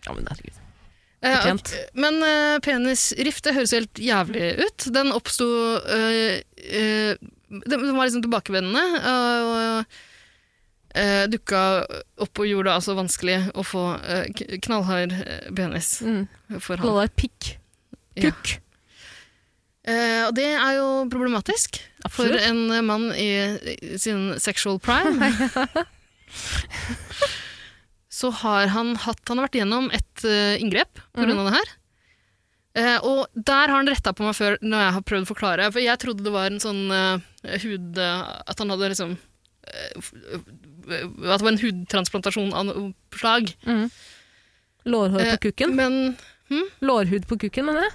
A: Ja, men herregud.
B: Eh,
A: Fortjent.
B: ok, Men eh, penisrift, det høres jo helt jævlig ut. Den oppsto eh, eh, Den den var liksom tilbakevendende. eh, og eh, dukka opp og gjorde det altså vanskelig å få eh, k- knallhard eh, penis
A: Mm.
B: for han.
A: Kalla deg pikk.
B: Ja.
A: Kukk.
B: Eh, og det er jo problematisk for
A: Absolutt.
B: en eh, mann i i sin sexual prime. så har han hatt Han har vært gjennom et eh, inngrep på grunn av det her. Eh, og der har han retta på meg før når jeg har prøvd å forklare. For jeg trodde det var en sånn eh, hud eh, At han hadde liksom eh, f- eh, At det var en hudtransplantasjon av noe slag.
A: Mm. Lårhår på
B: Eh,
A: kukken.
B: Men
A: Lårhud på kukken, mener jeg.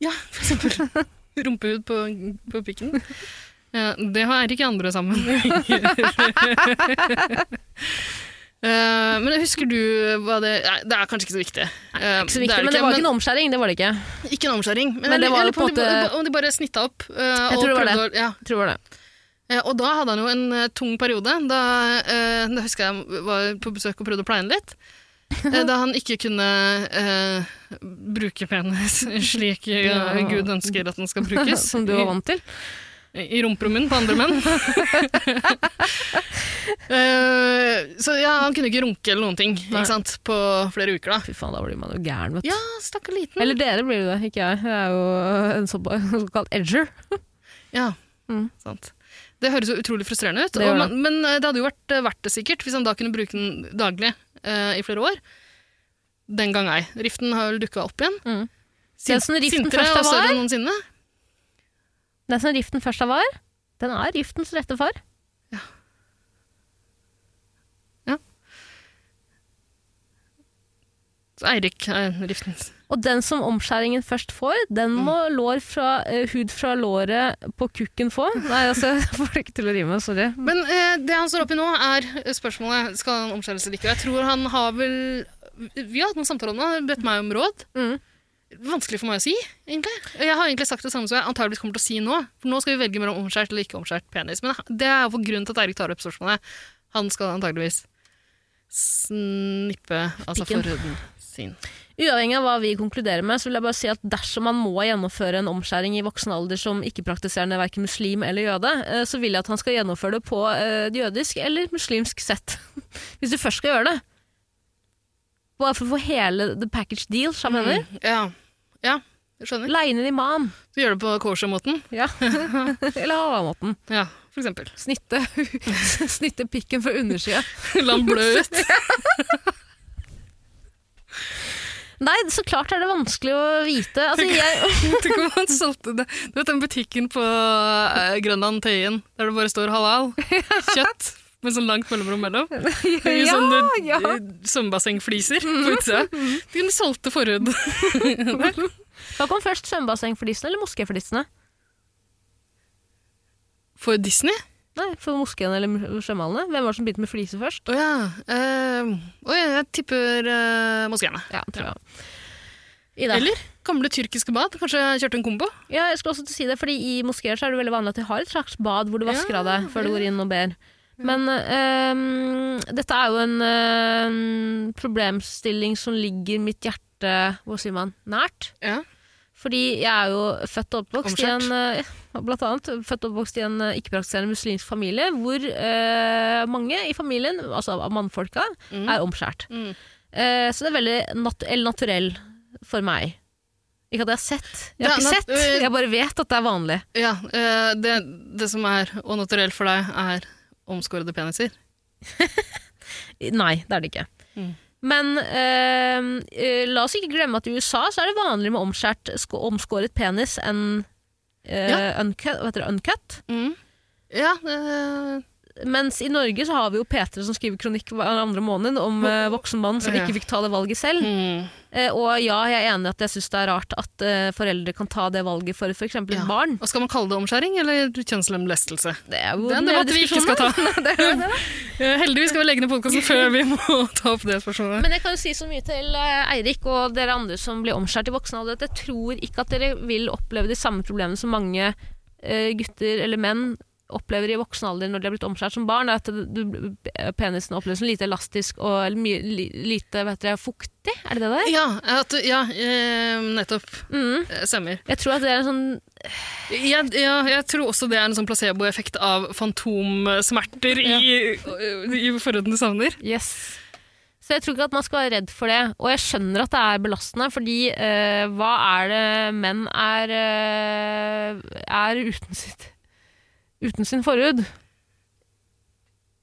B: Ja, for eksempel. Rumpehud på, på pikken. Ja, det har Eirik i andre sammenhenger. Eh, men husker du hva det Nei, det er kanskje ikke så viktig. Eh,
A: Ikke så viktig, men det var ikke en omskjæring. Det var det ikke.
B: men, ikke en omskjæring. Men,
A: Men
B: jeg
A: det var
B: lurer
A: jo på
B: om,
A: en
B: de,
A: måte-
B: om de bare snitta opp. eh,
A: Jeg
B: og
A: tror det var
B: prøvde å- Ja.
A: Jeg tror det var det.
B: Eh, og da hadde han jo en eh, tung periode. Da, eh, da husker jeg var på besøk og prøvde å pleie han litt. Eh, da han ikke kunne eh, bruke penis slik eh,
A: Ja.
B: Gud ønsker at den skal brukes.
A: Som du var vant til.
B: I, i rumperommet på andre menn. Eh, så ja, han kunne ikke runke eller noen ting
A: Nei.
B: ikke sant, på flere uker. da.
A: Fy faen, da blir man jo gæren, vet du.
B: Ja, stakkar liten.
A: Eller dere blir jo det, ikke jeg. Jeg er jo eh, en såpa- såkalt edger.
B: Ja,
A: Mm.
B: sant. Det høres jo utrolig frustrerende ut.
A: Det gjør
B: og man, men eh, det hadde jo vært eh, verdt det sikkert, hvis han da kunne bruke den daglig eh, i flere år. Den gang ei. Riften har vel dukka opp igjen.
C: Mm.
A: Det er sånn riften først
B: og
A: av
B: større
A: var.
B: enn noensinne.
A: Den som riften først av var, den er riftens rette far.
B: Så Eirik er riftens.
A: Og den som omskjæringen først får, den må lår fra, eh, hud fra låret på kukken få. Nei, altså, jeg får det ikke til å rime, sorry.
B: Men eh, det han står oppi nå, er eh, spørsmålet skal han omskjæres eller ikke. Og jeg tror han har vel Vi har hatt noen samtaler om det, han har bedt meg om råd.
A: Mm.
B: Vanskelig for meg å si, egentlig. Jeg har egentlig sagt det samme som jeg antageligvis kommer til å si nå. For nå skal vi velge mellom omskjært eller ikke omskjært penis. Men det er jo for grunnen til at Eirik tar opp spørsmålet. Han skal antageligvis snippe altså
A: Pikken.
B: forhuden sin.
A: Uavhengig av hva vi konkluderer med, så vil jeg bare si at dersom man må gjennomføre en omskjæring i voksen alder som ikke-praktiserende verken muslim eller jøde, eh, så vil jeg at han skal gjennomføre det på eh, et jødisk eller muslimsk sett. Hvis du først skal gjøre det. Bare for å få hele the package deal, som jeg mener.
B: Mm, Ja. ja, jeg skjønner.
A: Leie en imam.
B: Du gjør det på kosher-måten.
A: Ja. eller havamåten.
B: Ja, for eksempel.
A: Snitte, snitte pikken fra undersida.
B: La den blø ut.
A: Nei, så klart er det vanskelig å vite. Altså, jeg,
B: Tenk om han solgte det. Du vet den butikken på eh, Grønland, Tøyen, der det bare står halal? Kjøtt. Med sånn langt mellomrom mellom. Det er jo
A: Ja,
B: sånn du-
A: ja.
B: eh, svømmebassengfliser på utsida. De solgte forhud.
A: hva kom først, svømmebassengflisene eller moskéflisene?
B: For Disney?
A: Nei, for moskeen eller svømmehallene? Hvem var det som begynte med fliser først?
B: Å ja. Eh, å ja. Jeg tipper uh, moskeene.
A: Ja, tror jeg. Ida.
B: Eller gamle tyrkiske bad. Kanskje jeg kjørte en kombo?
A: Ja, jeg skulle også til å si det, fordi I moskeer så er det veldig vanlig at de har et slags bad hvor du vasker av deg før du går inn og ber. Men øhm, dette er jo en øhm, problemstilling som ligger mitt hjerte Hva sier man? Nært.
B: Ja.
A: Fordi jeg er jo født og oppvokst i en,
B: Omskjært.
A: eh, ja, blant annet, født og oppvokst i en eh, ikke-praktiserende muslimsk familie, hvor eh, mange i familien, altså av mannfolka, er omskjært.
B: Mm.
A: Eh, så det er veldig nat el naturell for meg. Ikke at jeg har sett. Jeg har ikke
B: Det er nat- eh,
A: sett, jeg bare vet at det er vanlig.
B: Ja, eh, det, det som er au naturell for deg, er omskårede peniser.
A: Nei, det er det ikke.
B: Mm.
A: Men eh, eh, la oss ikke glemme at i USA så er det vanligere med omskjært, sk- omskåret penis enn eh, uncut, hva heter det, uncut.
B: Mm. Ja, eh,
A: Mens i Norge så har vi jo Petre som skriver kronikk hver andre måned om eh, voksen mann som
B: Ja.
A: ikke fikk ta det valget selv.
B: mm.
A: Eh, og ja, jeg er enig i at jeg syns det er rart at eh, foreldre kan ta det valget for f.eks. et
B: Ja.
A: barn.
B: Og skal man kalle det omskjæring eller kjønnslemlestelse?
A: Det er jo
B: Det er en
A: den
B: debatt vi ikke skal ta.
A: det er jo det.
B: Eh, Heldigvis skal vi legge ned podkasten før vi må ta opp det spørsmålet.
A: Men jeg kan jo si så mye til eh, Eirik og dere andre som blir omskjært i voksen alder, at jeg tror ikke at dere vil oppleve de samme problemene som mange eh, gutter eller menn opplever i voksen alder når de har blitt omskjært som barn. er At du, penisen oppleves som lite elastisk og eller, mye, li, lite hva heter det, fuktig. Er det det der?
B: Ja, at, du- ja eh, nettopp.
A: Mm.
B: Eh, Stemmer.
A: Jeg tror at det er en sånn
B: Jeg, ja, jeg tror også det er en sånn placeboeffekt av fantomsmerter i, eh, i forhuden du savner.
A: Yes. Så jeg tror ikke at man skal være redd for det. Og jeg skjønner at det er belastende, fordi eh, hva er det menn er, eh, er uten, sitt, uten sin forhud?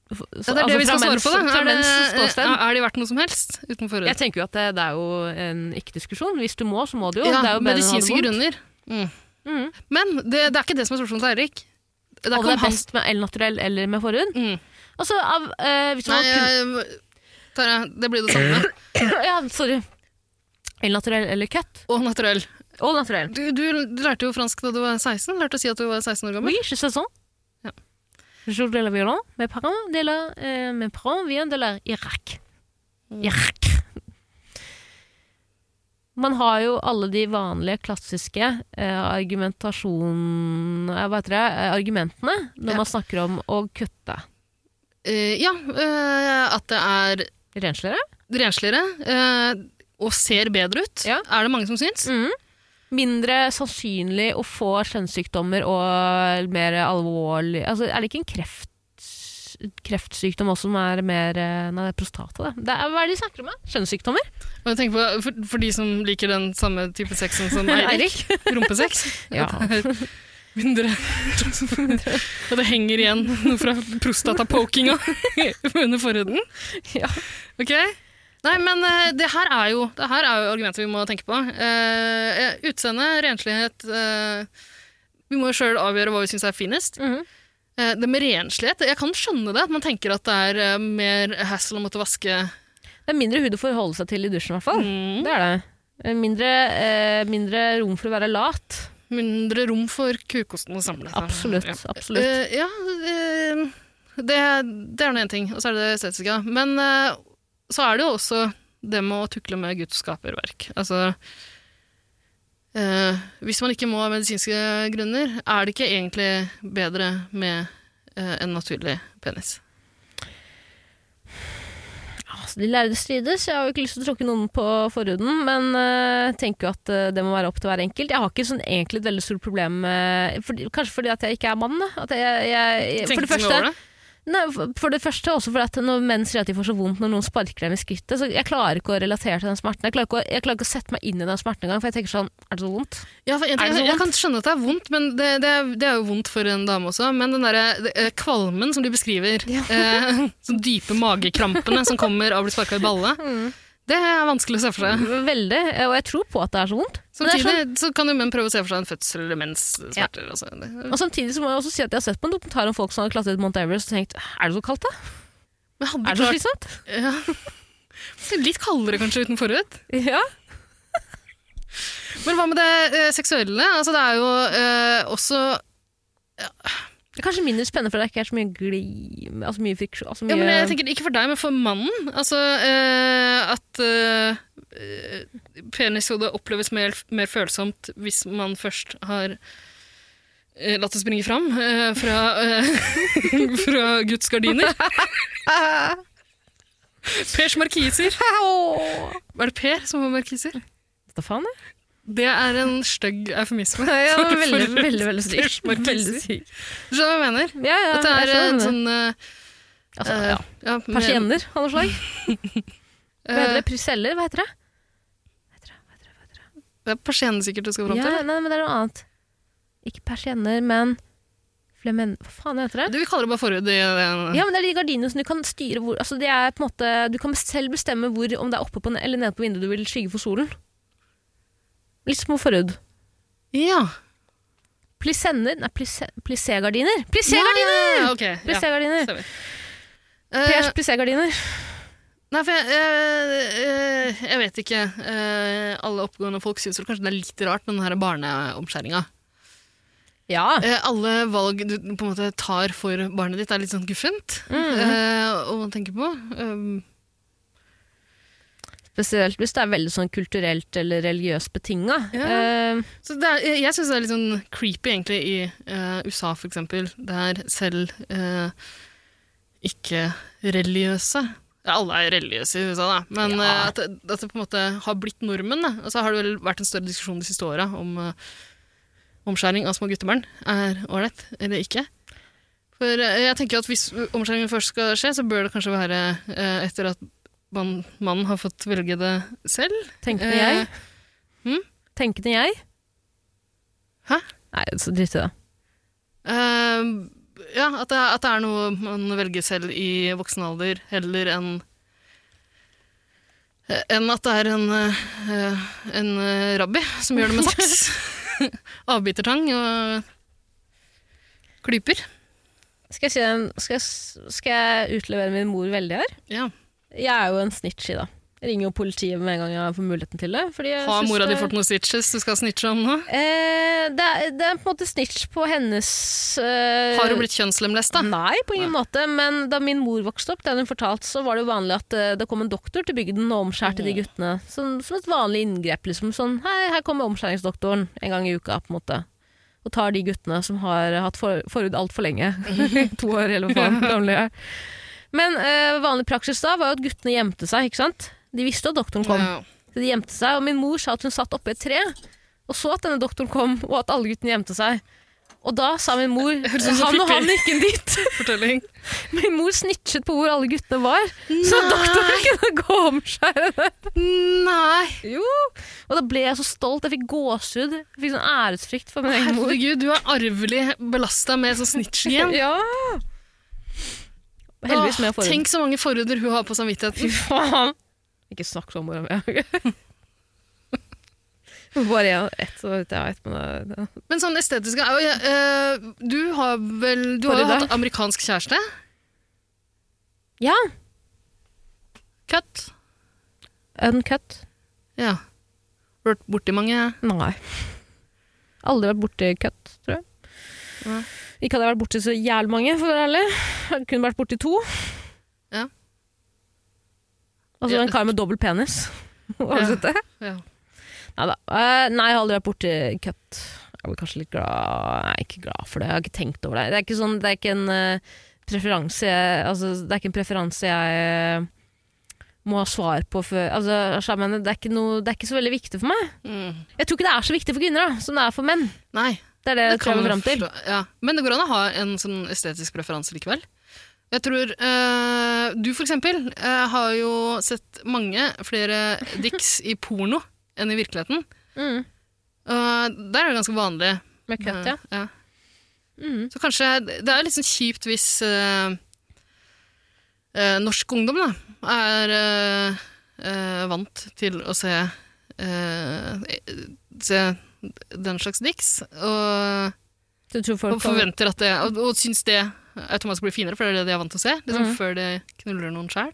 A: altså,
B: Ja, det er det vi skal svare på, da.
A: Fra
B: Er det,
A: menns ståsted.
B: er de verdt noe som helst uten forhud?
A: Jeg tenker jo at det, det er jo en ikke-diskusjon. Hvis du må, så må du jo.
B: Ja,
A: det er jo bedre enn å ha det
B: medisinske
A: vondt.
B: grunner. Mm.
A: Mm.
B: Men det, det er ikke det som er spørsmålet til Eirik. Det er
A: Om det
B: ikke om
A: er
B: hans
A: best med el naturell eller med forhud.
B: mm.
A: Altså, av, eh, hvis
B: Nei,
A: man kun-
B: jeg- Tara, det blir det samme.
A: Ja, sorry. El naturell eller cut?
B: Og naturell.
A: Og naturell.
B: Du, du lærte jo fransk da du var 16. Lærte å si at du var 16 år
A: Ah
B: gammel.
A: Oui, je sais ça.
B: Ja.
A: Je de la violon, mes parents de la, eh, mes parents viennent de la Irak. Irak. Man har jo alle de vanlige, klassiske eh, argumentasjon... eh, Hva heter det? Eh, Argumentene når
B: Ja.
A: man snakker om å kutte.
B: Eh, ja, eh, at det er
A: Renslere?
B: rensligere eh, og ser bedre ut,
A: Ja.
B: er det mange som syns.
A: Mhm. Mindre sannsynlig å få kjønnssykdommer og mer alvorlig altså, Er det ikke en kreft, kreftsykdom også som er mer eh, Nei, det er prostata, det. det er, hva er det de snakker om? da? Kjønnssykdommer?
B: Og jeg tenker på, for, for de som liker den samme type sex som Eirik, rumpesex.
A: Ja.
B: Mindre Og det henger igjen noe fra prostatapokinga under forhuden.
A: Ja.
B: Ok? Nei, Nei, men eh, det her er jo, det her er jo argumenter vi må tenke på. Eh, eh, utseende, renslighet eh, Vi må jo sjøl avgjøre hva vi syns er finest.
A: Mhm.
B: Eh, det med renslighet Jeg kan skjønne det, at man tenker at det er eh, mer hassle å måtte vaske
A: Det er mindre hud å forholde seg til i dusjen, i hvert fall.
B: Mm.
A: Det er det. Eh, Mindre, eh, mindre rom for å være lat.
B: Mindre rom for kukosten å samle seg.
A: Absolutt,
B: Ja.
A: absolutt.
B: Eh, ja, eh, det, det er nå én ting, og så er det det estetiske. Men eh, så er det jo også det med å tukle med Guds skaperverk. Altså eh, Hvis man ikke må av medisinske grunner, er det ikke egentlig bedre med eh, en naturlig penis?
A: Altså, de lærde strides. Jeg har jo ikke lyst til å tråkke noen på forhuden, men eh, tenker jo at eh, det må være opp til hver enkelt. Jeg har ikke sånn, egentlig et veldig stort problem med fordi- Kanskje fordi at jeg ikke er mann. da. At jeg, jeg, jeg, Eh, for, det
B: Tenkte du over
A: første, nei, for- for det første også fordi at når menn sier at de får så vondt når noen sparker dem i skrittet, så jeg klarer ikke å relatere til den smerten. Jeg klarer ikke å, jeg klarer ikke å sette meg inn i den smerten engang, for jeg tenker sånn Er det så vondt?
B: Ja, for en
A: Er
B: ting,
A: det så
B: jeg, jeg kan skjønne at det er vondt, men det, det, er, det er jo vondt for en dame også. Men den derre eh, kvalmen som de beskriver, eh, sånn dype magekrampene som kommer av å bli sparka i balle,
A: Mm.
B: det er vanskelig å se for seg.
A: Veldig. eh, Og jeg tror på at det er så vondt. Men det er sånn-
B: Samtidig så kan jo menn prøve å se for seg en fødsel eller menssmerter. Altså. Det-
A: Og samtidig så må jeg også si at jeg har sett på en dokumentar om folk som har klatret Mount Everest og tenkt er det så kaldt da?
B: Men hadde
A: Er det så
B: klart,
A: slitsomt?
B: ja. Det er Litt kaldere kanskje uten forhud.
A: Ja.
B: Men hva med det eh, seksuelle? Altså, det er jo eh, også
A: Det er kanskje mindre spennende for det ikke er så mye gli... Altså mye friksjon. Altså mye...
B: Ja, men jeg tenker Ikke for deg, men for mannen. Altså eh, at eh, eh, penishodet oppleves mer, mer følsomt hvis man først har eh, latt det springe fram eh, fra, eh, fra Guds gardiner. Pers markiser.
A: Au!
B: Er det Per som har markiser?
A: Stefan, ja.
B: Det er en stygg eufemisme.
A: ja
B: for- for-
A: veldig, veldig, veldig
B: Pers
A: syk.
B: markiser.
A: Veldig syk.
B: Skjønner du hva jeg mener?
A: Ja, ja.
B: At det
A: jeg
B: er
A: skjønner
B: en
A: det.
B: sånn eh,
A: altså,
B: eh,
A: ja.
B: ja, med-
A: Persienner av noe slag. Hva heter
B: eh,
A: det? Pryseller? Hva heter det? Hva heter det? Hva heter det? Hva heter det?
B: Det er persienner eh, sikkert du skal fram til.
A: Ja, nei, men det er noe annet. Ikke persienner, men flemen... Hva faen heter det?
B: Du, vi kaller det bare forhud. i den-
A: Ja, men det er de gardinene som du kan styre hvor altså det er på en måte, Du kan selv bestemme hvor, om det er oppe på, eller nede på vinduet du vil skygge for solen. Litt små forhud.
B: ja.
A: Plisender Nei, plisse- plissé-gardiner! Plissé-gardiner!
B: Ja, ok, ja.
A: Plissé-gardiner!
B: stemmer.
A: Pers
B: Eh,
A: plissé-gardiner.
B: nei, for jeg, eh, eh, jeg vet ikke. Eh, alle oppegående folk syns vel kanskje det er litt rart med den her barneomskjæringa.
A: Ja.
B: Eh, alle valg du på en måte tar for barnet ditt, er litt sånn guffent
A: Mhm.
B: eh, å tenke på. Um,
A: Spesielt hvis det er veldig sånn kulturelt eller religiøst betinga. eh,
B: Ja. så det er, jeg syns det er litt sånn creepy, egentlig, i eh, USA, for eksempel, der selv eh, ikke-religiøse ja, alle er religiøse i USA, da. men
A: Ja.
B: eh, at, det- at det på en måte har blitt nordmenn. Da. Og så har det vel vært en større diskusjon de siste åra om eh, omskjæring av små guttebarn er ålreit eller ikke. For eh, jeg tenker at hvis omskjæringen først skal skje, så bør det kanskje være eh, etter at man, mannen har fått velge det selv.
A: tenkende
B: eh,
A: jeg.
B: hm?
A: Tenkende jeg.
B: Hæ?
A: Nei, så drit i det.
B: Eh, ja, at det, at det er noe man velger selv i voksen alder, heller enn enn at det er en, eh, en eh, rabbi som gjør det med saks. Avbitertang og klyper.
A: Skal jeg, si en, skal, jeg, s- skal jeg utlevere min mor veldig her?
B: Ja.
A: Jeg er jo en snitch i da. Jeg ringer jo politiet med en gang jeg får muligheten til det. Fordi jeg
B: Har
A: synes
B: mora
A: det-
B: di fått noen stitches du skal snitche om nå?
A: Eh, det, er, det er på en måte snitch på hennes eh,
B: Har hun blitt kjønnslemlesta?
A: Nei, på ingen måte. Men da min mor vokste opp, det hadde hun fortalt, så var det jo vanlig at eh, det kom en doktor til bygden og omskjærte de guttene. Som, som et vanlig inngrep. liksom sånn, Hei, her kommer omskjæringsdoktoren en gang i uka. på en måte. Og tar de guttene som har hatt for, forhud altfor lenge. to år, eller hva faen. gamle jeg er. Men eh, vanlig praksis da var jo at guttene gjemte seg. ikke sant? De visste jo at doktoren kom.
B: Ja.
A: Så de gjemte seg, og min mor sa at hun satt oppe i et tre og så at denne doktoren kom, og at alle guttene gjemte seg. Og da sa min mor
B: høres ut som
A: han og
B: Pippi.
A: han gikk inn dit.
B: Fortelling.
A: Min mor snitchet på hvor alle guttene var, så doktoren kunne gå og omskjære det.
B: Nei!
A: Jo. Og da ble jeg så stolt. Jeg fikk gåsehud. Jeg Fikk sånn æresfrykt for min egen mor.
B: Herregud, du er arvelig belasta med sånn snitch-gen.
A: Ja. Heldigvis med
B: Åh,
A: forhud.
B: Tenk så mange forhuder hun har på samvittigheten.
A: Fy faen. Ikke snakk sånn om mora mi. Bare én- ett, så vidt jeg vet, men det, det.
B: Men sånn estetiske er jo- jeg, eh, Du har vel Du har
A: Bare
B: jo hatt
A: der.
B: amerikansk kjæreste?
A: Ja.
B: Cut.
A: Uncut.
B: Ja. Vært borti mange
A: Nei. Aldri vært borti cut, tror jeg.
B: Nei.
A: Ikke hadde jeg vært borti så jævlig mange, for å være ærlig. Jeg kunne vært borti to.
B: Ja.
A: Altså
B: Ja.
A: en kar med dobbel penis. Har
B: Ja.
A: du sett det?
B: ja.
A: Neida. Eh, nei, jeg har aldri vært borti cut. Jeg blir kanskje litt glad Nei, ikke glad for det. Jeg har ikke tenkt over det. Det er ikke, sånn, det er ikke en eh, preferanse jeg, altså, Det er ikke en preferanse jeg eh, må ha svar på før altså, altså, jeg mener, det, er ikke noe, det er ikke så veldig viktig for meg.
B: Mm.
A: Jeg tror ikke det er så viktig for kvinner da, som det er for menn.
B: Nei.
A: Det er Eh, det, jeg
B: kan
A: kommer
B: man
A: fram til.
B: forstå. Ja. Men det går an å ha en sånn estetisk preferanse likevel. Jeg tror eh, Du, for eksempel, eh, har jo sett mange flere dicks i porno enn i virkeligheten.
A: Mm.
B: Eh, der er det ganske vanlig.
A: Med cut, ja.
B: Eh, ja.
A: Mhm.
B: Så kanskje Det er litt sånn kjipt hvis eh, eh, norsk ungdom da, er eh, eh, vant til å se, eh, se den slags dicks, og,
A: Du tror folk
B: og forventer at det Og, og syns det automatisk blir finere, for det er det de er vant til å se, liksom,
A: Mhm.
B: før de knuller noen sjæl.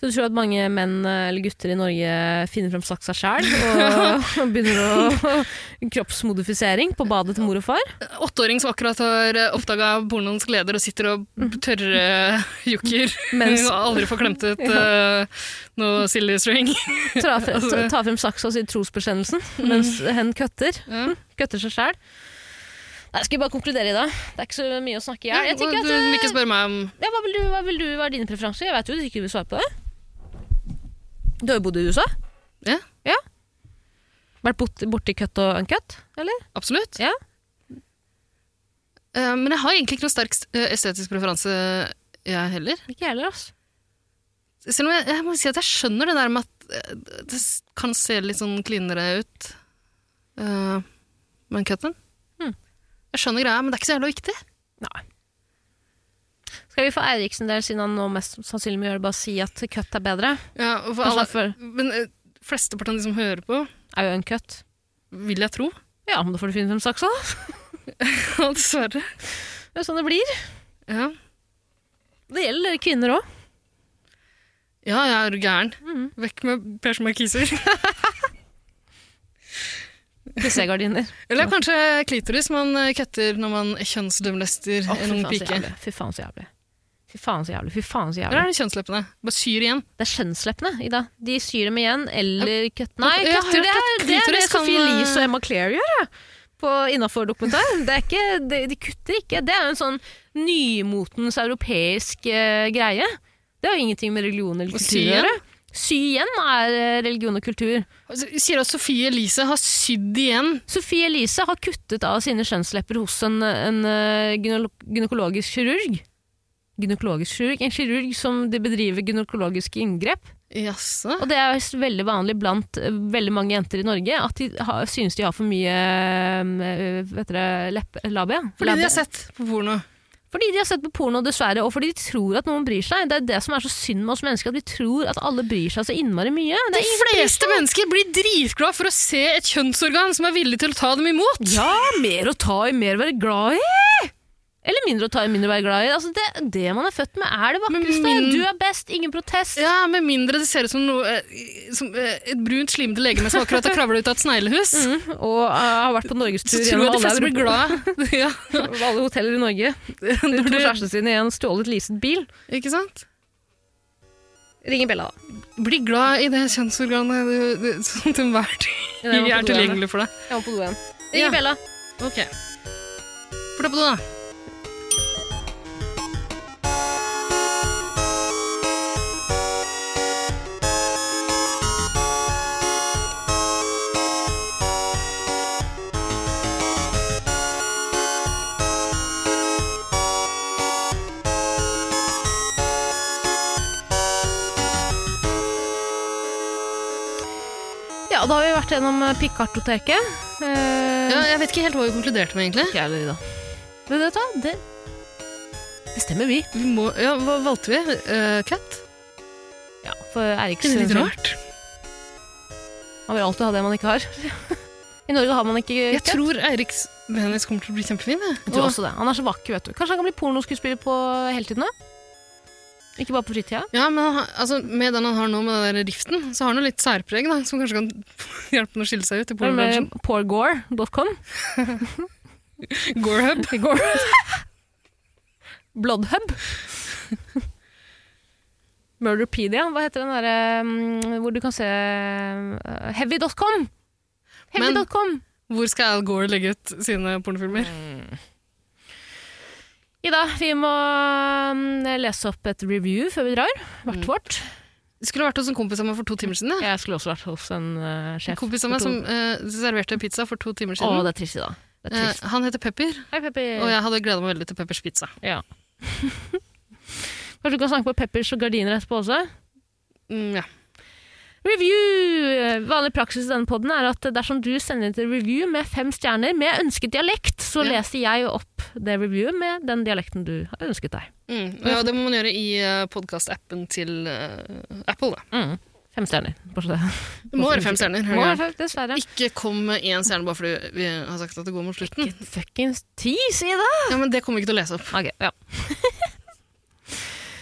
A: Så du tror at mange menn eh, eller gutter i Norge finner fram saksa sjæl og og begynner å kroppsmodifisering på badet til mor og far?
B: Åtteåring som akkurat har oppdaga pornoens gleder og sitter og
A: Mhm.
B: tørrjukker
A: Mens-
B: og aldri får klemt ut eh, noe silly string.
A: Tar frem,
B: Altså- Mm.
A: ta- tar frem saksa og sier trosbekjennelsen mens hen køtter.
B: Ja.
A: Køtter seg sjæl. Nei, Skal vi bare konkludere i det? Det er ikke så mye å snakke i hjel. Jeg tenker
B: du
A: at, eh,
B: vil ikke spørre meg om
A: Ja, hva, vil du- hva vil du være dine preferanser? Jeg vet jo at du ikke vil svare på det. Du har jo bodd i USA.
B: Ja.
A: Vært borti, borti cut og uncut, eller?
B: Absolutt.
A: Ja.
B: Eh, men jeg har egentlig ikke noen sterk eh, estetisk preferanse, jeg heller.
A: Ikke jeg heller, ass.
B: Selv om jeg, jeg må si at jeg skjønner det der med at eh, det s- kan se litt sånn cleanere ut eh, med en cutten.
A: Mm.
B: Jeg skjønner greia, men det er ikke så jævla viktig.
A: Nei. Skal vi få Eiriksen der, siden han nå mest sannsynlig må gjøre det, bare si at cut er bedre?
B: Ja, og for
A: Kanskje
B: alle,
A: derfor
B: men eh, flesteparten av de som hører på,
A: er jo uncut.
B: vil jeg tro.
A: Ja, men da får du finne frem saksa, da.
B: Dessverre.
A: Det er sånn det blir.
B: Ja.
A: Det gjelder dere kvinner òg.
B: ja, jeg er gæren.
A: Mhm.
B: Mm. Vekk med pers markiser.
A: Pissegardiner.
B: Eller kanskje klitoris man eh, kutter når man kjønnslemlester
A: Å, fy
B: en ung
A: faen så
B: pike.
A: jævlig. Fy faen så jævlig. Fy faen så jævlig. Fy faen så
B: Eller
A: jævlig.
B: er det kjønnsleppene? Bare syr igjen.
A: Det er kjønnsleppene, Ida. De syr dem igjen, eller cut... Nei,
B: Jeg har
A: cutter, det er
B: hørt
A: det,
B: at
A: er det
B: klitoris kan,
A: Sophie Elise og
B: eh,
A: Emma Claire gjør, ja. På innafor dokumentar. Det er ikke, de, de kutter ikke. Det er jo en sånn nymotens europeisk eh, greie. Det har jo ingenting med religion eller
B: Og
A: kultur
B: sy
A: å gjøre. Sy igjen er eh, religion og kultur.
B: Altså, Sier at Sofie Elise har sydd igjen.
A: Sophie Elise har kuttet av sine kjønnslepper hos en, en eh, gyne gynekologisk kirurg. Gynekologisk kirurg? En kirurg som de bedriver gynekologiske inngrep.
B: Jaså.
A: Og det er s- veldig vanlig blant eh, veldig mange jenter i Norge at de har, synes de har for mye eh, vet dere, leppe, labia.
B: Fordi de
A: Labia.
B: har sett på porno.
A: fordi de har sett på porno, dessverre, og fordi de tror at noen bryr seg. Det er det som er så synd med oss mennesker, at vi tror at alle bryr seg så innmari mye. Det
B: De
A: er ingen-
B: fleste mennesker blir dritglad for å se et kjønnsorgan som er villig til å ta dem imot.
A: Ja, mer å ta i, mer å være glad i! Eller mindre å ta i, mindre å være glad i. Altså, det, det man er født med, er det
B: Men
A: vakreste.
B: min-
A: Du er best, ingen protest.
B: Ja, Med mindre det ser ut som, noe, eh, som eh, et brunt, slimete legeme som akkurat har kravla ut av et sneglehus.
A: Mm, og uh, har vært på
B: Så
A: norgestur
B: tror jeg de fleste blir
A: Europa-
B: glad. ja,
A: alle hoteller i Norge.
B: når
A: To
B: du,
A: kjærestene sine i en stjålet leaset bil.
B: ikke sant?
A: Ring Bella, da.
B: Bli glad i det kjønnsorganet du- du- som til enhver tid
A: Jeg må på
B: er
A: do igjen.
B: tilgjengelig for deg.
A: Jeg må på do igjen. Ring
B: Ja.
A: Bella.
B: Ok. Flytt på do, da.
A: Ja, da har vi vært gjennom eh, Pikkartoteket. Eh,
B: Ja, jeg vet ikke helt hva vi konkluderte med, egentlig.
A: Ikke jeg heller, Ida. Men vet du hva? Det bestemmer vi.
B: Eh, Vi må, ja, hva valgte vi? Uh, cut?
A: Ja. for Eiriks
B: Er det litt
A: skyld.
B: rart?
A: Man vil alltid ha det man ikke har. I Norge har man ikke
B: Jeg tror Eiriks penis kommer til å bli kjempefin. jeg.
A: Jeg tror
B: Og-
A: også det. Han er så vakker, vet du. Kanskje han kan bli pornoskuespiller på heltidene? Ikke bare på fritida?
B: Ja, men han, har- altså, Med den han har nå, med den der riften, så har han jo litt særpreg, da, som kanskje kan hjelpe han å skille seg ut i
A: Det er
B: pornobransjen.
A: med Porgore.com.
B: Gorehub.
A: Gore. Bloodhub. Murderpedia. Hva heter den derre mm, hvor du kan se eh, Heavy.com!
B: Men-
A: Heavy.com!
B: Hvor skal Al Gore legge ut sine pornofilmer?
A: Ida, vi må mm, lese opp et review før vi drar. Hvert vårt.
B: Skulle vært hos en kompis av meg for to timer siden. Ja.
A: Jeg skulle også vært hos en eh,
B: En
A: sjef.
B: kompis av meg som eh, serverte pizza for to timer
A: Å,
B: siden.
A: det er trist, Ida. Det er
B: Eh,
A: trist.
B: han heter Pepper,
A: Hei, Pepper.
B: og jeg hadde gleda meg veldig til Peppers pizza.
A: Ja. Kanskje du kan snakke på peppers og gardiner etterpå også?
B: Mm, ja.
A: Review! Eh, Vanlig praksis i denne podden er at dersom du sender inn et review med fem stjerner med ønsket dialekt, så
B: Ja.
A: leser jeg opp det reviewet med den dialekten du har ønsket deg.
B: Mm. og ja, det må man gjøre i uh, podkast-appen til eh, Apple. Da.
A: Mm. Fem stjerner. Bare så det.
B: Det må være fem stjerner.
A: Må
B: hører
A: være
B: du?
A: fem, dessverre.
B: Ikke kom med én stjerne bare fordi vi har sagt at det går mot slutten.
A: Ikke fuckings ti, si det!
B: Ja, men Det kommer vi ikke til å lese opp.
A: Ok, ja.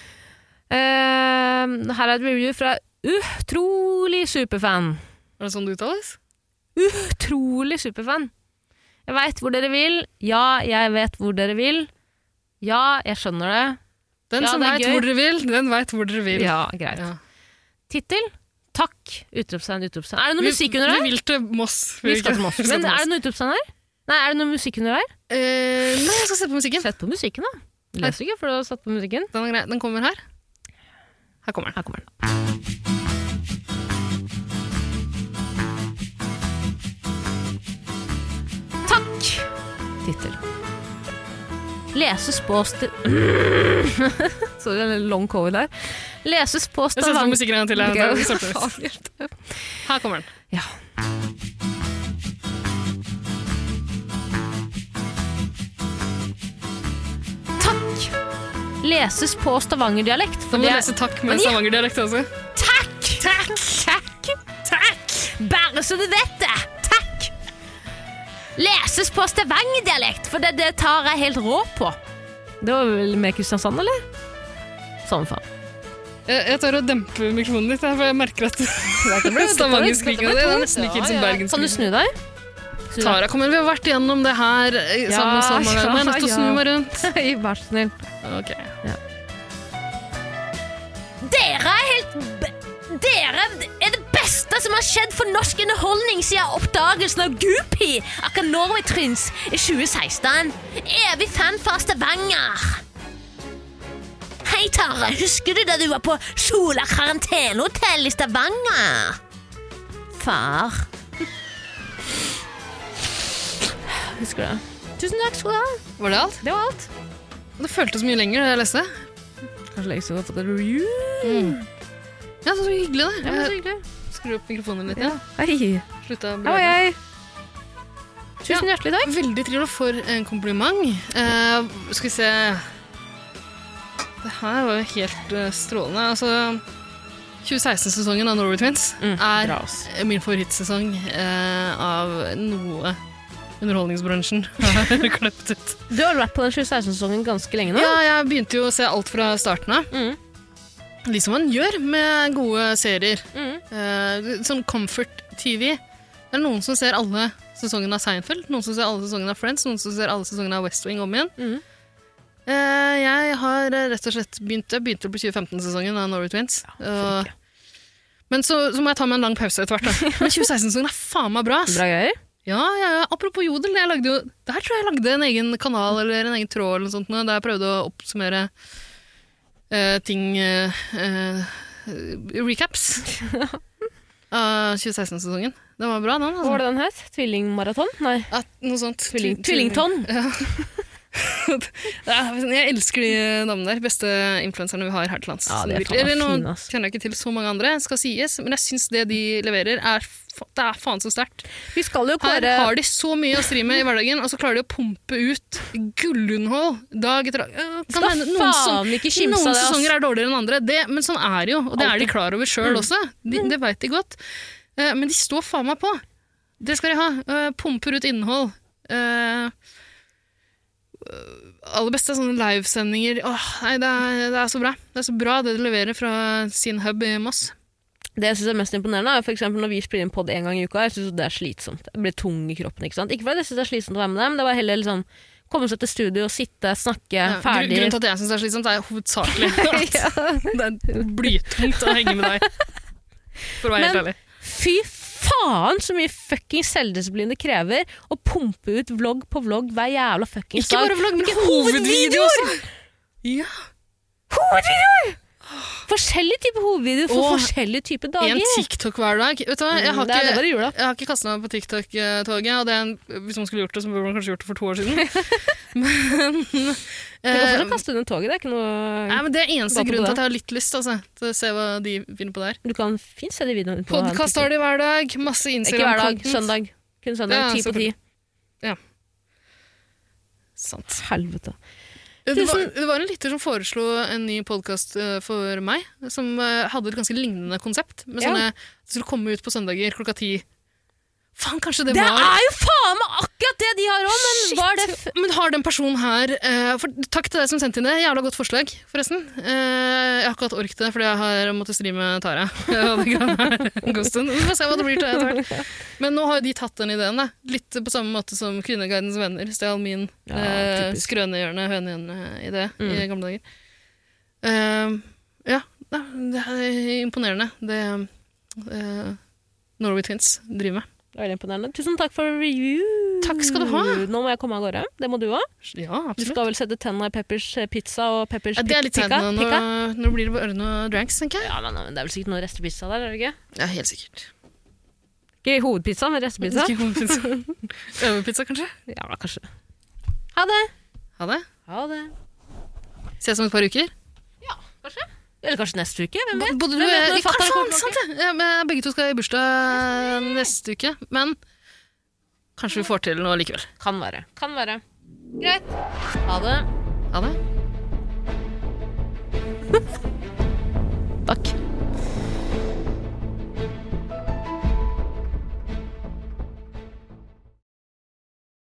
A: Eh, her er et review fra utrolig superfan.
B: Er det sånn det uttales?
A: utrolig superfan. Jeg veit hvor dere vil. Ja, jeg vet hvor dere vil. Ja, jeg skjønner det.
B: Den
A: Ja,
B: som
A: det er
B: veit
A: gøy.
B: hvor dere vil, den veit hvor dere vil.
A: Ja, greit.
B: Ja.
A: Tittel? Takk! Utropstegn, utropstegn. Er det noe
B: Vi-
A: musikk under her?
B: Vi vil til Moss.
A: Vi skal til Moss.
B: Vi skal
A: Men
B: til
A: er det
B: Moss.
A: noe utropstegn her? Nei, er det noe musikk under her?
B: Eh, nei, jeg skal sette på musikken.
A: Sett på musikken, da. Jeg Leser ikke, for du har satt på musikken.
B: Den, er grei. den kommer her. Her kommer den.
A: Her kommer den. Takk! Tittel. Leses på st... Sorry, det er en long covid der. Leses på
B: Jeg setter på
A: Stavanger...
B: musikken en gang til.
A: Ok.
B: ja. Da starter vi. Her kommer den.
A: Ja. Takk! Leses på stavangerdialekt.
B: Da
A: for
B: må
A: det
B: du
A: er-
B: lese takk
A: Men
B: med
A: ja.
B: stavangerdialekt også.
A: Takk! Takk! Takk! Bare så du vet det! Takk! Leses på stavangerdialekt, for det, det tar jeg helt rå på. Det var vel med Kristiansand, eller? Samme faen.
B: Jeg, jeg tar og demper mikrofonen litt, her, for jeg merker at stavangerskrikinga di er nesten like ille som
A: Kan du
B: bergenskrikinga.
A: snu deg? Snu deg.
B: Tara, kom igjen, vi har vært igjennom det her eh,
A: Ja,
B: sammen. sammen.
A: ja,
B: Jeg er nødt til å snu
A: ja.
B: meg rundt.
A: Vær så snill.
B: Ok.
A: Dere er helt b- Dere er det beste som har skjedd for norsk underholdning siden oppdagelsen av Gupi! Akkurat Norway Trins i 2016. Evig fan fra Stavanger. Hei, Tara. Husker du da du var på Sola karantenehotell i Stavanger? Far. Husker det. Tusen takk skal du ha.
B: Var det alt?
A: Det var alt.
B: Det føltes mye lenger da jeg leste.
A: Kanskje lenge siden du har fått en review?
B: Mm. Ja, så hyggelig, det.
A: hyggelig.
B: Skru opp mikrofonen litt. Ja.
A: Hei.
B: Slutta å
A: Her var
B: blø.
A: jeg. Tusen hjertelig takk.
B: Veldig trivelig for en kompliment. Eh, skal vi se Det her var jo helt eh, strålende. Altså, 2016-sesongen av Norway Twins er min favorittsesong eh, av noe underholdningsbransjen har klippet ut.
A: Du har vært på den 2016-sesongen ganske lenge nå.
B: Ja, jeg begynte jo å se alt fra starten av.
A: Mm.
B: Litt som man gjør med gode serier.
A: Mm.
B: Eh, sånn comfort-TV. Det er noen som ser alle sesongene av Seinfeld, noen som ser alle sesongene av Friends, noen som ser alle sesongene av West Wing om igjen.
A: Mm.
B: Eh, jeg har eh, rett og slett begynt, jeg begynte på 2015-sesongen av Norway Twins.
A: hvorfor
B: og- men så, så må jeg ta meg en lang pause etter hvert. Da. Men 2016-sesongen er faen meg bra. ass.
A: Bra greier.
B: Ja, ja, ja. Apropos Jodel, jeg lagde jo, der tror jeg jeg lagde en egen kanal eller en egen tråd eller noe sånt, nå, der jeg prøvde å oppsummere eh, ting eh, eh, Recaps av 2016-sesongen. Den var bra, den.
A: Hva var
B: Altså.
A: det den het? Tvillingmaraton? Nei.
B: At, noe sånt.
A: Tvilling,
B: Tvilling-
A: tvillington.
B: Ja. Ja, jeg elsker de damene der. Beste influenserne vi har her til lands.
A: Ja, de er
B: Som virkelig-
A: faen meg
B: Eller,
A: fine, altså.
B: nå
A: ass.
B: kjenner jeg ikke til så mange andre, skal sies, men jeg syns det de leverer, er, fa- det er faen så sterkt.
A: Vi skal jo
B: Her
A: klare
B: har de så mye å stri med i hverdagen, og så klarer de å pumpe ut gullunnhold dag etter dag. Ja, Kan
A: Skal
B: hende noen som
A: faen ikke kimse
B: noen
A: av det, ass.
B: sesonger er dårligere enn andre, det, men sånn er det jo. Og det er de klar over sjøl
A: Mm.
B: også. De, det veit de godt. Eh, men de står faen meg på. Det skal de ha. Eh, pumper ut innhold. Eh, aller beste er sånne livesendinger. Åh, nei, det er, det er så bra. Det er så bra det de leverer fra sin hub i Moss.
A: Det jeg synes er mest imponerende, er for eksempel når vi spiller inn podd en gang i uka. Jeg synes det er slitsomt. Jeg blir tung i kroppen. Ikke sant? Ikke fordi jeg synes det er slitsomt å være med dem, det var heller liksom komme seg til studio, sitte, snakke,
B: Ja, gru-
A: ferdig.
B: Grunnen til at jeg syns det er slitsomt, er hovedsakelig at
A: Ja.
B: det er blytungt å henge med deg. For å være helt
A: Men-
B: ærlig.
A: Fy faen så mye fucking selvdisiplin det krever å pumpe ut vlogg på vlogg hver jævla fuckings
B: Ikke
A: dag.
B: bare vlogg, men
A: Ikke
B: hovedvideo også! Ja.
A: Forskjellige typer hovedvideoer for
B: Åh,
A: forskjellige typer
B: En
A: dager. Mm,
B: TikTok hver dag. Vet du hva, jeg har
A: det er det
B: ikke,
A: bare i jula.
B: jeg har ikke kastet meg på TikTok-toget, og det er en, hvis man skulle gjort det, så burde man kanskje gjort det for to år siden.
A: Du
B: men,
A: kan
B: eh,
A: fortsatt kaste under toget, det er ikke
B: nei,
A: noe
B: men det er eneste
A: Bare på
B: grunnen
A: det.
B: til at jeg har litt lyst altså, til å se hva de finner på der.
A: Du kan fint se de videoene på
B: Podkast har de hver dag, masse
A: Ikke hver dag,
B: Instagram-content.
A: søndag. Kun søndag,
B: Ja,
A: ti på ti.
B: selvfølgelig. Sant.
A: Helvete.
B: Det var, det var en lytter som foreslo en ny podkast for meg, som eh, hadde et ganske lignende konsept. Med
A: Ja.
B: sånne, Det skulle komme ut på søndager klokka ti. Faen, kanskje det,
A: Det
B: var
A: er jo faen meg akkurat det de har òg, men
B: Shit.
A: var det f
B: Men har den personen her eh, for, Takk til deg som sendte inn det. Jævla godt forslag, forresten. Eh, jeg har ikke hatt ork til det, fordi jeg har måttet streame Tara. Og det kan være en god stund. Vi får se hva det blir til etter hvert. Men nå har jo de tatt den ideen. da. Litt på samme måte som Kvinneguidens venner stjal min
A: Ja,
B: eh,
A: typisk.
B: skrønehjørne, hønehjørne-idé
A: Mm.
B: i gamle dager. Eh, ja, da, det er imponerende, det eh, Norway Twins driver med.
A: Det var veldig imponerende. Tusen takk for review.
B: Takk skal du ha.
A: Nå må jeg komme av gårde. Det må du òg.
B: Ja,
A: Du
B: absolutt.
A: skal vel sette tenna i Peppers eh, pizza og Peppers
B: Ja, det er litt
A: pikka?
B: seint nå. Nå, nå blir det bare noe dranks, tenker jeg.
A: Ja, men, men Det er vel sikkert noe restepizza der? er det Ikke
B: Ja, helt sikkert.
A: Ikke hovedpizza, men restepizza?
B: Overpizza, kanskje?
A: Ja, kanskje. Ha det.
B: Ha det.
A: Ha det.
B: Ses om et par uker.
A: Ja, kanskje. Eller kanskje neste uke? Hvem vet?
B: Både du
A: Hvem
B: og
A: vet når
B: jeg
A: fatteren
B: Hva faen,
A: kommer tilbake?
B: sant det! Ja, men begge to skal i bursdag neste uke, men kanskje vi får til noe likevel.
A: Kan være. Kan være. Greit. Ha det.
B: Ha det.